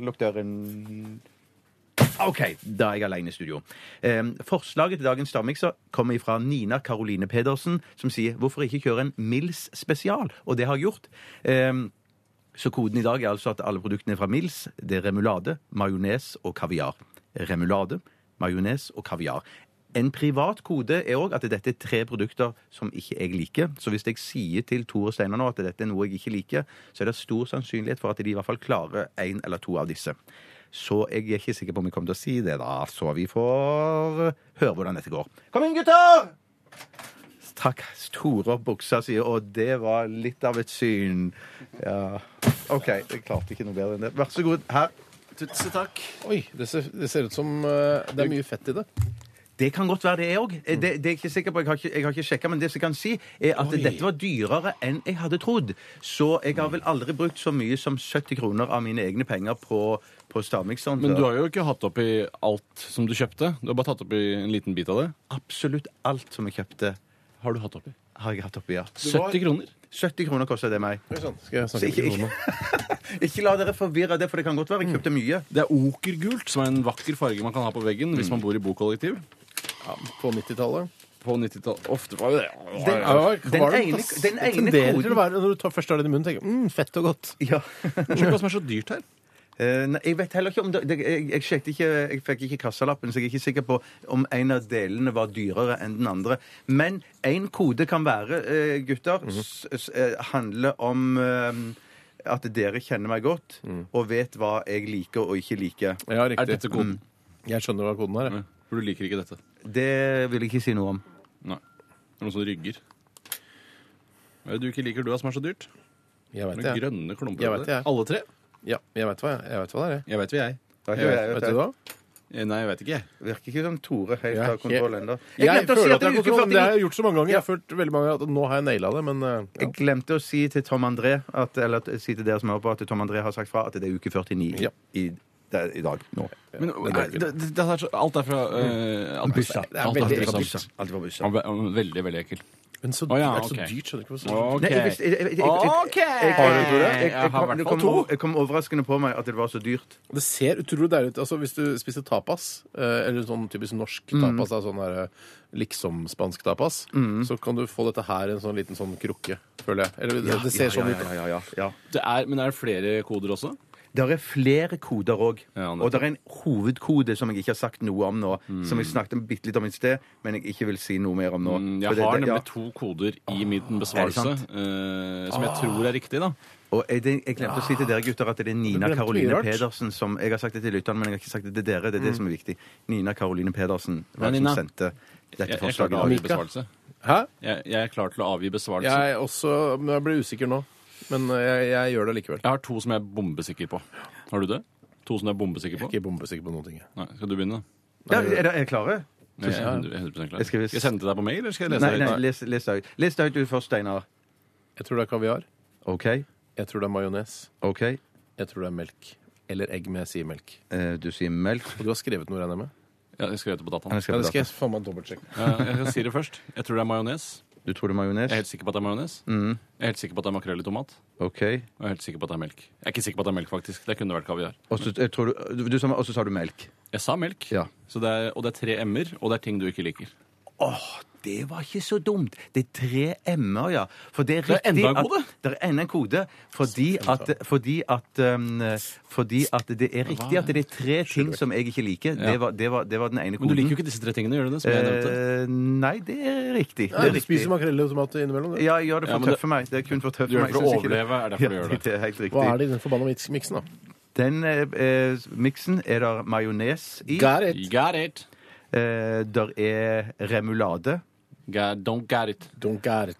S5: Lukk døren. OK, da er jeg alene i studio. Em, forslaget til dagens stavmikser kommer fra Nina Karoline Pedersen, som sier 'Hvorfor ikke kjøre en Mills spesial?' Og det har jeg gjort. Em, så koden i dag er altså at alle produktene fra Mills det er remulade, majones og kaviar. Remulade, majones og kaviar. En privat kode er òg at dette er tre produkter som ikke jeg liker. Så hvis jeg sier til Tore Steinar nå at dette er noe jeg ikke liker, så er det stor sannsynlighet for at de i hvert fall klarer én eller to av disse. Så jeg er ikke sikker på om jeg kommer til å si det, da. Så vi får høre hvordan dette går. Kom inn, gutter! Takk, store opp buksa, sier Og det var litt av et syn. Ja. OK, jeg klarte ikke noe bedre enn det. Vær så god. Her.
S6: Tusen takk.
S4: *laughs* Oi, det ser, det ser ut som eh, Det er mye fett i det.
S5: Det kan godt være det òg. Det, det er jeg ikke sikker på. Jeg har ikke, jeg har ikke sjekka, men det som jeg kan si, er at dette var dyrere enn jeg hadde trodd. Så jeg har vel aldri brukt så mye som 70 kroner av mine egne penger på, på stavmikseren.
S6: Men du har jo ikke hatt oppi alt som du kjøpte. Du har bare tatt oppi en liten bit av det.
S5: absolutt alt som jeg kjøpte,
S6: Har du hatt oppi?
S5: har jeg hatt oppi, ja.
S6: 70 kroner.
S5: 70 kroner kosta det meg.
S4: Oi, sånn. Skal jeg
S5: Så
S4: snakke
S5: ikke,
S4: til noen nå?
S5: ikke, ikke la dere forvirre det, for det kan godt være jeg kjøpte mye.
S6: Det er okergult, som er en vakker farge man kan ha på veggen hvis man bor i bokollektiv.
S4: På 90-tallet?
S6: På 90-tallet Ofte var jo det
S5: Den,
S4: Ja, var
S5: den
S4: det
S5: ene,
S4: godt, ass?
S5: den ene
S4: Det tenderer til å
S5: koden
S4: være Når du tar, først tar det i munnen, tenker du mm, fett og godt.
S5: ja. *laughs*
S6: Skjønner ikke hva som er så dyrt her.
S5: Eh, nei, Jeg vet heller ikke om det, det jeg, jeg, sjekket ikke, jeg fikk ikke kassalappen, så jeg er ikke sikker på om en av delene var dyrere enn den andre. Men én kode kan være, eh, gutter,
S4: Mhm.
S5: s, s, eh, handle om eh, at dere kjenner meg godt
S4: Mm.
S5: og vet hva jeg liker og ikke liker. Mm.
S4: Ja,
S6: Er Mm. dette koden?
S4: Jeg skjønner hva koden er. jeg.
S6: Ja, For du liker ikke dette.
S5: Det vil jeg ikke si noe om.
S6: Nei. Det er noen som rygger. Hva er det du ikke liker du da, som er så dyrt?
S4: Jeg
S6: Noen
S4: vet det. jeg.
S6: grønne klumper.
S4: Jeg
S6: av
S4: vet
S6: det.
S4: det, jeg.
S6: Alle tre?
S4: Ja, jeg vet hva, jeg- jeg vet hva det er. jeg.
S6: Jeg vet hva jeg.
S4: Jeg vet, vet du hva?
S6: Eh, Nei, jeg vet ikke, jeg.
S5: Virker ikke som Tore helt
S4: Jeg er
S5: har kontroll
S4: helt-
S5: ennå.
S4: Jeg,
S5: glemte å si at
S4: føler at jeg
S5: det
S4: har
S5: er uke
S4: kontroll, men det har
S5: 49.
S4: jeg gjort så mange ganger. Jeg har følt veldig mange ganger at nå har jeg naila det, men eh, ja.
S5: Jeg glemte å si til Tom André at, eller at- si til dere som hører på, at Tom André har sagt fra at det er uke 49
S4: Ja.
S5: i, det er i dag. Nå.
S4: det
S6: Men,
S4: er
S6: eh, det, det, det er så, alt er fra eh, alt,
S5: Bussa.
S6: alt er fra
S4: veldig
S6: bussa.
S4: ekkelt.
S5: Alt var busser.
S6: Ja, ve- ja, Veldig, veldig ekkel.
S4: Men så,
S6: Å, ja,
S4: det er så
S6: ok.
S4: dyrt, skjønner du ikke hva som
S6: OK.
S5: Nei, jeg visste- jeg- jeg- jeg- jeg-
S6: OK!
S5: jeg-
S4: Har du, Tore?
S5: Jeg, jeg,
S6: Jeg har i
S5: kom, det
S6: hvert
S5: kom,
S6: fall to.
S5: jeg kom overraskende på meg at det var så dyrt.
S4: Det ser utrolig deilig ut. Altså, hvis du spiser tapas, eh, eller sånn typisk norsk
S5: Mm.
S4: tapas, da, sånn der, eh, liksom spansk tapas,
S5: Mm.
S4: så kan du få dette her i en sånn liten sånn krukke, føler jeg. Eller, det, det ser sånn ut.
S5: Ja, ja, ja, ja.
S6: Det er, men er det flere koder også?
S5: Der er flere koder òg.
S6: Ja, nettopp.
S5: og det er en hovedkode som jeg ikke har sagt noe om nå. Som jeg snakket bitte litt om i sted, men jeg ikke vil si noe mer om nå.
S6: Mm,
S5: For
S6: Jeg
S5: det-
S6: har
S5: det- ja.
S6: nemlig to koder i min besvarelse
S5: sant?
S6: eh, som jeg tror er riktig, da.
S5: Og er det, jeg glemte å si til dere gutter at det er Nina
S4: Ah. glemte mye
S5: Karoline
S4: rart. Mm.
S5: Pedersen som Jeg har sagt det til lytterne, men jeg har ikke sagt det til dere. Det er det som er viktig. Nina Karoline Pedersen
S6: Ja,
S5: var det
S6: Nina.
S5: som sendte
S6: Jeg,
S5: dette
S6: jeg, er klar
S5: forslaget.
S6: til å
S5: i
S6: avgi
S5: dag.
S6: besvarelse.
S4: Hæ?
S6: Jeg, jeg er klar til å avgi besvarelse. Jeg,
S4: Jeg er også men Jeg blir usikker nå, men eh, jeg, jeg gjør det likevel.
S6: har to som jeg er bombesikker på. Har du det? To som du er bombesikker på?
S4: Ikke bombesikker på noen ting. jeg.
S6: Nei, skal du begynne?
S5: Ja, er dere er dere klare?
S6: Jeg er 100 100% klar.
S5: Jeg skal-
S6: Skal jeg sende det til deg på mail, eller skal jeg lese
S5: Nei,
S6: det?
S5: nei, les les det ut. Les det ut du først, Steinar.
S4: Jeg tror det er kaviar.
S5: OK?
S4: Jeg tror det er majones.
S5: OK?
S4: Jeg tror det er melk. eller egg med sidemelk?
S5: Eh, Du sier melk.
S4: Og du har skrevet noe, regner jeg med?
S6: Ja, jeg skrev det på
S5: Han har
S6: dataen.
S4: Ja,
S5: skrevet
S4: det skal
S5: data.
S4: jeg faen meg dobbeltsjekke.
S6: Eh, Jeg sier det først. Jeg tror det er majones.
S5: Du tror det er
S6: Jeg er
S5: majones?
S6: helt sikker på at det er majones. Jeg er helt sikker på at det er makrell i tomat.
S5: OK.
S6: Og jeg er helt sikker på at det er melk. Jeg er ikke sikker på at det er melk, faktisk. Det kunne vært kaviar.
S5: Og så eh, tror du- du- du sa- og så sa du melk.
S6: Jeg sa melk,
S5: Ja.
S6: så det er, og det er tre m-er, og det er ting du ikke liker.
S5: Det var ikke så dumt. Det er tre m-er, ja. For det er
S6: er
S5: riktig
S6: enda en
S5: at-
S6: kode.
S5: Det er enda en kode. Fordi at, fordi at, um, fordi at det er riktig at det er tre ting som jeg ikke liker. Det var, det var, det var den ene koden.
S6: Men du liker jo ikke disse tre tingene, gjør du det? Som jeg nevnte.
S5: Eh, nei, det er riktig.
S4: Nei,
S5: Det er
S4: du
S5: riktig.
S4: spiser makrell og tomat innimellom? du.
S5: Ja, jeg gjør det
S6: Ja,
S5: for
S6: men det-
S5: tøffe meg. Det er kun for tøffe
S6: Du gjør
S5: meg.
S6: det for
S5: Jeg
S6: å
S5: synes ikke det-
S6: overleve, er derfor du
S5: ja,
S6: gjør det.
S5: Det er helt
S4: Hva er
S5: riktig.
S4: det i den forbanna miks- miksen, da?
S5: Den eh, eh, miksen er der majones i.
S4: Got it.
S6: Got it.
S5: Eh, der er remulade,
S6: Got, don't get it.
S4: Don't got it.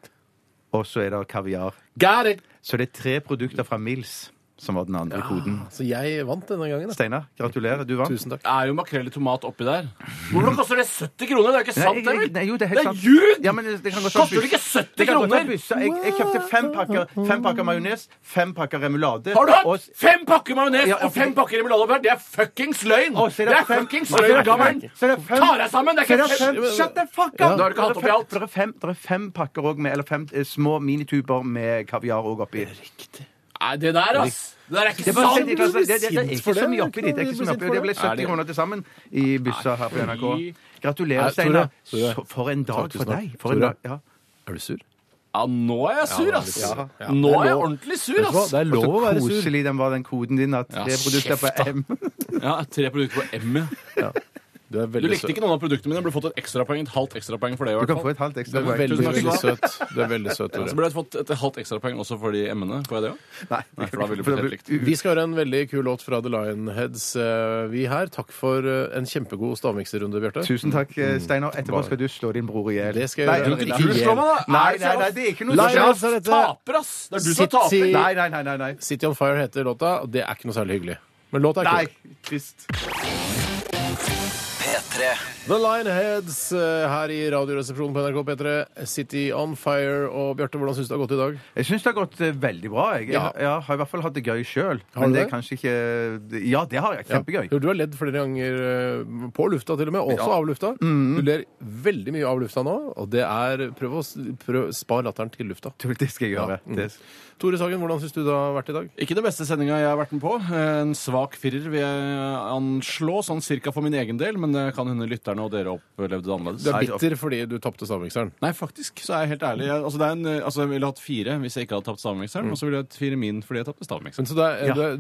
S5: og så er der kaviar.
S4: Got it!
S5: Så det er tre produkter fra Mills som var den andre koden.
S4: Så jeg vant denne gangen. Da.
S5: Steinar, gratulerer. Du vant.
S4: Tusen takk.
S6: Det er jo makrell i tomat oppi der. Hvordan koster det 70 kroner? Det er jo ikke sant,
S5: Nei,
S6: det,
S5: jeg-
S6: vel?
S5: nei, jo, det er
S6: Det
S5: helt
S6: er
S5: sant.
S6: ljug!
S5: Ja, men det det kan godt
S6: Koster
S5: være
S6: det ikke
S5: byss.
S6: 70
S5: Det kan godt være
S6: kroner?
S5: byss. Jeg, jeg kjøpte fem pakker, fem pakker majones, fem pakker remulade
S6: Har du
S5: og-
S6: hatt fem pakker majones
S5: Ja,
S6: og fem pakker remulade oppi her? Det er fuckings løgn!
S5: Å, så er det
S6: Det er
S5: fem-
S6: fuckings
S5: så er det
S6: løgn,
S5: fem-
S6: gammel!
S5: så er det fem-
S6: Ta deg sammen!
S5: Så
S6: Det er
S5: det
S6: ikke
S5: er fem, shut the fuck up!
S4: Ja.
S6: Da har du ikke hatt
S5: Det er
S6: oppi alt.
S5: fem- Det er fem, det er fem pakker også med, eller fem eh, små minituber med kaviar også oppi.
S6: Nei, det der, ass. Det der er ikke
S5: Det er bare å sette i klasse. Det-
S6: sant!
S5: det- det er
S4: Sint
S5: ikke
S4: for
S5: så
S4: det.
S5: mye oppi dit. Det er ikke så mye oppi. Det ble
S6: Er
S5: 70
S6: det-
S5: kroner til sammen i byssa her på NRK. Gratulerer,
S4: Nei, Tore,
S5: Steinar.
S4: Tore.
S5: Så- For en dag
S4: Tusen
S5: for
S4: takk.
S5: deg. For en
S4: Tore.
S5: dag. Ja.
S4: Er du sur?
S6: Ja, nå er jeg sur, ass. Nå er jeg ordentlig sur,
S4: Vet du hva?
S6: ass.
S4: Det er
S5: Og
S4: lov å
S5: så
S4: være sur.
S5: koselig den var, den koden din. At tre produkter
S6: kjeft, da.
S5: på M.
S6: Ja, tre produkter på M, ja.
S4: Du er
S6: Du
S4: veldig
S6: likte
S4: søt.
S6: ikke noen av produktene mine. Jeg burde fått et ekstrapoeng. Et halvt ekstrapoeng for det. i
S5: Du
S6: hvert
S5: kan få
S6: fall.
S5: et halvt ekstra
S4: Du er
S5: poeng.
S4: veldig,
S6: Tusen takk
S4: veldig
S6: skal
S4: søt. Du er veldig søt,
S6: Så
S4: Tore.
S6: burde jeg fått et halvt ekstrapoeng også for de M-ene. Får jeg det òg?
S5: Nei,
S6: Nei, for da ville det
S5: for
S6: blitt
S5: da
S6: helt
S5: blir-
S6: likt.
S4: Vi skal høre en veldig kul låt fra The Lionheads, eh, vi her. Takk for eh, en kjempegod stavmikserrunde, Bjarte.
S5: Tusen takk, eh, Steinar. Etterpå skal du slå din bror i hjel.
S4: Det skal jeg
S5: Nei,
S4: gjøre.
S5: eller
S4: Du
S5: ikke i
S4: drikker ikke,
S5: hjel.
S6: da.
S5: Nei,
S6: Er det
S5: nei,
S6: så-
S5: nei, det er ikke noe
S4: Lion-
S5: sosialt.
S4: Altså, dette-
S6: Taper, ass! Det er du som taper.
S4: City-
S5: Nei, nei, nei, nei, nei.
S4: City on Fire heter låta. og Det er ikke noe særlig hyggelig. Men låta er
S5: Nei,
S4: kul.
S5: trist.
S2: P3
S4: The Lionheads eh, her i Radioresepsjonen på NRK P3. City on Fire. Og Bjarte, hvordan syns du det har gått i dag?
S5: Jeg syns det har gått eh, veldig bra. Jeg,
S4: Ja.
S5: jeg, har i hvert fall hatt det gøy sjøl.
S4: Har
S5: Men
S4: du
S5: det er
S4: det?
S5: kanskje ikke Ja, det har jeg. Kjempegøy.
S4: Jo, du har ledd flere ganger eh, på lufta til og med, også av lufta. Du ler veldig mye av lufta nå, og det er Prøv å s- prøv, spar latteren til lufta.
S5: Det skal jeg gjøre. Det,
S4: Tore Sagen, hvordan syns du det har vært i dag?
S6: Ikke den beste sendinga jeg har vært med på. En svak firer vil jeg anslå, sånn cirka for min egen del, men det kan hende lytterne og dere opplevde det
S4: Du er
S6: annerledes.
S4: bitter fordi du tapte stavmikseren.
S6: Nei, faktisk, så er jeg helt ærlig. Jeg, altså, det er en, eh, altså, jeg ville hatt fire hvis jeg ikke hadde tapt stavmikseren, og så ville jeg hatt fire min fordi jeg tapte stavmikseren.
S4: Men så det er, du, er,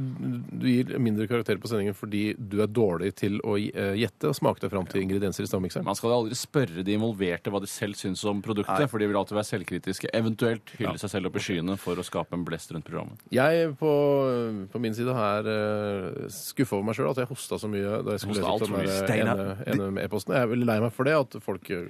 S4: du gir mindre karakter på sendingen fordi du er dårlig til å eh, gjette og smake deg fram til ingredienser i stavmikseren.
S6: Man skal aldri spørre de involverte hva de selv syns om produktet, for de vil alltid være selvkritiske. Eventuelt hylle seg selv opp i skyene for å skape en blest rundt programmet.
S4: Jeg på, på min side er uh, skuffa over meg sjøl at jeg hosta så mye da jeg skulle
S6: Hosta
S4: lese
S6: alt
S4: opp den
S6: for mye.
S4: der
S5: Steinar,
S4: ene- ene med e-posten. Jeg er veldig lei meg for det, at folk eh,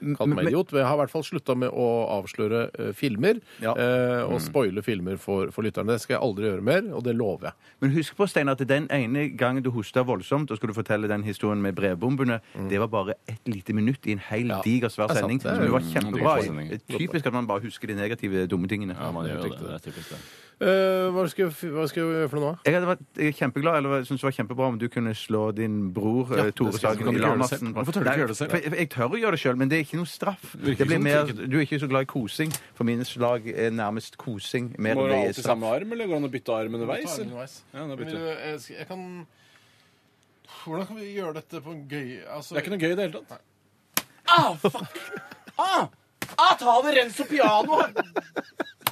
S4: kaller meg
S5: men-
S4: idiot. Men jeg har i hvert fall slutta med å avsløre eh, filmer
S5: Ja.
S4: eh,
S6: Mm.
S4: og spoile filmer for, for lytterne. Det skal jeg aldri gjøre mer, og det lover jeg.
S5: men husk på, Steinar, at den ene gangen du hosta voldsomt, og skulle fortelle den historien med brevbombene, det var bare et lite minutt i en hel diger, svær
S4: Det er sant,
S5: sending.
S4: det er
S5: Men det var
S6: jo-
S5: kjempebra.
S6: det er en diger
S5: Typisk at man bare husker de negative, dumme tingene.
S6: Ja, man gjør jo det.
S5: Jeg
S6: Det er typisk det.
S4: Eh, hva, skal, jeg f- hva skal jeg gjøre for noe nå?
S5: hadde vært eh, kjempeglad, eller syntes det var kjempebra om du kunne slå din bror eh, Tore
S6: skal
S5: Sagen
S6: jeg- kan du ikke gjøre det
S5: Larsen.
S6: selv? Hvorfor tør du ikke
S5: Nei,
S6: gjøre det selv?
S5: for Jeg, jeg tør å gjøre det sjøl, men det er ikke noe straff.
S6: Virker sånn,
S5: Det blir
S6: som
S5: mer,
S6: det ikke-
S5: du er ikke så glad i kosing. For mine slag er nærmest kosing. Mer
S6: Må
S5: enn
S6: du ha
S5: det
S6: alt
S5: er
S6: i
S5: straff.
S6: samme arm, eller går det an å bytte arm underveis? eller? Ja, da bytter vi.
S4: eh, Jeg kan Hvordan kan vi gjøre dette på en gøy altså,
S6: Det er ikke noe gøy i det hele tatt. Ah, fuck! Ah! Ah, ta det Renzo Piano!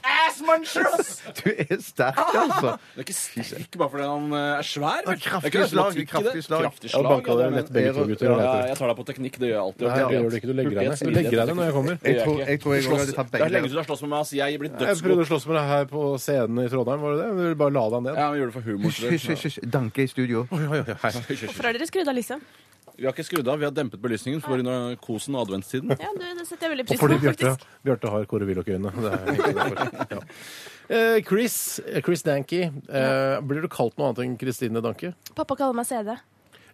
S6: Ass munchers!
S5: Du er sterk, altså.
S6: Det er ikke sterk bare fordi han eh, er svær. vel?
S5: kraftig
S6: Det er ikke
S5: slag,
S6: automatikk i det.
S5: kraftig slag.
S6: Kraftig
S4: Jeg har
S6: slag,
S4: banka
S6: ja, det
S4: dere
S6: er
S4: lett
S6: det.
S4: begge to, gutter.
S6: Ja, jeg tar deg på teknikk. Det gjør jeg alltid.
S4: Nei, det gjør du ikke. Du legger deg ned. Du legger deg ned når jeg kommer.
S5: Jeg tror- jeg tror jeg også hadde tatt begge
S6: Det er lenge
S5: deler.
S6: du har slåss med meg. ass. Jeg blir
S4: Jeg prøvde
S6: dødsgod.
S4: å slåss med deg her på scenen i Trondheim. var det det? Du ville bare la deg ned.
S6: Ja, vi gjør det for humor.
S5: Hysj, hysj, hysj, hysj. Danke i studio.
S4: Oi, oi, oi, hei.
S9: Hvorfor har dere skrudd av lyset?
S6: Vi har ikke skrudd av. Vi har dempet belysningen for under kosen og adventstiden.
S9: Ja, det, det setter jeg veldig
S4: Og
S9: pris på,
S4: fordi Bjarte,
S9: faktisk.
S4: Bjarte har Kåre Willoch-øyne. Det er egentlig derfor. Ja. Eh, Chris, Chris Danke. Eh, blir du kalt noe annet enn Kristine Danke?
S9: Pappa kaller meg CD.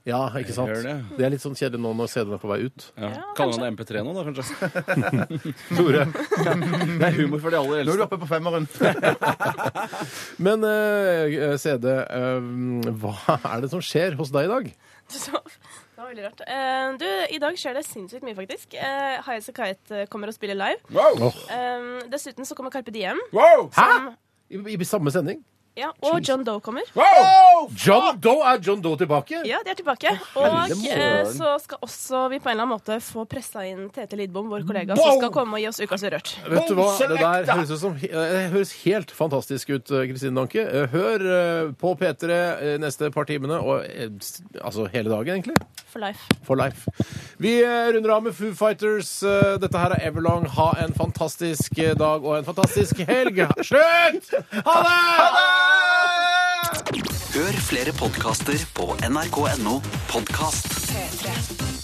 S4: Ja, ikke sant?
S6: Gjør
S4: Det.
S6: det.
S4: er litt sånn kjedelig nå når CD-en er på vei ut.
S6: Ja. Kaller han det MP3 nå, da, kanskje?
S4: Tore.
S6: Det er humor for de aller
S5: Nå er du
S6: eldste.
S5: oppe på
S4: *laughs*
S5: femmeren.
S4: Men eh, CD, eh, hva er det som skjer hos deg i dag?
S9: *laughs* Så, det var veldig rart. Eh, du, I dag skjer det sinnssykt mye, faktisk. Uh, Highas og Kite eh, kommer og spiller live.
S6: Wow!
S9: Eh, dessuten så kommer Carpe Diem.
S6: Wow!
S4: I, i samme sending?
S9: Ja, og John Doe kommer.
S6: Wow!
S4: John Doe! Er John Doe tilbake?
S9: Ja, de er tilbake. Og eh, så skal også vi på en eller annen måte få pressa inn Tete Lidbom, vår kollega, som skal komme og gi oss Ukas Urørt.
S4: Vet du hva? Det der høres, ut som, eh, det høres helt fantastisk ut, eh, Kristine Danke. Eh, Hør eh, på P3 eh, neste par timene, og eh, s- altså hele dagen, egentlig.
S9: For life.
S4: For life. Vi eh, runder av med Foo Fighters. Eh, Dette her er Everlong. Ha en fantastisk eh, dag og en fantastisk helg. Slutt! Ha det!
S2: Hør flere podkaster på nrk.no podkast.
S1: P3.